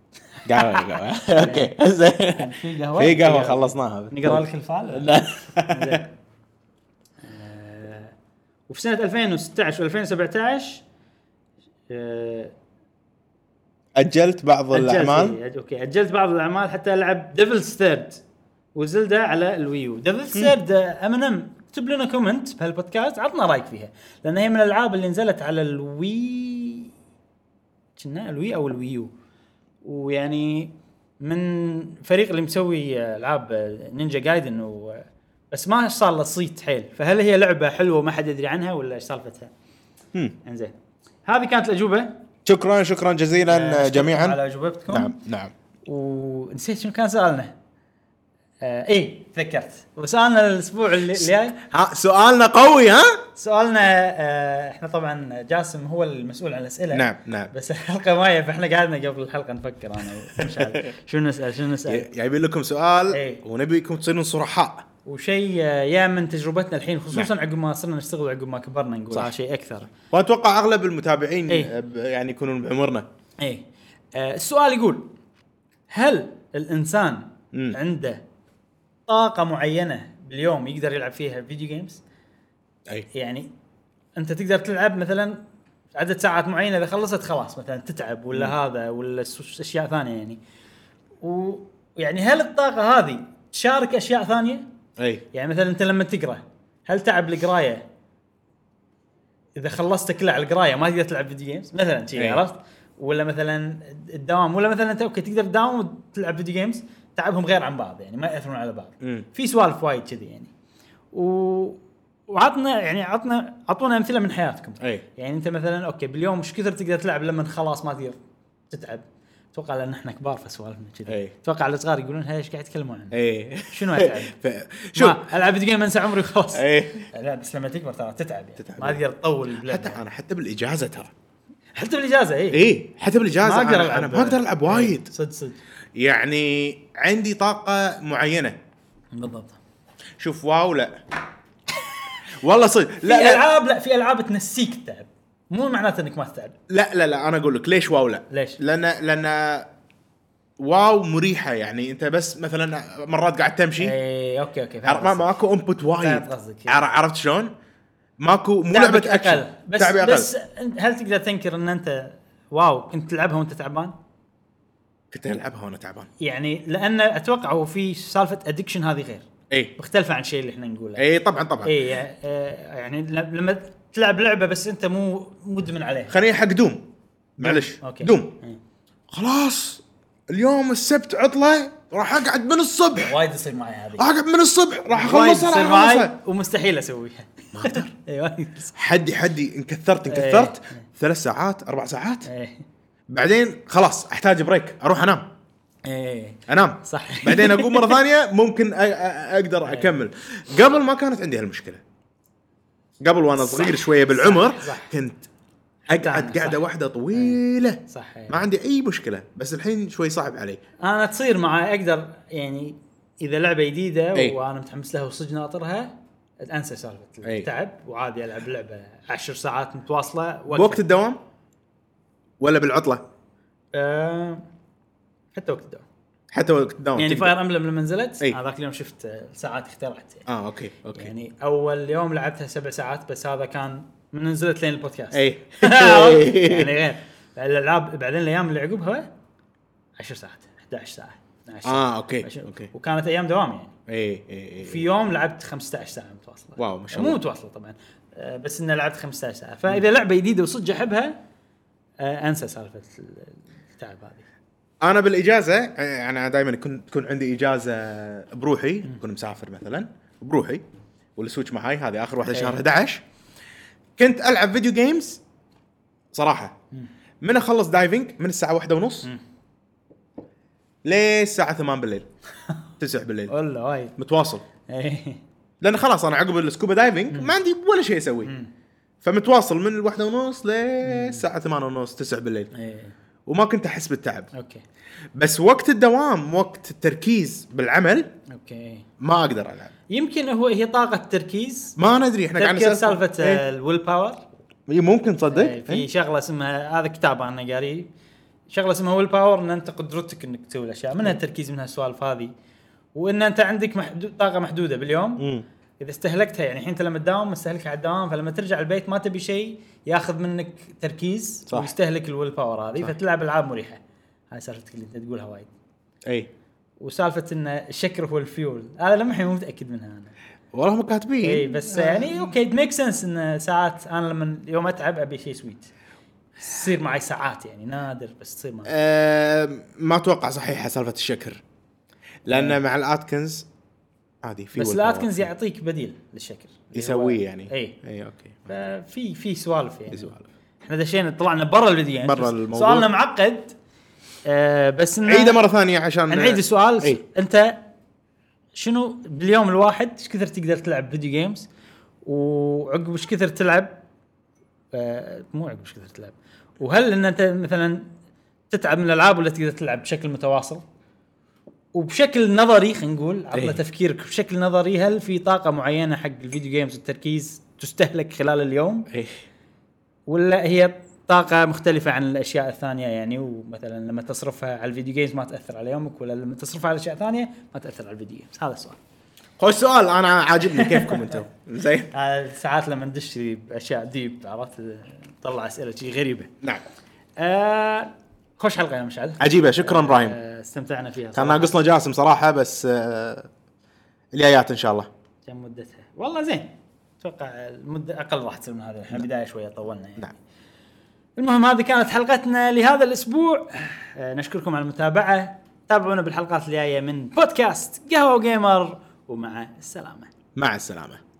B: قهوه قهوه اوكي زين
A: في قهوه
B: في قهوه خلصناها
A: نقرا لك الفعل
B: لا.
A: زين. آه، وفي سنه 2016 و2017 آه،
B: اجلت بعض
A: أجلت-
B: الاعمال
A: إيه، أج- اوكي اجلت بعض الاعمال حتى العب ديفلز ثيرد وزلدا على الويو ديفلز ثيرد ام ان ام M&M. اكتب لنا كومنت بهالبودكاست عطنا رايك فيها لان هي من الالعاب اللي نزلت على الوي كنا الوي او الويو ويعني من فريق اللي مسوي آه، العاب آه، نينجا جايدن و آه، بس ما صار له صيت حيل فهل هي لعبه حلوه وما حد يدري عنها ولا ايش سالفتها؟
B: مم.
A: انزين هذه كانت الاجوبه
B: شكرا شكرا
A: آه،
B: جزيلا
A: أشكركم
B: جميعا
A: على اجوبتكم
B: نعم نعم
A: ونسيت شنو كان سؤالنا آه اي تذكرت وسالنا الاسبوع اللي الجاي
B: ها سؤالنا قوي ها؟
A: سؤالنا آه احنا طبعا جاسم هو المسؤول عن الاسئله
B: نعم، نعم.
A: بس الحلقه مايه فاحنا قعدنا قبل الحلقه نفكر انا ومشعل شنو نسال شنو نسال
B: جايبين لكم سؤال
A: إيه.
B: ونبيكم تصيرون صرحاء
A: وشيء آه، يا من تجربتنا الحين خصوصا عقب ما صرنا نشتغل وعقب ما كبرنا نقول
B: نعم. صح.
A: صح. شيء اكثر
B: واتوقع اغلب المتابعين
A: إيه.
B: آه، ب- يعني يكونون بعمرنا
A: اي آه السؤال يقول هل الانسان
B: مم.
A: عنده طاقه معينه باليوم يقدر يلعب فيها فيديو جيمز
B: اي
A: يعني انت تقدر تلعب مثلا عدد ساعات معينه اذا خلصت خلاص مثلا تتعب ولا هذا ولا س- اشياء ثانيه يعني ويعني هل الطاقه هذه تشارك اشياء ثانيه؟
B: اي
A: يعني مثلا انت لما تقرا هل تعب القرايه اذا خلصت كلع القرايه ما تقدر تلعب فيديو جيمز مثلا شي
B: إيه.
A: عرفت؟ ولا مثلا الدوام ولا مثلا انت اوكي تقدر تداوم وتلعب فيديو جيمز تعبهم غير عن بعض يعني ما ياثرون على بعض
B: مم.
A: في سوالف وايد كذي يعني و وعطنا يعني عطنا عطونا امثله من حياتكم
B: أي.
A: يعني انت مثلا اوكي باليوم ايش كثر تقدر تلعب لما خلاص ما تقدر تتعب اتوقع لان احنا كبار فسوالفنا كذي
B: أي.
A: اتوقع الصغار يقولون هاي ايش قاعد يتكلمون عنه
B: اي
A: شنو يعني؟ اتعب
B: إيه. ف-
A: شوف
B: شوف
A: العب فيديو جيم انسى عمري وخلاص
B: اي
A: لا بس لما تكبر ترى تتعب يعني
B: تتعب.
A: ما تقدر تطول
B: حتى
A: بلعبها.
B: انا حتى بالاجازه ترى
A: حتى بالاجازه اي
B: اي حتى بالاجازه
A: إيه. ما إيه. اقدر
B: أنا-
A: العب
B: انا ما اقدر العب وايد
A: صدق صدق
B: يعني عندي طاقه معينه
A: بالضبط
B: شوف واو لا والله صدق
A: لا
B: لا
A: في
B: لا
A: العاب لا في العاب تنسيك التعب مو معناته انك ما تتعب
B: لا لا لا انا اقول لك ليش واو لا
A: ليش؟
B: لان لان واو مريحه يعني انت بس مثلا مرات قاعد تمشي
A: اي اوكي اوكي
B: عر- إيه. ما ماكو انبوت وايد
A: إيه، فهمت قصدك. إيه.
B: عر- عرفت شلون؟ ماكو مو
A: تعبك
B: لعبه اكشن
A: بس
B: تعبي
A: أقل.
B: اقل
A: بس أنت- هل تقدر تنكر ان انت واو كنت تلعبها وانت تعبان؟
B: كنت العبها وانا تعبان
A: يعني لان اتوقع هو في سالفه ادكشن هذه غير
B: اي
A: مختلفه عن الشيء اللي احنا نقوله
B: اي طبعا طبعا
A: اي يعني- آه، يعني ل- لما تلعب لعبه بس انت مو مدمن عليها
B: خلينا حق دوم معلش
A: اوكي
B: دوم
A: إي.
B: خلاص اليوم السبت عطله راح اقعد من الصبح
A: وايد يصير معي هذه
B: راح اقعد من الصبح راح
A: وايد
B: اخلصها
A: يصير
B: راح
A: معي
B: اخلصها
A: ومستحيل اسويها
B: ما اقدر
A: اي وايد يصير.
B: حدي حدي ان كثرت ان
A: إيه.
B: كثرت ثلاث ساعات اربع ساعات
A: إيه.
B: بعدين خلاص احتاج بريك اروح انام
A: اي
B: انام
A: إيه، صح
B: بعدين اقوم مره ثانيه ممكن أ- أ-
A: إيه.
B: اقدر اكمل قبل ما كانت عندي هالمشكله قبل وانا صغير شويه بالعمر
A: صح.
B: كنت
A: صح. إيه.
B: اقعد قعده واحده طويله
A: صح إيه.
B: ما عندي اي مشكله بس الحين شوي صعب علي
A: انا تصير معي اقدر يعني اذا لعبه جديده
B: إي.
A: وانا متحمس لها وصدق ناطرها انسى سالفه
B: إي.
A: التعب وعادي العب لعبه عشر ساعات متواصله وأكثر.
B: بوقت الدوام ولا بالعطله
A: آه، حتى وقت الدوام
B: حتى وقت إيه. الدوام
A: يعني
B: تقدر.
A: فاير امبلم لما نزلت
B: إي.
A: هذاك اليوم شفت آه، ساعات اخترعت يعني.
B: اه اوكي اوكي
A: يعني اول يوم لعبتها سبع ساعات بس هذا كان من نزلت لين البودكاست
B: اي
A: يعني غير الالعاب بعدين الايام اللي عقبها 10 ساعات 11 ساعه 12
B: اه اوكي
A: 20
B: اوكي
A: وكانت ايام دوام يعني
B: اي اي
A: في يوم لعبت 15 ساعه متواصله
B: واو، ما شاء
A: مو
B: الله.
A: متواصله طبعا آه، بس اني لعبت 15 ساعه فاذا لعبه جديده وصدق احبها آه، انسى سالفه التعب هذه
B: انا بالاجازه آه، انا دائما كنت تكون عندي اجازه بروحي اكون مسافر مثلا بروحي والسويتش معاي هذه اخر واحده شهر
A: إيه.
B: 11 كنت العب فيديو جيمز صراحه من اخلص دايفنج من الساعه واحدة ونص للساعه 8 بالليل 9 بالليل
A: والله وايد
B: متواصل
A: إيه.
B: لان خلاص انا عقب السكوبا دايفنج ما عندي ولا شيء اسويه فمتواصل من الواحدة ونص للساعة ثمانية ونص تسعة بالليل
A: إيه.
B: وما كنت أحس بالتعب
A: اوكي
B: بس وقت الدوام وقت التركيز بالعمل
A: اوكي
B: ما اقدر العب
A: يمكن هو هي طاقه تركيز
B: ما ندري احنا قاعدين
A: تذكر
B: نسولف-
A: سالفه
B: إيه.
A: الويل باور
B: إيه، ممكن تصدق
A: آه، إيه، في
B: إيه.
A: شغله اسمها هذا كتاب انا قاري شغله اسمها ويل باور ان انت قدرتك انك تسوي الاشياء
B: إيه.
A: منها التركيز منها السوالف هذه وان انت عندك محدود طاقه محدوده باليوم
B: مم.
A: اذا استهلكتها يعني الحين انت لما تداوم مستهلكها على الدوام فلما ترجع البيت ما تبي شيء ياخذ منك تركيز
B: صح.
A: ويستهلك الويل باور هذه فتلعب العاب مريحه هاي سالفتك اللي انت تقولها وايد
B: اي
A: وسالفه ان الشكر هو الفيول هذا لما الحين مو متاكد منها انا
B: والله هم كاتبين
A: اي بس
B: آه.
A: يعني اوكي ميك سنس ان ساعات انا لما يوم اتعب ابي شيء سويت تصير معي ساعات يعني نادر بس تصير معي
B: آه ما اتوقع صحيحه سالفه الشكر لان مع الاتكنز عادي في
A: إيه. بس
B: willpower.
A: الاتكنز يعطيك بديل للشكر
B: يسويه يعني
A: اي
B: اي اوكي
A: إيه، في في سوالف يعني
B: سوالف.
A: احنا دشينا طلعنا برا الفيديو يعني
B: برا
A: بس
B: الموضوع.
A: سؤالنا معقد آه بس إنه-
B: عيده مره ثانيه عشان آه، إيه،
A: نعيد السؤال
B: إي.
A: انت شنو باليوم الواحد ايش كثر تقدر تلعب فيديو جيمز وعقب ايش كثر تلعب آه، مو عقب ايش كثر تلعب وهل ان انت مثلا تتعب من الالعاب ولا تقدر تلعب بشكل متواصل وبشكل نظري خلينا نقول عطنا
G: إيه.
A: إيه؟ تفكيرك بشكل نظري هل في طاقه معينه حق الفيديو جيمز والتركيز تستهلك خلال اليوم
G: إيه.
A: ولا هي طاقة مختلفة عن الأشياء الثانية يعني ومثلا لما تصرفها على الفيديو جيمز ما تأثر على يومك ولا لما تصرفها على أشياء ثانية ما تأثر على الفيديو جيمز هذا السؤال
G: خوش سؤال انا عاجبني كيفكم انتم زين
A: آه، ساعات لما ندش بأشياء ديب عرفت تطلع أسئلة شي غريبة
G: نعم
A: آه خوش حلقة يا مشعل
B: عجيبه شكرا ابراهيم
A: آه استمتعنا فيها
B: كان
A: صراحة.
B: ناقصنا جاسم صراحه بس آه، الجايات ان شاء الله
A: كم مدتها والله زين اتوقع المده اقل راح تصير من هذا احنا بدايه شويه طولنا يعني
B: نعم.
A: المهم هذه كانت حلقتنا لهذا الاسبوع آه، نشكركم على المتابعه تابعونا بالحلقات الجايه من بودكاست قهوه وجيمر ومع السلامه
G: مع السلامه